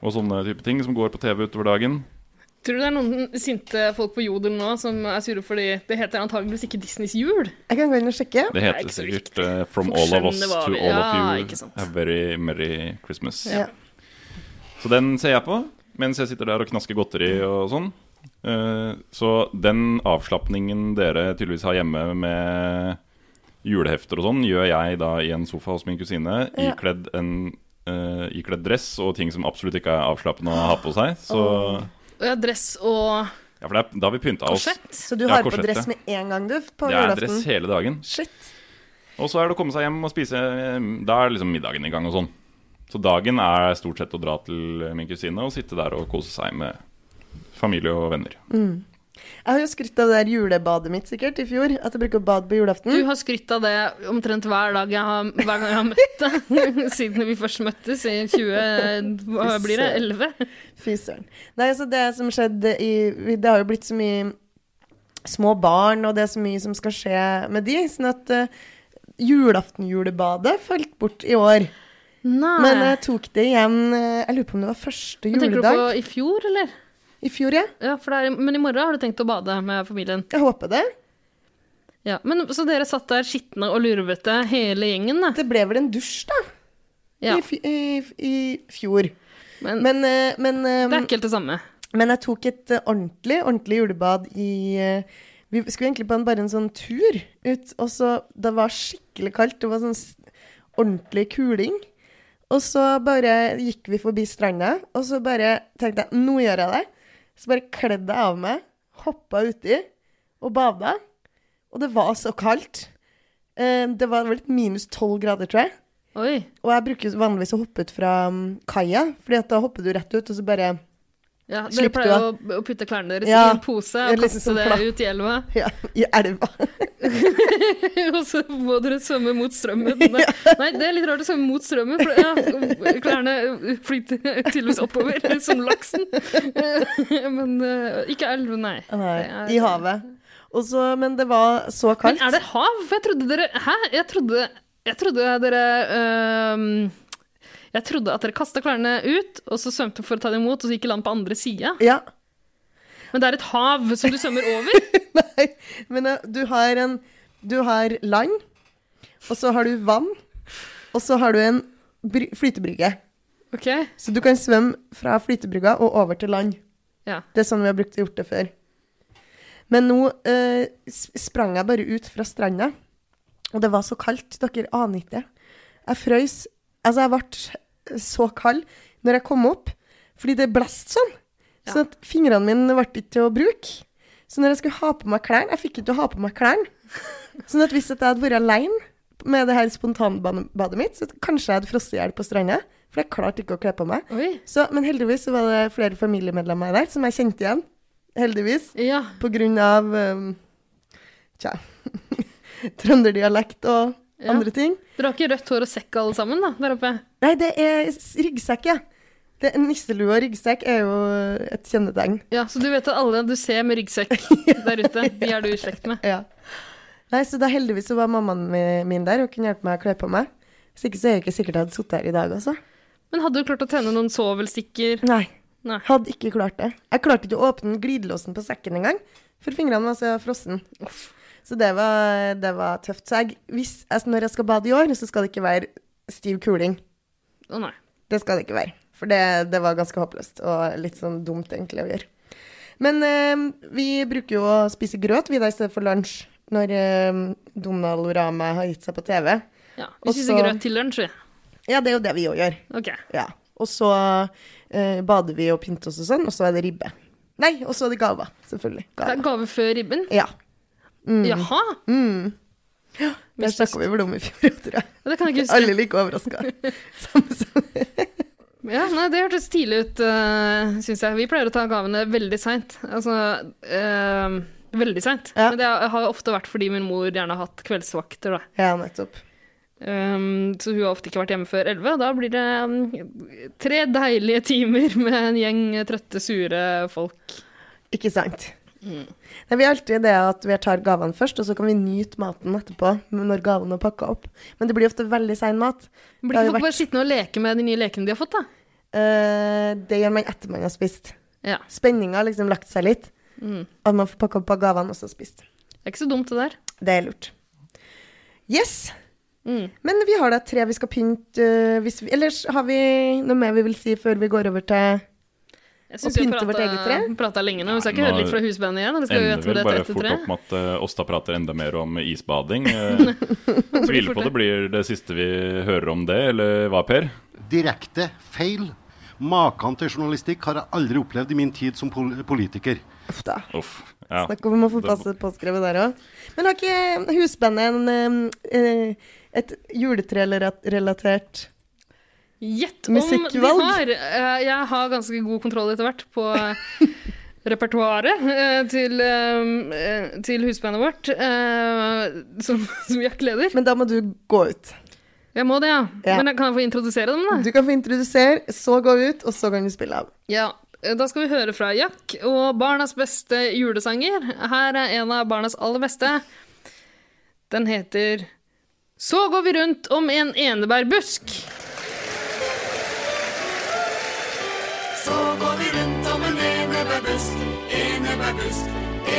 Og sånne type ting som går på TV utover dagen.
Tror du det er noen sinte folk på Jodel nå som er sure fordi det heter antageligvis ikke Disneys jul?
Jeg kan gå inn og sjekke.
Det heter sikkert eh, 'From
Folk
all of us
skjønner
to
hva
all
vi- ja,
of
ikke
you
sant.
a very merry Christmas'.
Ja.
Så den ser jeg på mens jeg sitter der og knasker godteri og sånn. Eh, Så den avslapningen dere tydeligvis har hjemme med julehefter og sånn, gjør jeg da i en sofa hos min kusine
Ja.
ikledd en eh, ikledd dress og ting som absolutt ikke er avslappende å ha på seg. Så
Og ja, dress og
Ja, for det er, da har vi pynta oss.
Så du
Ja,
har på
korsett, ja.
dress med en gang, du, på
Det er
julaften?
dress hele dagen.
Shit.
Og så er det å komme seg hjem og spise Da er liksom middagen i gang og sånn. Så dagen er stort sett å dra til min kusine og sitte der og kose seg med familie og venner.
Mm. Jeg har jo skrytt av det der julebadet mitt sikkert i fjor, at jeg bruker å bade på julaften.
Du har skrytt av det omtrent hver dag jeg har, hver gang jeg har møtt deg, siden vi først møttes i 20... Hva blir det? 11?
Fy søren. Nei, altså det som skjedde i Det har jo blitt så mye små barn, og det er så mye som skal skje med de, sånn at eh, julaftenjulebadet falt bort i år.
Nei.
Men jeg tok det igjen eh, Jeg lurer på om det var første
Ah. Men Tenker du på
juledag.
i fjor, eller?
I fjor, ja.
ja for det er, men i morgen har du tenkt å bade med familien?
Jeg håper det.
Ja, men Så dere satt der skitne og lurvete, hele gjengen, da?
Det ble vel en dusj, da?
Ja.
I, fj- i, f- I fjor.
Men,
men, eh, men eh,
Det er ikke helt det samme.
Men jeg tok et eh, ordentlig, ordentlig julebad i eh, Vi skulle egentlig på en, bare en sånn tur ut, og så Det var skikkelig kaldt. Det var sånn s- ordentlig kuling. Og så bare gikk vi forbi stranda, og så bare tenkte jeg nå gjør jeg det. Så bare kledde jeg av meg, hoppa uti og bada. Og det var så kaldt. Eh, Det var vel et minus tolv grader, tror jeg. Og jeg bruker jo vanligvis å hoppe ut fra mm, kaia, Fordi at da hopper du rett ut, og så bare
Ja, dere
Slipp du
pleier å,
av.
å putte klærne deres
Ja,
i en pose
en
og
liten
kaste
sånn
det
pla-
ut i elva.
Ja, i elva.
og så må dere svømme mot strømmen. Nei, nei, det er litt rart å svømme mot strømmen, for ja, klærne flyter tydeligvis oppover, som laksen. Men eh, ikke elv, nei.
Nei,
Det er-
I havet. Og så, men det var så kaldt.
Men er det hav? For jeg trodde dere Hæ? Jeg trodde Jeg trodde dere øhm, Jeg trodde at dere kasta klærne ut, og så svømte for å ta det imot, og så gikk i land på andre sida.
Ja.
Men det er et hav som du svømmer over.
Men eh, du har en Du har land, og så har du vann, og så har du en bry flytebrygge.
Ok.
Så du kan svømme fra flytebrygga og over til land.
Ja.
Det er sånn vi har brukt gjort det før. Men nå eh, s- sprang jeg bare ut fra stranda, og det var så kaldt. Dere aner ikke. Jeg frøys. Altså, jeg ble så kald når jeg kom opp, fordi det blåste sånn. Så at fingrene mine ble ikke til å bruke. Så når jeg skulle ha på meg klærne Jeg fikk ikke til å ha på meg klærne. Sånn at hvis at jeg hadde vært aleine med det her spontanbadet mitt, så kanskje jeg hadde frosset i hjel på stranda. For jeg klarte ikke å kle på meg. Så, men heldigvis så var det flere familiemedlemmer der som jeg kjente igjen. Heldigvis. På grunn av um, Tja Trønderdialekt og
Ja.
andre ting.
Dere har ikke rødt hår og sekk alle sammen, da, der oppe?
Nei, det er s- ryggsekk, ja. Det, nisselue og ryggsekk er jo et kjennetegn.
Ja, Så du vet at alle du ser med ryggsekk der ute, de er du i slekt med?
Ja. Nei, så da heldigvis så var mammaen mi- min der og kunne hjelpe meg å kle på meg. Hvis ikke så er jeg ikke sikkert jeg hadde sittet her i dag også.
Men hadde du klart å tenne noen svovelstikker?
Nei.
Nei.
Hadde ikke klart det. Jeg klarte ikke å åpne glidelåsen på sekken engang, for fingrene var så frossen. Så det var, det var tøft. Så jeg, hvis jeg, når jeg skal bade i år, så skal det ikke være stiv kuling.
Å nei.
Det skal det ikke være. For det, det var ganske håpløst, og litt sånn dumt egentlig å gjøre. Men eh, vi bruker jo å spise grøt, vi da, i stedet for lunsj, når eh, Donald og Rama har gitt seg på TV.
Ja,
Og
Vi spiser
så-
grøt til lunsj, vi.
Ja, det er jo det vi òg gjør.
Ok.
Ja. Og så eh, bader vi og pynter oss og sånn, og så er det ribbe. Nei, og så er det gaver, selvfølgelig.
Det er
Gaver.
gave før ribben?
Ja. Mm.
Jaha?
Mm. Der snakka vi vel om i fjor, tror jeg.
Ja, det kan jeg ikke huske.
Alle er like overraska.
Ja, nei, Det hørtes tidlig ut, uh, syns jeg. Vi pleier å ta gavene veldig seint. Altså eh, veldig seint. Men det har ofte vært fordi min mor gjerne har hatt kveldsvakter, da.
Ja, nettopp.
Um, så hun har ofte ikke vært hjemme før elleve, og da blir det um, tre deilige timer med en gjeng trøtte, sure folk.
Ikke sant. Nei, vi har alltid det at vi tar gavene først, og så kan vi nyte maten etterpå når gavene er pakka opp. Men det blir ofte veldig sein mat.
Blir ikke folk bare sittende og leke med de nye lekene de har fått, da?
Eh, det gjør man etter man har spist.
Ja.
Spenninga har liksom lagt seg litt.
Mm.
At man får pakka opp av gavene og så spist.
Det er ikke så dumt, det der.
Det er lurt. Yes. Men vi har da tre vi skal pynte øh, hvis vi, Ellers har vi noe mer vi vil si før vi går over til å
Jeg syns vi
pynte vårt eget tre?
har prata lenge nå. Vi skal ikke
Nei,
høre
nå
litt fra husbandet igjen. Det skal vi
Ender
vite med
vel
det
bare
etter
fort
tre.
opp med at eh, Åsta prater enda mer om isbading. Eh, Tviler på det blir det siste vi hører om det, eller hva, Per?
Direkte feil. Maken til journalistikk har jeg aldri opplevd i min tid som pol politiker.
Uff da.
Uff. Ja.
Snakk om å få passe påskrevet der òg. Men har ikke eh, husbandet en, øhm, øh, et juletrerelatert
Gjett om de
Musikkvalg?
har! Eh, Jeg har ganske god kontroll etter hvert på eh, repertoaret eh, til, eh, eh, til husbandet vårt, eh, som, som jakkeleder.
Men da må du gå ut.
Jeg må det, ja.
Ja.
Men jeg kan jeg få introdusere dem, da?
Du kan få introdusere, så gå ut, og så kan du spille av.
Ja. Eh, Da skal vi høre fra Jack og barnas beste julesanger. Her er en av barnas aller beste. Den heter Så går vi rundt om en enebærbusk.
Så går vi rundt om en enebærbusk, enebærbusk,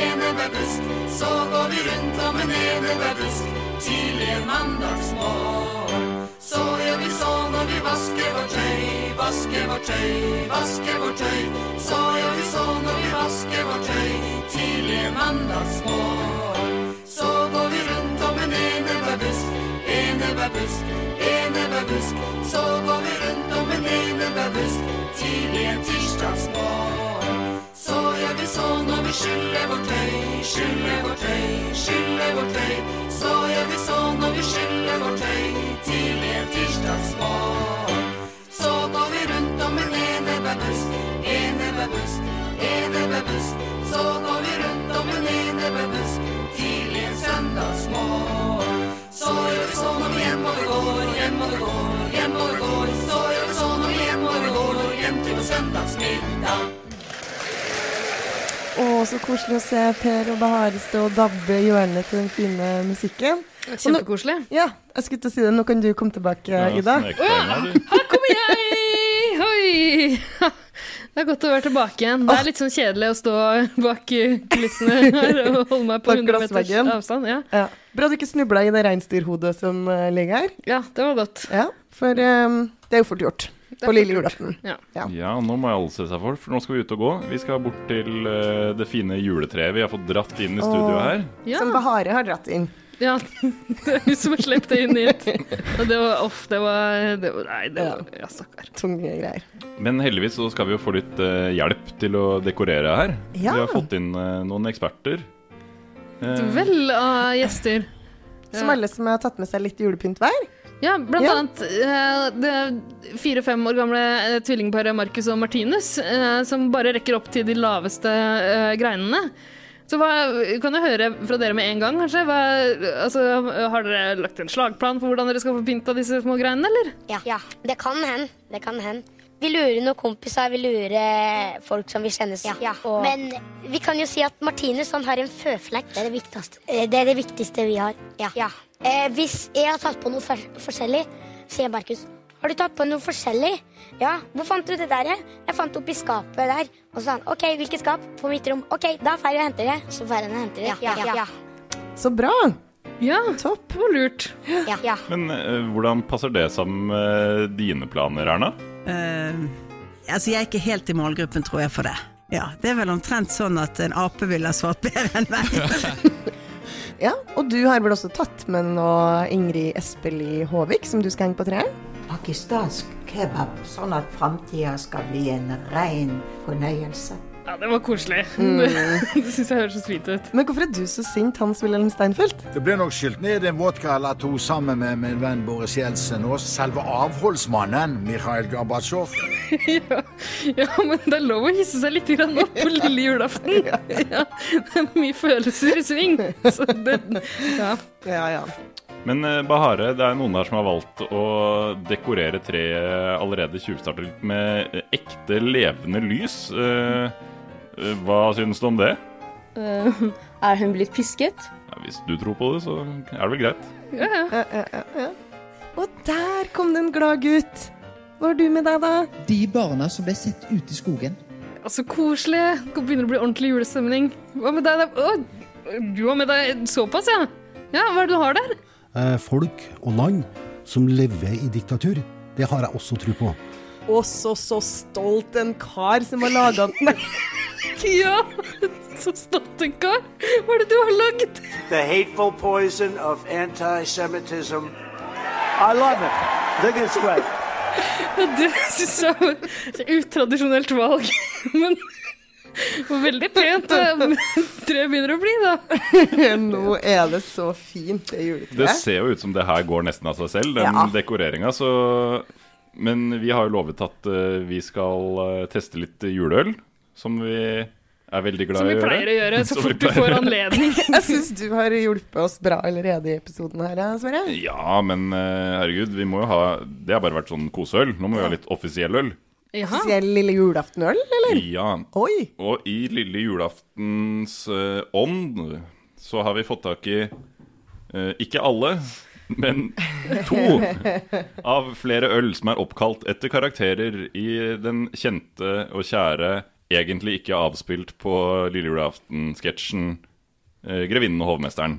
enebærbusk. Så går vi rundt om en enebærbusk tidlig en mandagsmorgen. Så gjør vi så når vi vasker vårt tøy, vasker vårt tøy, vasker vårt tøy. Så gjør vi så når vi vasker vårt tøy tidlig en mandagsmorgen. Så går vi rundt om en enebærbusk, enebærbusk, enebærbusk. Så går vi rundt om en enebærbusk tidlig en tirsdagsmorgen. Så gjør vi så når vi skyller vårt tøy, skyller vårt tøy, skyller vårt tøy. Så gjør vi så når vi skyller vårt tøy tidlig en tirsdagsmorgen. Så går vi rundt om en enebærbusk, enebærbusk, enebærbusk. Så går vi rundt om en enebærbusk tidlig en søndagsmorgen. Så gjør vi så når vi hjemover går, hjemover går, hjemover går. Så gjør vi så når vi hjemover går, hjem til vår søndagsmiddag.
Og så koselig å se Per og Bahare stå og dabbe i hjørnet til den fine musikken. Og nå-
Kjempekoselig.
Ja, jeg skulle til å si det. Nå kan du komme tilbake, Ida.
sånn
Å ja, her kommer jeg! Hoi! Det er godt å være tilbake igjen. Det er litt sånn kjedelig å stå bak eh, kulissene her og holde meg på
Bak
100 meters
glassveggen.
avstand. Ja.
Ja. Bra du ikke snubla i det reinsdyrhodet som eh, ligger her.
Ja, det var godt.
Ja, for eh, det er jo fort gjort
er
på lille
fort gjort.
julaften.
Ja.
Ja, nå må jeg alle se seg for, for nå skal vi ut og gå. Vi skal bort til eh, det fine juletreet vi har fått dratt inn i studio
Og-
her.
Som Bahare har dratt inn.
Ja, det er hun som har slept det inn hit. Og det var off, det var, det var Nei, det var altså. Ja, stakkar.
Tunge greier.
Men heldigvis så skal vi jo få litt eh, hjelp til å dekorere her.
Ja.
Vi har fått inn eh, noen eksperter. Eh,
Vel av gjester.
Som alle som har tatt med seg litt julepynt hver.
Ja, blant
Ja.
annet eh, det fire-fem år gamle eh, tvillingparet Marcus og Martinus, eh, som bare rekker opp til de laveste eh, greinene. Så hva, kan jeg høre fra dere med en gang, kanskje? Hva, altså, har dere lagt en slagplan for hvordan dere skal få pynta disse små greinene, eller?
Ja. Det kan hende. Det kan hende. Vi lurer noen kompiser, vi lurer folk som vi kjenner. Og... Men vi kan jo si at Martinus han har en føflekk. Det er det viktigste, eh, det er det viktigste vi har. Eh, hvis jeg har tatt på noe for forskjellig, sier Markus. Har du tatt på noe forskjellig? Ja. Hvor fant du det der? Jeg, jeg fant det oppi skapet der. Og så sa han OK, hvilket skap? På mitt rom. OK, da drar jeg og henter det. Så drar han og henter det.
Så bra.
Ja,
Topp.
Det var lurt.
Ja. Ja.
Men eh, hvordan passer det sammen med dine planer, Erna?
Eh, altså, jeg er ikke helt i målgruppen, tror jeg, for det. Ja, Det er vel omtrent sånn at en ape ville ha svart bedre enn meg.
Ja, Og du har vel også tatt med noe Ingrid Espelid Håvik, som du skal henge på treet?
Pakistansk kebab, sånn at framtida skal bli en rein fornøyelse.
Ja, det var koselig.
Mm.
det syns jeg høres så fint ut.
Men hvorfor er du så sint, Hans-Wilhelm Steinfeld?
Det ble nok skylt ned en vodka eller to sammen med min venn Boris Jeltsin og selve avholdsmannen Mikhail Gorbatsjov.
Ja, men det er lov å hisse seg litt grann opp på lille julaften. Ja, det er mye følelser i sving. Så det, ja.
ja, ja.
Men eh, Bahare, det er noen her som har valgt å dekorere treet allerede tjuvstartet litt med eh, ekte, levende lys. Eh, eh, Hva syns du om det?
Eh, er hun blitt pisket?
Ja, Hvis du tror på det, så er det vel greit.
Ja,
ja. ja, ja. Og der kom det en glad gutt. Hva har du med deg, da?
De barna som ble sett ute i skogen.
Altså, koselig. Det begynner å bli ordentlig julestemning. Hva med deg? da? Å, du har med deg såpass, ja? Ja, hva er det du har der?
Eh, folk og land som lever i diktatur, det har jeg også tro på.
Og så, så stolt en kar som har laga den.
Ja, så stolt en kar. Hva er det du har lagd?
the hateful poison of anti Semitism. I love it. I think it's great.
Ja, det syns jeg var et utradisjonelt valg, men veldig pent. Treet begynner å bli, da.
Nå er det så fint, det
Det
juletreet.
ser jo ut som det her går nesten av seg selv, den
Ja.
dekoreringa, så Men vi har jo lovet at eh, vi skal eh, teste litt juleøl, som vi er veldig glad
Som vi
i å gjøre.
pleier å gjøre så
Som vi
fort du
pleier å
får
gjøre.
anledning.
Jeg syns du har hjulpet oss bra allerede i episoden her, eh, Sverre.
Ja, men eh, herregud, vi må jo ha Det har bare vært sånn koseøl. Nå må vi ha litt offisiell øl.
Spesiell lille julaftenøl, eller?
Ja.
Oi.
Og i lille julaftens eh, ånd så har vi fått tak i eh, ikke alle, men to av flere øl som er oppkalt etter karakterer i den kjente og kjære, egentlig ikke avspilt på lille julaften-sketsjen eh, 'Grevinnen og hovmesteren'.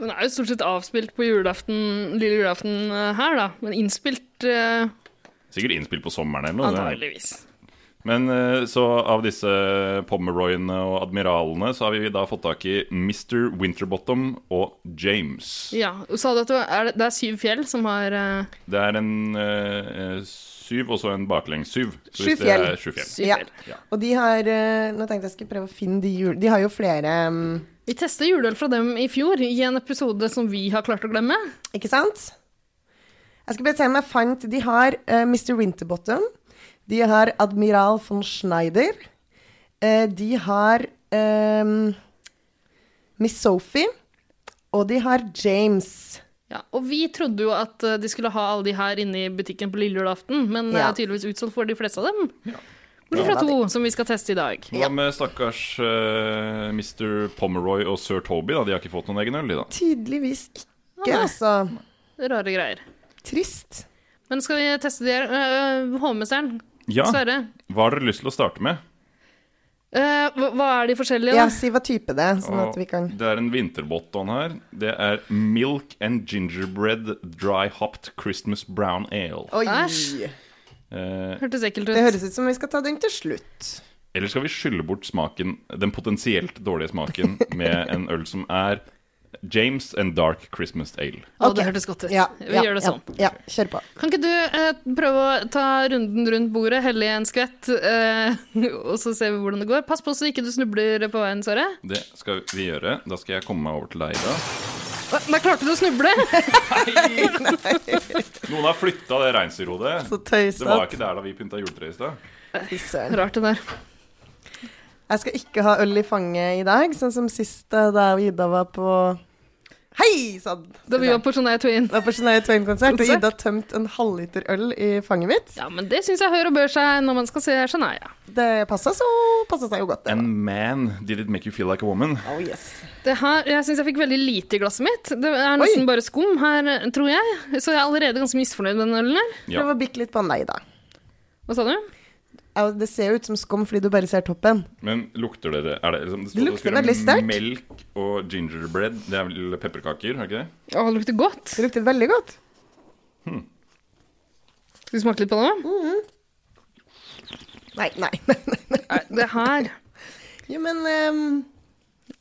Den er jo stort sett avspilt på julaften, lille julaften eh, her, da. Men innspilt eh,
Sikkert innspilt på sommeren eller noe. det-
antageligvis.
Men eh, så av disse Pomeroyene og admiralene så har vi da fått tak i Mr. Winterbottom og James.
Ja, og Sa du at det var- er, det- det er syv fjell som har eh,
Det er en eh, eh, syv og så en baklengs syv. Så
Sju
hvis det er
fjell.
Sju fjell.
Ja. Og de har eh, Nå tenkte jeg skulle prøve å finne de jul... De har jo flere mm,
Vi testa juleøl fra dem i fjor i en episode som vi har klart å glemme.
Ikke sant? Jeg skal bare se om jeg fant De har eh, Mr. Winterbottom. De har Admiral von Schneider. eh, de har eh, Miss Sophie. Og de har James.
Ja, og vi trodde jo at eh, de skulle ha alle de her inne i butikken på lille julaften, men det
Ja.
er tydeligvis utsolgt for de fleste av dem. Bortsett fra to, som vi skal teste i dag.
Hva med stakkars eh, Mr. Pomeroy og sir Toby? da? De har ikke fått noen egen øl, de, da.
Tydeligvis ikke,
Ja,
altså.
Rare greier.
Trist.
Men skal vi teste de her? Øh, Hovmesteren,
Ja.
Sverre.
Hva har dere lyst til å starte med?
øh, hva, hva er de forskjellige, da?
Ja, si hva type det er, sånn at vi kan
Og Det er en vinterbotton her. Det er Milk and Gingerbread Dry Hopped Christmas Brown Ale.
Oi!
Æsj.
Eh,
Hørtes ekkelt ut.
Det høres ut som vi skal ta den til slutt.
eller skal vi skylle bort smaken, den potensielt dårlige smaken med en øl som er James and Dark Christmas Ale?
Å, det hørtes godt ut. vi gjør det sånn.
Ja, kjør på.
Kan ikke du eh, prøve å ta runden rundt bordet, helle i en skvett, eh, og så ser vi hvordan det går? Pass på så ikke du snubler på veien, Sverre.
Det skal vi gjøre. Da skal jeg komme meg over til deg, Ida.
Å, Der klarte du å snuble!
Noen har flytta det reinsdyrhodet.
Så tøysete.
Det var ikke der da vi pynta juletreet i stad.
Fy søren.
Rart det der.
Jeg skal ikke ha øl i fanget i dag, sånn som sist eh, da jeg og Ida var på Hei sann!
Da vi var på Shania Twain.
Da på Shania Twain-konsert, og
Konsert.
Ida tømte en halvliter øl i fanget mitt.
Ja, men det syns jeg hører og bør seg når man skal se Shania.
Det passa så passa seg jo godt.
And man, did it make you feel like a woman?
Oh yes.
Det her, jeg syns jeg fikk veldig lite i glasset mitt. Det er nesten bare skum her, tror jeg. Så jeg er allerede ganske misfornøyd med den ølen her.
Ja. Prøv å bikke litt på den deg, da.
Hva sa du?
Ja, Det ser jo ut som skum fordi du bare ser toppen.
Men lukter dere er det, liksom, det, står-
Det lukter
står
veldig sterkt.
Melk og gingerbread, det er vel pepperkaker, er det ikke det?
Å, det lukter godt.
Det lukter veldig godt.
Skal vi smake litt på det?
Nei, nei, nei.
nei. Det her
Jo, men ehm,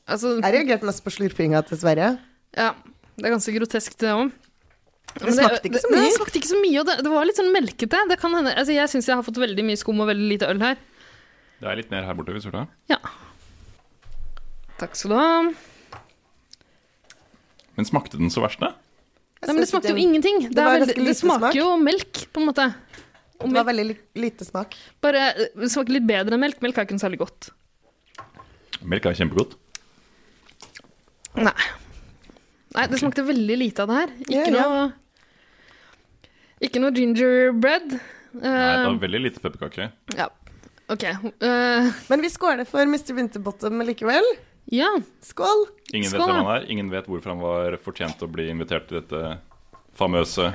Altså
Jeg reagerte mest på slurpinga til Sverre.
Ja. Det er ganske grotesk, det òg.
Det smakte ikke så mye.
Det, det smakte ikke så mye, og det, det var litt sånn melkete. Det kan hende. Altså, jeg syns jeg har fått veldig mye skum og veldig lite øl her.
Det er litt mer her borte, hvis du vil ha.
Takk skal du ha.
Men smakte den så verst, da?
Nei, men det
synes
smakte jo
den-
ingenting. Det,
det
er
var
veldig,
ganske
det
lite
smaker
smak.
jo melk, på en måte. Og
Det var veldig li- lite smak.
Bare eh, det smaker litt bedre enn melk. Melk er ikke noe særlig godt.
Melk er kjempegodt.
Nei. Nei, det smakte veldig lite av det her. Ikke
Ja, ja.
noe Ikke noe gingerbread.
Nei, det
Eh,
var veldig lite pepperkake.
ja. OK. Eh,
Men vi skåler for Mr. Winterbottom likevel.
Ja.
Skål!
Ingen vet
Skål, da.
hvem han er, ingen vet hvorfor han var fortjent til å bli invitert til dette famøse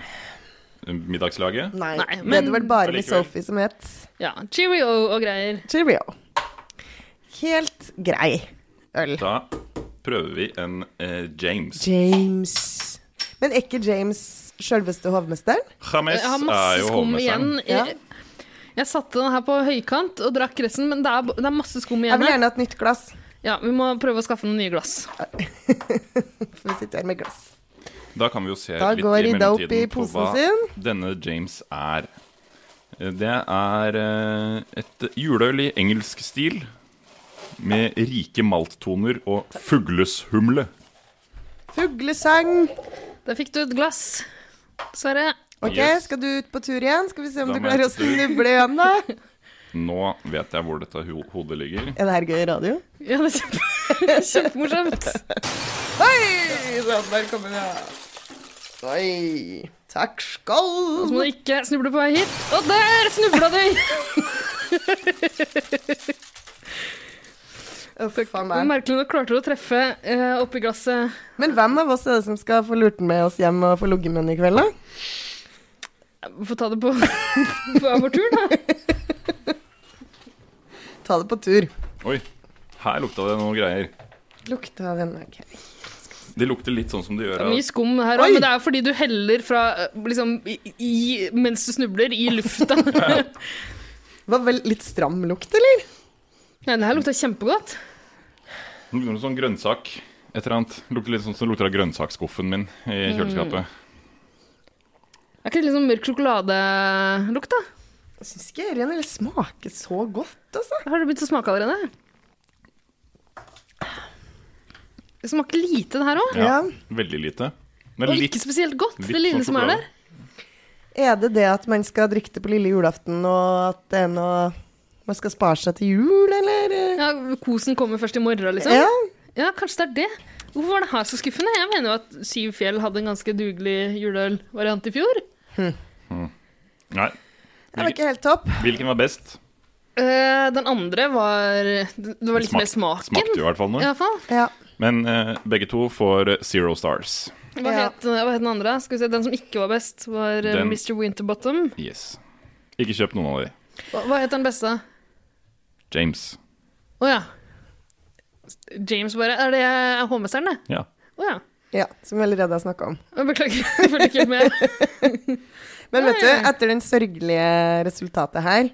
middagslaget.
Nei,
Nei,
det
men-
er det vel bare
Allikevel.
Miss Sophie som het.
Ja, cheerio og greier.
Cheerio. Helt grei øl.
Da prøver vi en eh, James.
James Men er ikke James sjølveste hovmesteren?
James
Jeg har
er
masse
jo
skum igjen.
hovmesteren.
Ja.
Jeg, jeg satte den her på høykant og drakk resten, men det er, det er masse skum igjen.
Jeg vil
her.
gjerne ha et nytt glass.
Ja, Vi må prøve å skaffe noen nye glass.
For vi sitter her med glass.
Da kan vi jo se
Da
litt
går
i
Ida opp
mellomtiden
i
på
posen
hva denne James er. Eh, Det er eh, et juleøl i engelsk stil med rike malttoner og fugleshumle.
Fuglesang.
Der fikk du et glass, Sverre.
OK,
Yes.
skal du ut på tur igjen? Skal vi se om
Da
du
må
klarer
jeg
å
på tur.
snuble igjen, da?
Nå vet jeg hvor dette ho hodet ligger.
Er det her gøy radio?
Ja, det er kjempe- kjempemorsomt.
Hei! Sånn, der kommer vi, ja. Oi. Takk, skål.
Og så må du ikke snuble på vei hit. Og der snubla du!
Uff a
Det er
meg.
Merkelig nok klarte du å treffe eh, oppi glasset.
Men hvem av oss er det som skal få lurt den med oss hjem og få ligget med den i kveld, da?
Vi får ta det på, på vår tur, da.
Ta det på tur.
Oi, her lukta det noen greier.
Lukta av denne ok.
Det lukter litt sånn som det gjør
Det er
av
mye skum her òg, men det er fordi du heller fra eh, liksom i, i, mens du snubler, i lufta.
Var vel litt stram lukt, eller?
Nei, det her lukta kjempegodt.
Det lukter noe sånn grønnsak. Et eller annet. Lukter litt sånn som det lukter av grønnsaksskuffen min i
Mm.
kjøleskapet.
Er ikke det litt sånn mørk sjokoladelukt, da?
Jeg syns ikke Ørjen vil smake så godt, altså.
Har du begynt å smake allerede? Det smaker lite, det her òg.
Ja, Veldig lite. Men
Og
litt-
ikke spesielt godt,
litt
det lille
sånn
som er
sjokolade.
der.
Er det det at man skal drikke det på lille julaften, og at det er noe man skal spare seg til jul, eller?
Ja, Kosen kommer først i morgen, liksom?
Ja.
Ja, kanskje det er det. Hvorfor var det her så skuffende? Jeg mener jo at Syv Fjell hadde en ganske dugelig juleølvariant i fjor.
Nei.
Det var ikke helt topp.
Hvilken var best?
Eh, den andre var Det var litt
Smak-
mer smaken.
smakte i hvert fall noe.
I hvert fall.
Men eh, begge to får zero stars.
Hva, het, hva het den andre? Skal vi se, Den som ikke var best, var eh,
Den-
Mr. Winterbottom.
Yes. Ikke kjøp noen av de.
Hva, hva het den beste?
James.
Å ja. James bare Er det HMS-eren, det?
Ja.
Å ja.
Ja, som vi allerede har snakka om.
Jeg Beklager, jeg følte ikke helt med.
Men vet du,
Nei.
etter den sørgelige resultatet her,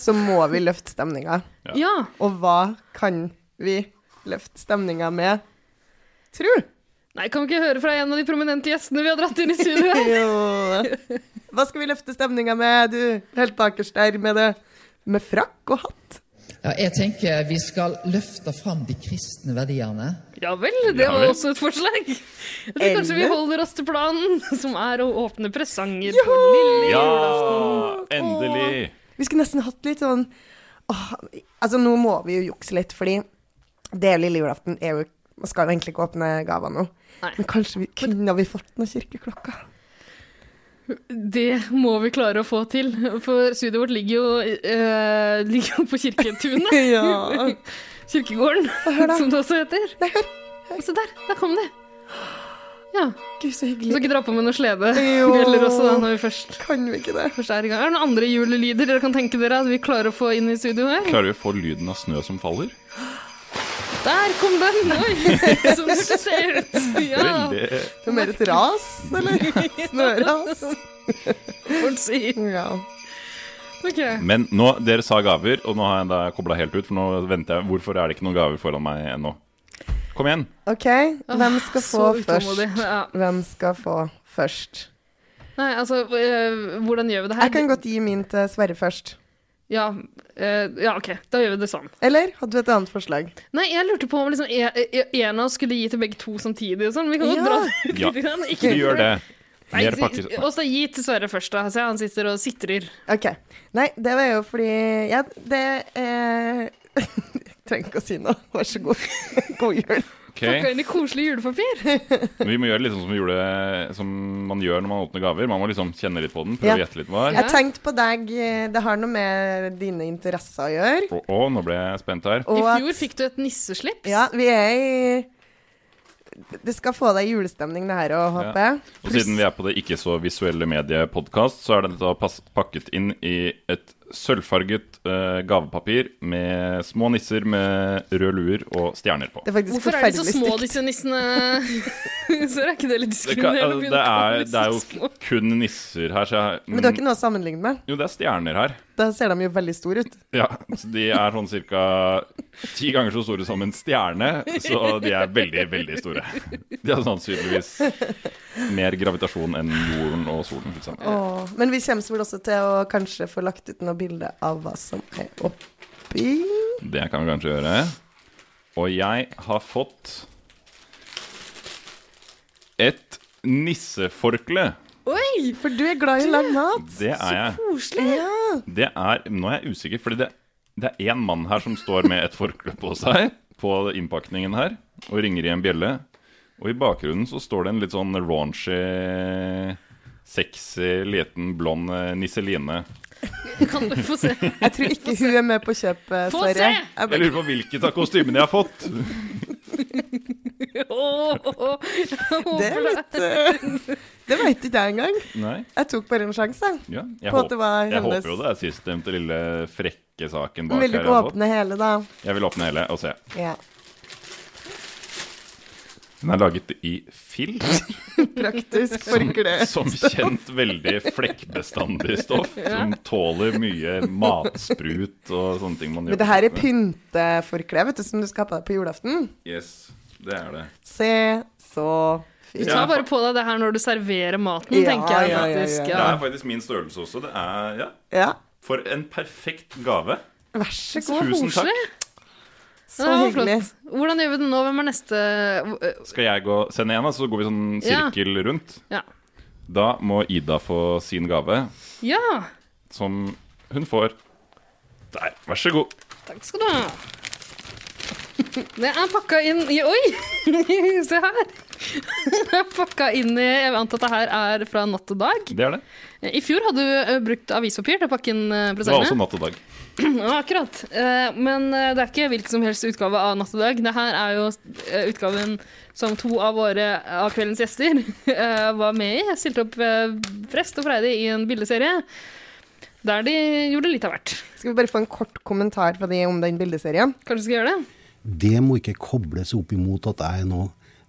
så må vi løfte stemninga.
Ja. Ja.
Og hva kan vi løfte stemninga med, tru?
Nei, kan vi ikke høre fra en av de prominente gjestene vi har dratt inn i studio her?
Jo. Hva skal vi løfte stemninga med, du helt bakerst der med det? Med frakk og hatt?
Ja, jeg tenker vi skal løfte fram de kristne verdiene.
Ja vel, det
Ja
var
vel.
også et forslag. Jeg tror kanskje vi
Eller?
holder oss til planen, som er å åpne presanger på lille julaften.
endelig!
Vi skulle nesten hatt litt sånn åh, Altså, nå må vi jo jukse litt, fordi det er lille julaften er jo Man skal jo egentlig ikke åpne gaver nå. Men kanskje vi kunne vi fått noen kirkeklokker?
Det må vi klare å få til, for studioet vårt ligger jo, eh, ligger jo på kirketunet.
Ja.
Kirkegården,
hør da.
som det også heter. Nei, hør. Se der, der kom de. Ja.
Gud, så hyggelig.
Du skal ikke dra på med noe slede?
Jo.
Eller også da, når vi først
Kan vi ikke det?
Først er, i gang. er det noen andre julelyder dere kan tenke dere at vi klarer å få inn i studio her?
Klarer vi å få lyden av snø som faller?
Der kom den! Oi, som det ser ut. Ja.
Veldig
Det er mer et ras, eller? Snøras.
Får en si.
Ja.
Ok.
Men nå, dere sa gaver, og nå har jeg da kobla helt ut, for nå venter jeg Hvorfor er det ikke noen gaver foran meg ennå? Kom igjen.
OK, hvem skal få
så
først?
utålmodig, ja.
Hvem skal få først?
Nei, altså, eh, hvordan gjør vi det her?
Jeg kan godt gi min til Sverre først.
Ja, eh, ja, ok, da gjør vi det sånn.
Eller hadde du et annet forslag?
Nei, jeg lurte på om liksom, e- e- en av oss skulle gi til begge to samtidig og sånn. Vi
Ja.
kan godt dra det ut
Ja,
litt. grann.
vi gjør det.
Nei,
Mer pakker.
Og så gi til Sverre først, da. Se, han sitter og sitrer.
OK. Nei, det var jo fordi Ja, det eh, Jeg trenger ikke å si noe. Vær så god. God jul.
Ok. Pakka
inn i koselig julepapir.
Men vi må gjøre det litt sånn som, vi gjorde, som man gjør når man åpner gaver. Man må liksom kjenne litt på den, prøve
Ja.
å gjette litt hva det
Jeg
er.
tenkte på deg. eh, Det har noe med dine interesser å gjøre.
Å, å, nå ble jeg spent her.
Og
I
at-
fjor fikk du et nisseslips.
Ja, vi er i Det skal få deg i julestemning, det her òg, håper jeg.
Og siden vi er på det ikke så visuelle mediepodkast, så er dette da pass- pakket inn i et sølvfarget eh, gavepapir med små nisser med rød luer og stjerner på.
Det er faktisk
Hvorfor er de så
forferdelig
små, disse nissene? Så er ikke det litt
Det, kan,
diskriminerende?
altså,
å
det,
begynne å kalle
er,
disse
det er
små?
jo kun nisser her, så jeg Mm,
Men du har ikke noe å sammenligne med?
Jo, det er stjerner her.
Da ser de jo veldig store ut.
Ja, så De er sånn ca. ti ganger så store som en stjerne, så de er veldig, veldig store. De har sannsynligvis mer gravitasjon enn jorden og solen til sammen.
Åh, men vi kommer vel også til å kanskje få lagt ut noe bilde av hva som er oppi
Det kan vi kanskje gjøre. Og jeg har fått et nisseforkle.
Oi! For du er glad i lang mat.
Det er jeg.
Koselig. Ja.
Det er, Nå er jeg usikker, fordi det, det er én mann her som står med et forkle på seg på innpakningen her, og ringer i en bjelle. Og i bakgrunnen så står det en litt sånn raunchy, sexy, liten, blond eh, nisseline.
Kan du få se?
Jeg tror ikke hun er med på kjøpet,
Få
Sverre.
se!
Jeg
Jeg lurer på hvilket av kostymene jeg har fått.
Åh, åh, åh. Jeg håper
Det er litt eh, Det veit ikke jeg engang.
Nei.
Jeg tok bare en sjanse jeg,
Ja, jeg,
på
håp,
at det var
jeg
hennes.
håper jo det er sistnevnte lille frekke saken bak
Men vil du
her
ikke
jeg har fått.
åpne hele, da?
Jeg vil åpne hele og se.
Ja.
Den er laget i fill.
Praktisk
Som,
forkle.
som kjent veldig flekkbestandig stoff,
Ja.
som tåler mye matsprut og sånne ting man gjør.
Men det her er
på kjøkkenet.
pynteforkle vet du, som du skal ha på deg på julaften.
Yes, det er det.
Se så
Du
fint.
tar bare på deg det her når du serverer maten,
Ja,
tenker
ja, ja,
jeg
ja.
faktisk.
Det
Ja.
er faktisk min størrelse også. Det er, ja.
Ja.
For en perfekt gave.
Vær så
Så
Tusen takk.
koselig.
Så
Ja, det var
hyggelig.
flott. Hvordan gjør vi det nå? Hvem er neste
Skal jeg gå sende en, da, så går vi sånn
Ja.
sirkel rundt?
Ja.
Da må Ida få sin gave,
ja.
som hun får der. Vær så god.
Takk skal du ha. Det er pakka inn i Oi! Se her. Det er pakka inn i Jeg antar at det her er fra natt og dag.
Det er det.
I fjor hadde du eh, brukt avispapir til å pakke inn eh,
Det var også
Sånn,
presangene.
natt og dag.
Ja, akkurat. Eh, Men eh, det er ikke hvilken som helst utgave av Natt og dag. Det her er jo eh, utgaven som to av våre av kveldens gjester eh, var med i. Jeg stilte opp eh, Prest og Freide i en bildeserie der de gjorde litt av hvert.
Skal vi bare få en kort kommentar fra de om den bildeserien?
Kanskje skal gjøre det?
Det må ikke kobles opp imot at jeg er nå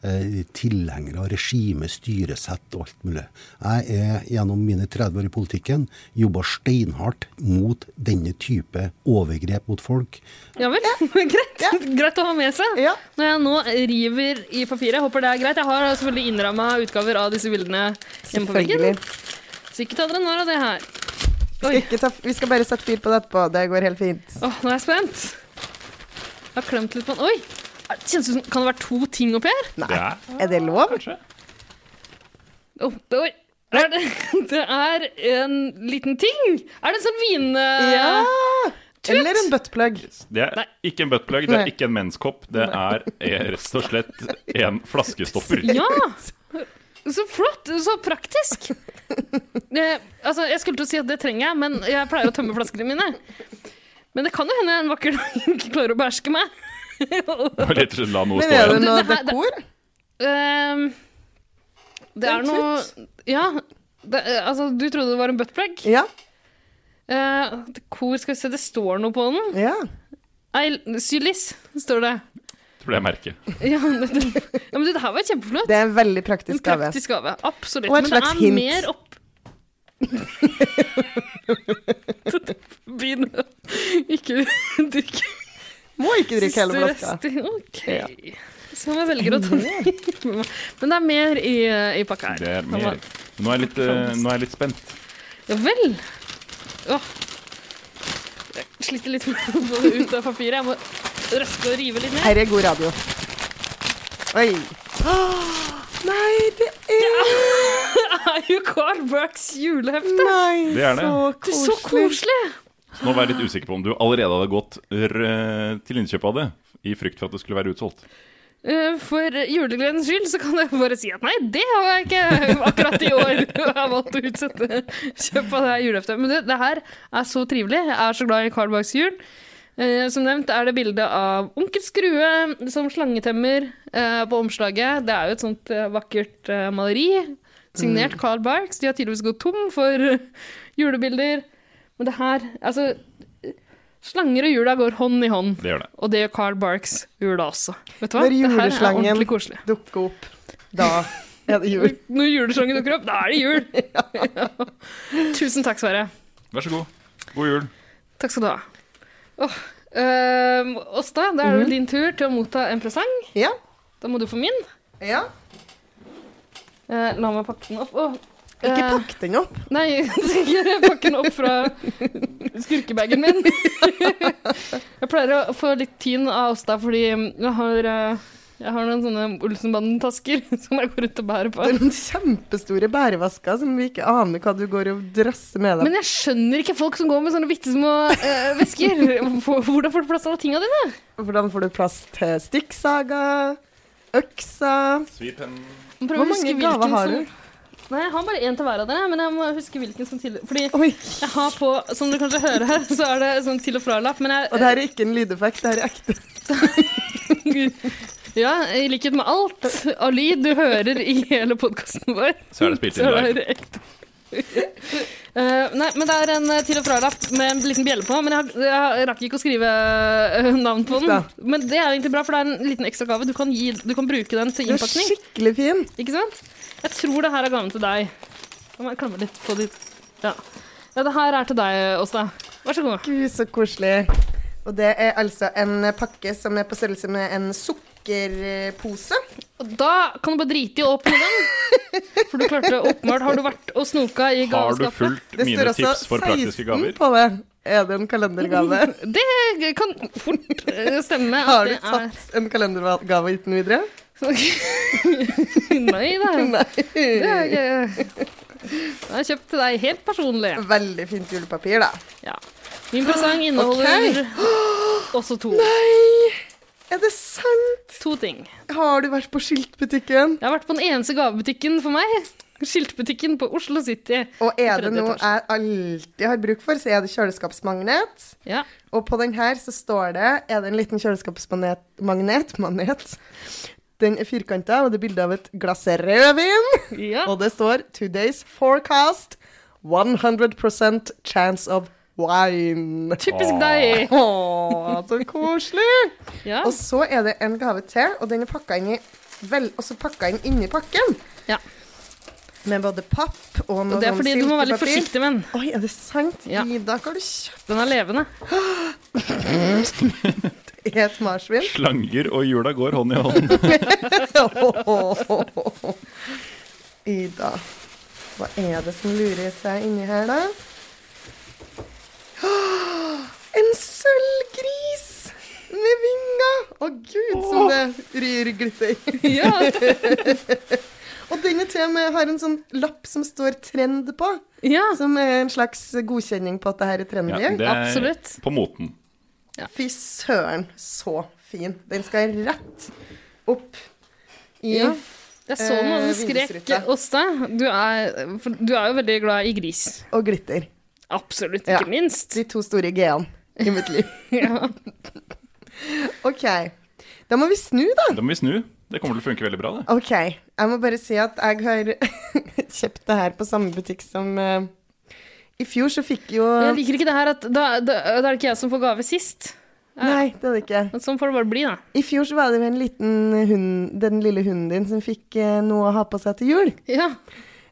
eh, tilhenger av regime, styresett og alt mulig. Jeg er gjennom mine 30 år i politikken jobba steinhardt mot denne type overgrep mot folk.
Ja vel. greit. greit å ha med seg. Når jeg nå river i papiret, håper det er greit. Jeg har selvfølgelig innramma utgaver av disse bildene hjemme på veggen. Så ikke ta dere narr av det her.
Vi skal, ikke ta, vi skal bare sette fyr på det etterpå. Det går helt fint.
Åh, nå er jeg spent. Jeg har klemt litt på den. Oi! Det Kjennes ut som Kan det være to ting oppi her?
Nei. Er det lov?
Åh, det, oi. Er det, det er en liten ting. Er det en sånn vin...
Ja!
Tut!
Eller en buttplug.
Det er ikke en buttplug, det
Nei.
er ikke en menskopp. Det er eh, rett og slett en flaskestopper.
Ja! Så flott! Så praktisk. Det, altså, jeg skulle til å si at det trenger jeg, men jeg pleier å tømme flaskene mine. Men det kan jo hende jeg en vakker dag ikke klarer å beherske meg.
Det var litt la noe
Men
stå
er det
igjen.
noe
her- det-
dekor?
Ehm, det er
En
noe Ja. Det, eh, altså, du trodde det var en buttplug?
Ja.
dekor, skal vi se, Eh, det står noe på den.
Ja.
Ei, sylis, står det.
Tror det er merket.
Ja, det, ja, men du, det her var kjempeflott.
Det er en veldig
En
praktisk gave.
praktisk gave. Absolutt.
Og et
Men det
slags
er
hint.
mer opp... Begynn å ikke drikke.
Må ikke drikke hele
Siste
flaska.
rester. Ok.
Ja.
Så jeg velger å ta den. Men det er mer i, i pakka her.
Det er mer. Nå er jeg litt, eh, nå er jeg litt spent.
Ja vel. Åh. Jeg sliter litt med å få det ut av papiret. Jeg må røske og rive litt
Her
ned.
er god radio. Oi. Nei, det er
Det er jo Carl Burks julehefte. Nei,
Det er det. så
Mm,
Det er så koselig.
Så nå var jeg litt usikker på om du allerede hadde gått r til innkjøp av det, i frykt for at det skulle være utsolgt.
Eh, For julegledens skyld så kan jeg bare si at nei, det har jeg ikke akkurat i år. Jeg har valgt å utsette kjøp av det her juleheftet. Men det, det her er så trivelig. Jeg er så glad i Carl Barks jul. Eh, som nevnt er det bilde av onkel Skrue som slangetemmer eh, på omslaget. Det er jo et sånt eh, vakkert eh, maleri. Signert Carl Barks. De har tydeligvis gått tom for eh, julebilder. Men det her Altså, slanger og jula går hånd i hånd.
Det gjør det.
Og det gjør Carl Barks jula også. Vet du hva?
Når
Det her er
juleslangen
ordentlig koselig.
dukker opp, da er det jul.
Når juleslangen dukker opp, da er det jul! Ja. Tusen takk, Sverre.
Vær så god. God jul.
Takk skal du ha. Åh, ehm, Åsta, da er det vel din tur til å motta en presang.
Mhm. Ja.
Da må du få min.
Ja.
Eh, la meg pakke den opp. Åh,
Ikke
eh,
pakk den opp.
Nei, jeg skal ikke pakke den opp fra skurkebagen min. Jeg pleier å få litt tyn av Åsta fordi jeg har, eh, jeg har noen sånne Olsenbanden-tasker som jeg går rundt og bærer
Det er
på.
noen kjempestore bærevasker som vi ikke aner hva du går og drasser med deg.
Men jeg skjønner ikke folk som går med sånne bitte små eh, vesker. Hvor- Hvordan får du plass til alle tinga dine?
Hvordan får du plass til stikksaga, øksa
Svipennen.
Må prøve
Hvor
å huske
mange gaver
hvilken
har
som-
du?
Nei, jeg har bare én til hver av dere, men jeg må huske hvilken som til... Fordi jeg har på, som du kanskje hører her, så er det sånn til og fra-lapp, men jeg
Og det her er ikke en lydeffekt, det her er ekte.
Ja, i likhet med alt av lyd du hører i hele podkasten vår.
Så er det spilt inn
så er
live.
det ekte. Eh, nei, men det er en eh, til og fra-lapp med en liten bjelle på. Men jeg, har- jeg rakk ikke å skrive eh, navn på den.
Ja.
Men det er egentlig bra, for det er en liten ekstra gave. Du kan, gi, du kan bruke den til
Den er
innpakning.
Skikkelig fin.
Ikke sant? Jeg tror det her er gaven til deg. La meg klemme litt på ditt ja. ja, det her er til deg, Åsta. Vær så god.
Gud, så koselig. Og det er altså en pakke som er på størrelse med en sukkerpose.
Og da kan du bare drite i å åpne den. For du klarte åpenbart Har du vært og snoka i
Har du
gaveskapet?
fulgt mine tips for praktiske gaver?
altså på det. Er det en kalendergave?
Det kan fort eh, stemme. at
Har du
det er-
tatt en kalendergave uten videre?
Nei da.
Nei.
Det er ikke Den er kjøpt til deg helt personlig.
Veldig fint julepapir, da.
Ja. Min presang inneholder også to.
Nei! Er det sant?
To ting.
Har du vært på skiltbutikken?
Jeg har vært på den eneste gavebutikken for meg. Skiltbutikken på Oslo City.
Og
i
er
tredje
det noe
etasje.
jeg alltid har bruk for, så er det kjøleskapsmagnet. Og på den her så står det Er det en liten kjøleskapsmagnet magnet, manet? Den er firkanta, og det er bilde av et glass rødvin. Og det står 'Today's forecast 100 chance of wine'.
Typisk deg.
Åh, så koselig.
Ja.
Og så er det en gave til, og den er pakka inn i vel, også pakka inn inni pakken.
Ja.
Med både papp og noe
Og det er
sånn
fordi du må være litt
silkepapir.
forsiktig med den.
Oi, er det sant?
Ja.
Ida, hva har du kjøpt?
Den er levende.
Det er et marsvin.
Slanger og hjula går hånd i hånd.
Ida, hva er det som lurer seg inni her, da? Åh, En sølvgris med vinger! Å gud, som det ryr glitter.
Ja.
Og denne til og med har en sånn lapp som står 'trend' på. Som er en slags godkjenning på at det her er trendy.
Ja, det er På moten.
Fy søren, så fin. Den skal rett opp i
Ja. Jeg så
eh,
noen skrek
vindusruta.
Åsta. Du, er- for du er jo veldig glad i gris.
Og glitter.
Absolutt, ikke minst.
De to store G-ene i mitt liv.
ja.
OK. Da må vi snu, da.
Da må vi snu. Det kommer til å funke veldig bra, det.
OK. Jeg må bare si at jeg har kjøpt det her på samme butikk som eh, I fjor så fikk jo
Men Jeg liker ikke det her at da, da, da er det ikke jeg som får gave sist.
Nei, det er det ikke.
Men sånn får det bare bli, da.
I fjor så var det jo en liten hund, den lille hunden din, som fikk eh, noe å ha på seg til jul.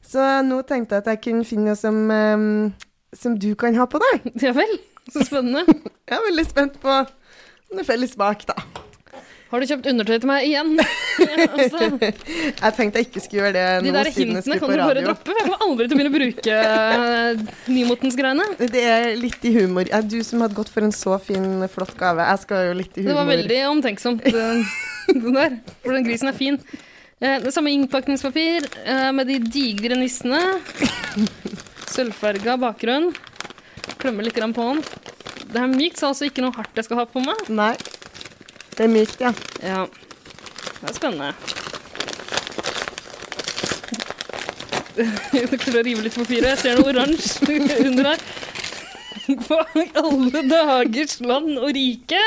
Så nå tenkte jeg at jeg kunne finne noe som, eh, som du kan ha på deg.
Ja vel. Så spennende.
jeg er veldig spent på om det felles smak, da.
Har du kjøpt undertøy til meg igjen? altså,
jeg tenkte jeg ikke skulle gjøre det
de
nå
der
siden jeg
hintene
skulle på
kan du bare
radio.
droppe. for Jeg kommer aldri til å begynne å bruke eh, nymotens greiene.
Det er litt i humor. Ja, du som hadde gått for en så fin, flott gave. Jeg skal jo litt i
Det
humor.
var veldig omtenksomt, eh, den der. For den grisen er fin. Eh, Det samme innpakningspapir eh, med de digre nissene. Sølvfarga bakgrunn. Klemmer litt grann på den. Det er mykt, så altså ikke noe hardt jeg skal ha på meg.
Nei. Det er mykt, ja.
Ja. Det er spennende. Jeg klarer å rive litt på papiret. Jeg ser noe oransje under her. På alle dagers land og rike!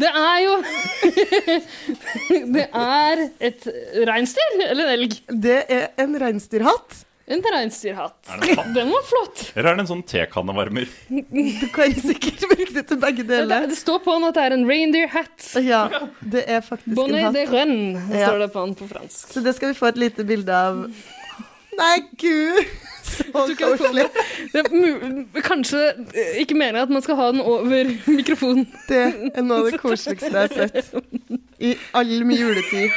Det er jo Det er et reinsdyr eller en elg?
Det er en reinsdyrhatt.
En reinsdyrhatt.
Er det en hatt?
Den var flott.
Eller er det en sånn tekannevarmer?
Du kan sikkert bruke det til begge deler.
Det står på den at det er en reindeer hat.
Ja, det er faktisk
Bonnet
en hatt.
de renne,
Ja.
står det på den på fransk.
Så det skal vi få et lite bilde av. Nei, gud! Så
Du kan få
koselig.
Det er mu- Kanskje eh, ikke meningen at man skal ha den over mikrofonen.
Det er noe av det koseligste jeg har sett. I all min juletid.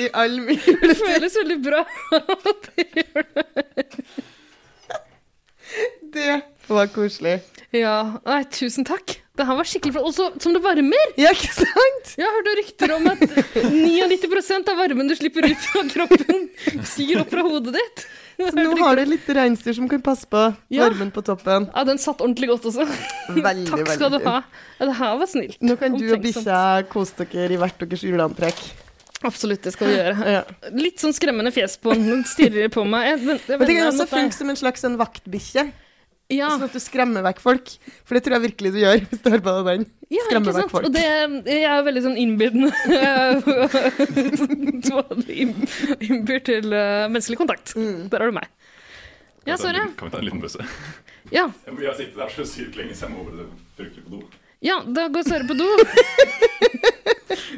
I all min juletid.
Det føles veldig bra.
Det var koselig.
Ja, nei, tusen takk. Det her var skikkelig flott. Også som det varmer!
Ja, ikke sant?
Jeg har hørt rykter om at 99 av varmen du slipper ut fra kroppen, stiger opp fra hodet ditt.
Så nå har du litt reinsdyr som kan passe på
Ja.
varmen på toppen.
Ja, den satt ordentlig godt også.
Mm, Veldig,
Takk skal
veldig
du ha. Ja, det her var snilt.
Nå kan du og
Omtenksomt.
bikkja kose dere i hvert deres juleantrekk.
Absolutt, det skal vi gjøre. Litt sånn skremmende fjes på den. Den stirrer på meg. Jeg, jeg,
Men det kan
vender
også
mot deg.
funke som en slags sånn vaktbikkje.
Ja.
Sånn at du skremmer vekk folk. For det tror jeg virkelig du gjør hvis du har på deg den.
Ja, ikke
Skremmer vekk
sant?
folk.
Og det, jeg er veldig sånn innbydende. Sånn, vanlig inn- Innbyr til eh, menneskelig kontakt.
Mm.
Der har du meg. Ja,
Kan vi ta en
sorry.
liten- Kan vi ta en liten pause?
Ja.
Vi har sittet der så sykt lenge, så jeg må bare fryktelig på do.
ja, da går Søre på do.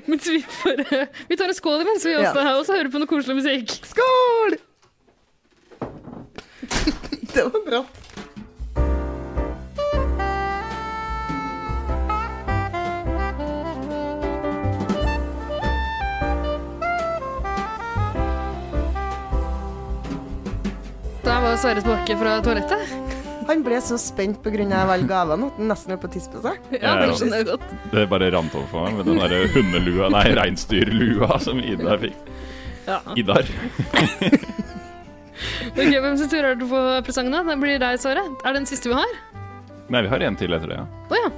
Mens vi, får, eh, vi tar en skål imens, vi også, og så hører på noe koselig musikk.
Skål! Det var bratt.
Der var Sverre tilbake fra toalettet.
Han ble så spent pga. alle gavene at han nesten holdt på å tisse på seg.
Ja, det skjønner jeg godt.
Det bare rant over for meg med den derre hundelua, nei, reinsdyrlua som Ida fikk.
Ja.
Idar.
Ok, Hvem sin tur er det på presangen, da? Det blir deg, Sverre. Er det den siste vi har?
Nei, vi har en til etter det, ja.
Å ja.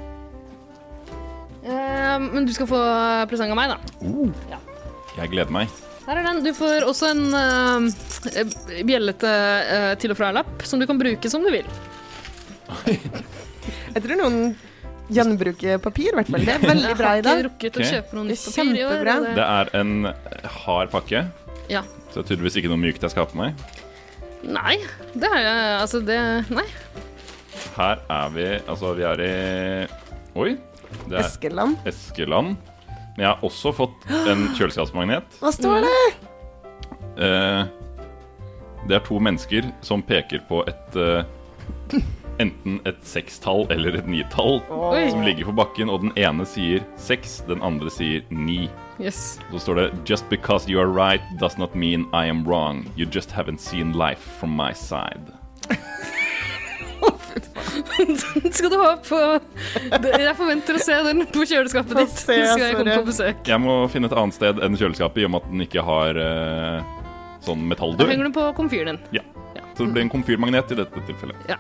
Eh, men du skal få presang av meg, da.
Jeg gleder meg.
Der er den. Du får også en eh, bjellete eh, til og fra-lapp som du kan bruke som du vil.
Jeg tror noen gjenbruker papir, i hvert fall. Det er veldig bra i dag.
Jeg har ikke rukket å
Ok.
kjøpe noe nytt
Det er
papir i år. og
kjempebra.
det-
Det er en hard pakke,
Ja.
så det er tydeligvis ikke noe mykt jeg skal ha på meg.
Nei, det er jeg Altså, det Nei.
Her er vi Altså, vi er i Oi. det er
Eskeland.
Eskeland. Men jeg har også fått en kjøleskapsmagnet.
Hva står det?
Eh, det er to mennesker som peker på et eh, Enten et sekstall eller et nitall
Oi.
som ligger på bakken, og den ene sier seks, den andre sier ni.
Yes.
Så står det Just because you are right does not mean I am wrong. You just haven't seen life from my side.
Den skal du ha på det- Jeg forventer å se den på kjøleskapet ditt.
se,
Skal jeg komme
Sverre.
på besøk.
Jeg må finne et annet sted enn kjøleskapet, i og med at den ikke har eh, sånn
Da henger
metalldør.
den på komfyren din.
Ja. Så det blir en komfyrmagnet i dette tilfellet.
Ja.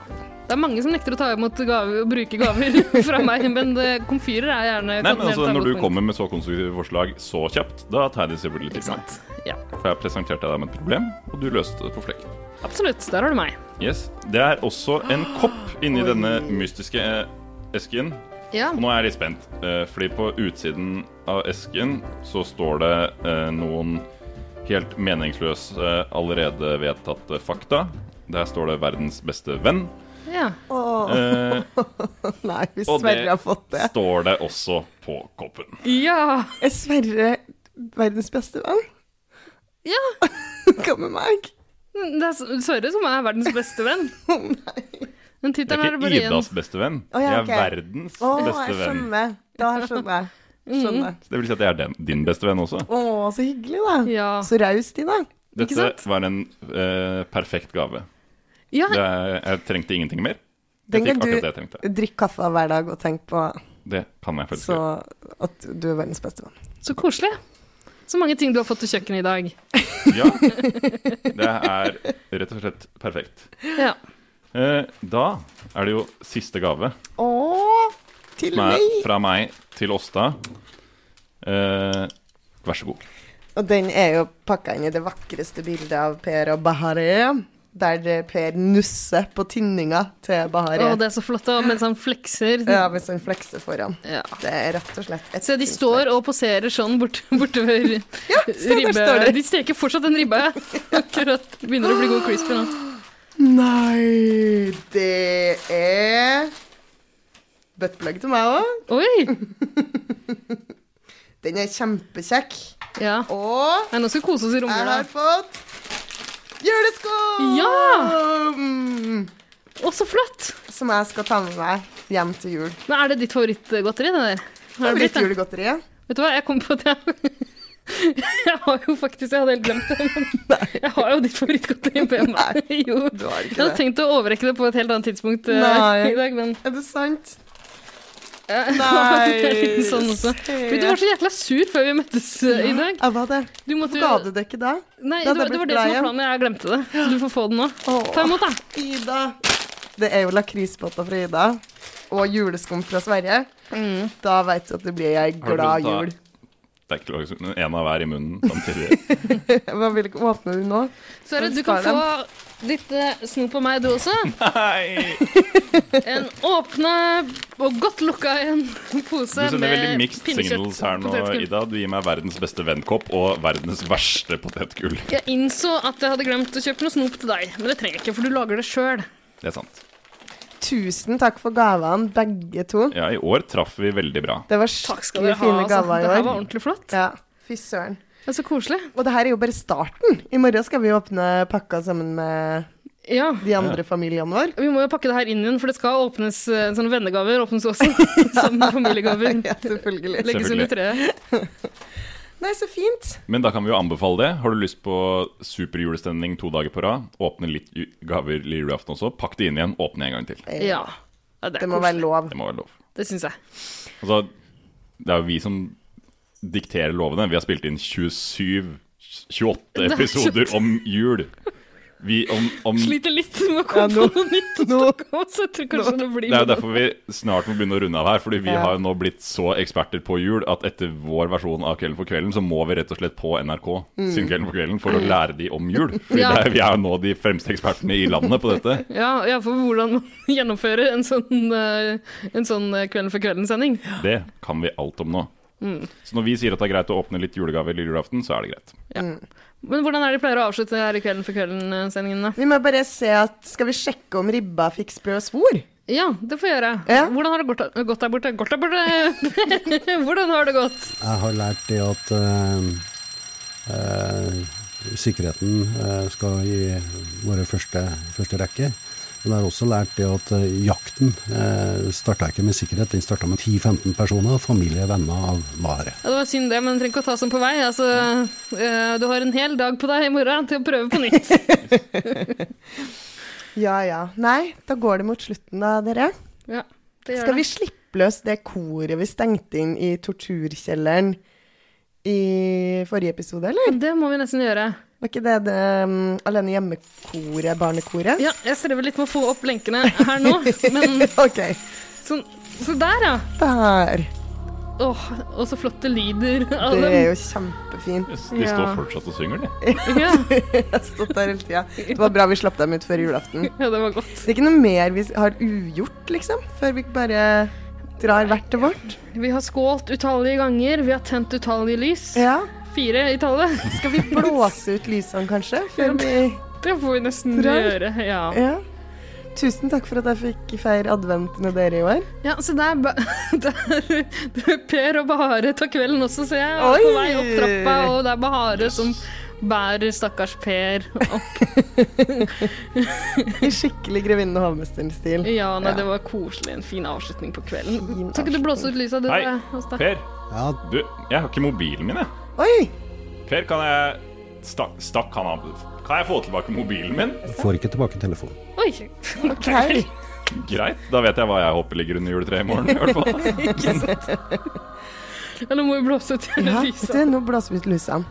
Det er mange som nekter å ta imot gaver og bruke gaver fra meg, men det, komfyrer er gjerne
Nei, men altså,
kontinentet er
Når
godt
du
punkt.
kommer med så konstruktive forslag så kjapt, da tar jeg det selvfølgelig til meg.
Ja.
For jeg presenterte deg med et problem, og du løste det på flekken.
Absolutt. Der har du meg.
Yes. Det er også en kopp inni denne mystiske eh, esken.
Ja.
Og nå er jeg litt spent, eh, fordi på utsiden av esken så står det eh, noen helt meningsløse, eh, allerede vedtatte fakta. Der står det 'verdens beste venn'.
Ja.
Eh,
Nei, hvis
og
Sverre har fått
det
det.
står det også på koppen.
Ja!
Er Sverre verdens beste venn?
Ja.
Kom med meg.
Det er Sverre som er verdens beste venn. Den
Jeg
tittelen er
er ikke altså.
bare én.
Idas beste venn.
Å, ja,
Jeg er
ok.
verdens
Å,
beste
jeg
venn.
skjønner. Da skjønner jeg. Skjønner.
Så det vil si at jeg er den, din beste venn også.
Mm. Å, så hyggelig, da. Så raust, Ina.
Dette var en eh, perfekt gave.
Ja.
Det er, jeg trengte ingenting mer.
Den
Jeg
kan
fikk akkurat det jeg
du
trengte.
drikke kaffe hver dag og tenke på
Det kan jeg faktisk
så
gjøre.
at du er verdens beste venn.
Så koselig. Så mange ting du har fått til kjøkkenet i dag.
Ja. Det er rett og slett perfekt.
Ja.
Eh, da er det jo siste gave.
Å, til
Som er
meg!
fra meg til Åsta. Eh, vær så god.
Og den er jo pakka inn i det vakreste bildet av Per og Bahareh, der det Per nusser på tinninga til Bahareh.
Å, det er så flott, da, mens han flekser.
Ja, mens han flekser foran.
Ja.
Det er rett og slett et
Se, de står og poserer sånn borte, borte ved
se, der
ribbe...
står de.
De steker fortsatt den ribba, ja. Akkurat. Begynner å bli god crispy nå.
Nei, det er buttplug til meg òg.
Oi!
Den er kjempekjekk.
Ja.
Og
Nei, nå skal vi kose oss i
jeg
romjula.
har fått juleskum!
Ja! Å, så flott!
Mm. Som jeg skal ta med meg hjem til jul.
Men er det ditt favorittgodteri, det der? Har det blitt det?
Favorittjulegodteriet.
Vet du hva, jeg kom på at jeg Jeg har jo faktisk Jeg hadde helt glemt det, men jeg har jo ditt favorittgodteri på hjemme. Jo. Jeg hadde
det.
tenkt å overrekke det på et helt annet tidspunkt eh,
Nei.
i dag, men
Er det sant?
Nei. Litt sånn også. Men du var så jækla sur før vi møttes eh, i dag.
Jeg var det.
Du måtte
Hvorfor ga du det ikke da?
Nei,
Da
det,
hadde
var-
jeg
det var
blitt glad
det som var
igjen.
planen. Jeg glemte det. Så du får få den nå. Ta imot, da.
Ida. Det er jo lakrisbåter fra Ida. Og juleskum fra Sverige. Da veit du at det blir ei
Har du prøvd
glad
å ta-
jul.
Det er ikke lov, men en av hver i munnen samtidig.
Man vil ikke åpne den nå.
Sverre,
Men
du kan
spar
få
dem.
litt eh, snop av meg, du også.
Nei!
En åpna og godt lukka en
Du
pose
sender veldig
med
mixed signals
pinnekjøtt.
her nå,
potetgull.
Ida. Du gir meg verdens beste vennkopp og verdens verste potetgull.
Jeg innså at jeg hadde glemt å kjøpe noe snop til deg, men det trenger jeg ikke, for du lager det sjøl.
Det er sant.
Tusen takk for gavene, begge to.
Ja, i år traff vi veldig bra.
Det var
dere
skikkelig
ha,
fine
altså.
gaver i år.
Det her var ordentlig flott.
Ja, fy søren.
Det er så koselig.
Og det her er jo bare starten. I morgen skal vi åpne pakka sammen med
Ja.
de andre familiene våre.
Vi må jo pakke det her inn igjen, for det skal åpnes eh, sånne vennegaver. Åpnes også sammen med familiegaver.
Ja, selvfølgelig.
Legges under treet.
Nei, så fint.
Men da kan vi jo anbefale det. Har du lyst på superjulestemning to dager på rad, åpne litt ju- gaver lille julaften også, pakk det inn igjen, åpne en gang til.
Ja. ja det,
Det må være lov.
Det må være lov.
Det syns jeg.
Altså, det er jo vi som dikterer lovene. Vi har spilt inn 27 28
Det er
episoder om jul. Vi om, om
Sliter litt med å komme
Ja, nå-
på noe nytt. å snakke om, så jeg tror kanskje det blir
Det er jo derfor vi snart må begynne å runde av her. Fordi vi
Ja.
har jo nå blitt så eksperter på jul at etter vår versjon av Kvelden for kvelden, så må vi rett og slett på NRK
Mm.
sin Kvelden for kvelden for å
Mm.
lære de om jul. Fordi
Ja.
det er, vi er jo nå de fremste ekspertene i landet på dette.
Ja, ja, for hvordan man gjennomfører en sånn, eh, en sånn eh, Kvelden for kvelden-sending.
Det kan vi alt om nå.
Mm.
Så når vi sier at det er greit å åpne litt julegaver lille julaften, så er det greit.
Ja. Men hvordan er det de pleier å avslutte her i Kvelden for kvelden-sendingen, da?
Vi må bare se at Skal vi sjekke om ribba fikk sprø svor?
Ja, det får jeg gjøre. Hvordan har det gått- gått der borte? Gått der borte? hvordan har det gått?
Jeg har lært det at eh, eh, sikkerheten eh, skal i være første, første rekke. Men jeg har også lært det at eh, jakten uh, starta ikke med sikkerhet, den starta med 10-15 personer, familie, venner av vare.
Ja, det var synd det, men trenger ikke å ta sånn på vei. Altså, eh, du har en hel dag på deg i morgen til å prøve på nytt.
Ja ja. Nei, da går det mot slutten da, dere.
ja, det gjør
Skal vi
det.
slippe løs det koret vi stengte inn i torturkjelleren i forrige episode, eller?
Det må vi nesten gjøre.
Var ikke det det um, alene hjemmekoret, barnekoret?
Ja, jeg strever litt med å få opp lenkene her nå, men
Ok.
sånn, så der, ja.
Der.
Åh, og så flotte lyder av
Det
dem.
er jo kjempefint.
De står fortsatt og synger, de.
Ja.
jeg har stått der hele tida. Det var bra vi slapp dem ut før julaften.
Ja, det var godt.
Det er ikke noe mer vi har ugjort, liksom, før vi bare drar hvert til vårt.
Vi har skålt utallige ganger, vi har tent utallige lys. Fire i tallet.
Skal vi blåse ut lysene, kanskje? Før vi
Det får vi nesten
drar?
gjøre, ja.
Ja. Tusen takk for at jeg fikk feire advent med dere i år.
Ja, så det er, ba det er, det er Per og Bahare tar kvelden også, ser jeg.
Oi!
På vei opp trappa, og det er Bahare som
sånn.
bærer stakkars Per opp.
I skikkelig Grevinnen og hovmesteren-stil.
Ja, nei, det var koselig. En fin avslutning på kvelden. Kan ikke du blåse ut lysa, du?
Hei,
da, Asta?
Per. Du, jeg har ikke mobilen min, jeg.
Oi!
Per, kan jeg Stakk, stakk han av Kan jeg få tilbake mobilen min?
Får ikke tilbake telefonen.
Oi.
Ok.
Greit, da vet jeg hva jeg håper ligger under juletreet i morgen, i hvert fall.
Ikke sant? Ja, nå må vi blåse ut
Ja, vet du,
lysa.
nå blåser vi ut lysene.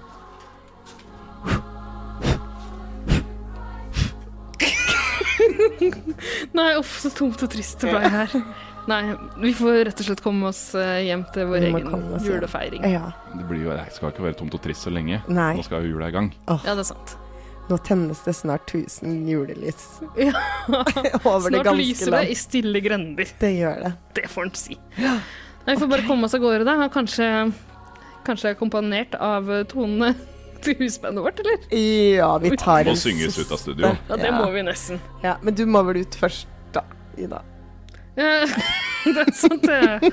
Nei, uff, så tomt og trist det ble her. Nei, vi får rett og slett komme oss eh, hjem til vår
Vi må
egen
komme oss hjem.
julefeiring.
Ja.
Det blir jo, det skal ikke være tomt og trist så lenge.
Nei.
Nå skal jo jula i gang.
Åh,
Ja, det er sant.
nå tennes det snart 1000 julelys.
Ja.
Over det
Snart
ganske
lyser
land.
det i stille grender.
Det gjør det.
Det får en si. Nei, vi får bare komme oss av gårde, da. Og Kanskje, kanskje akkompagnert av eh, tonene til husbandet vårt, eller?
Ja, vi tar
Må
en
synges
siste.
ut av studio.
Ja, det må vi nesten.
Ja, men du må vel ut først, da, Ida.
Eh, det er sant, det.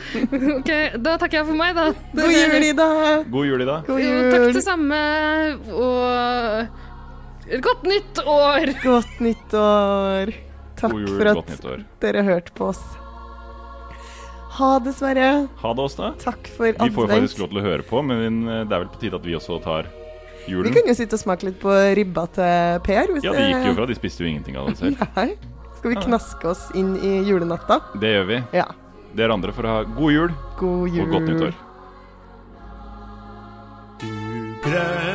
OK, da takker jeg for meg, da.
God jul, Ida!
God jul, Ida.
God
Jo,
jul!
takk det samme, og et godt nytt år!
Godt nyttår. Takk
God jul,
for
godt nyttår.
at dere hørte på oss. Ha det, Sverre.
Ha det, Åsta.
Takk for
Vi får jo
advent.
faktisk lov til å høre på, men eh, det er vel på tide at vi også tar
Vi
julen.
kan jo sitte og smake litt på ribba til Per. Hvis
Ja, det gikk jo bra. De spiste jo ingenting av det selv.
Nei. Skal vi knaske oss inn i julenatta?
Det gjør vi.
Ja.
Dere andre får ha god jul,
God jul.
og godt nyttår.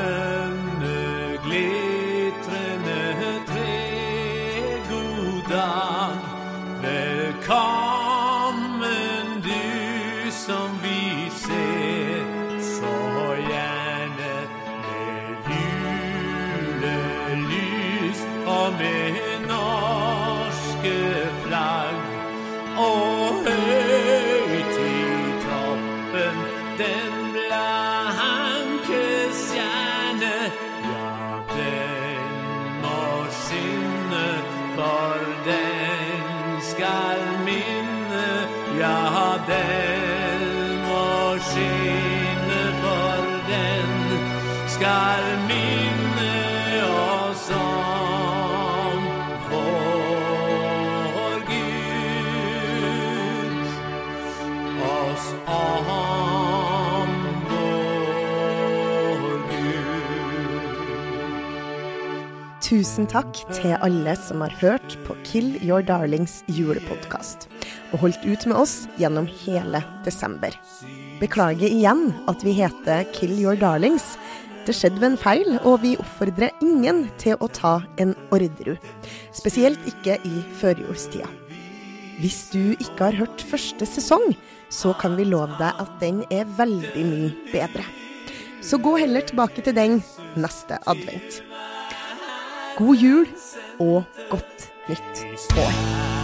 Grønne, glitrende tre, god dag. Velkommen du som vi ser så gjerne med julelys og med norske flagg. Og høyt i toppen den blanke stjerne, ja, den må skinne, for den skal minne, ja, den må skinne, for den skal minne oss om vår Gud oss om vår Gud.
Tusen takk til alle som har hørt på Kill Your Darlings julepodkast og holdt ut med oss gjennom hele desember. Beklager igjen at vi heter Kill Your Darlings, dette skjedd ved en feil, og vi oppfordrer ingen til å ta en Orderud. Spesielt ikke i førjulstida. Hvis du ikke har hørt første sesong, så kan vi love deg at den er veldig mye bedre. Så gå heller tilbake til den neste advent. God jul og godt nytt år.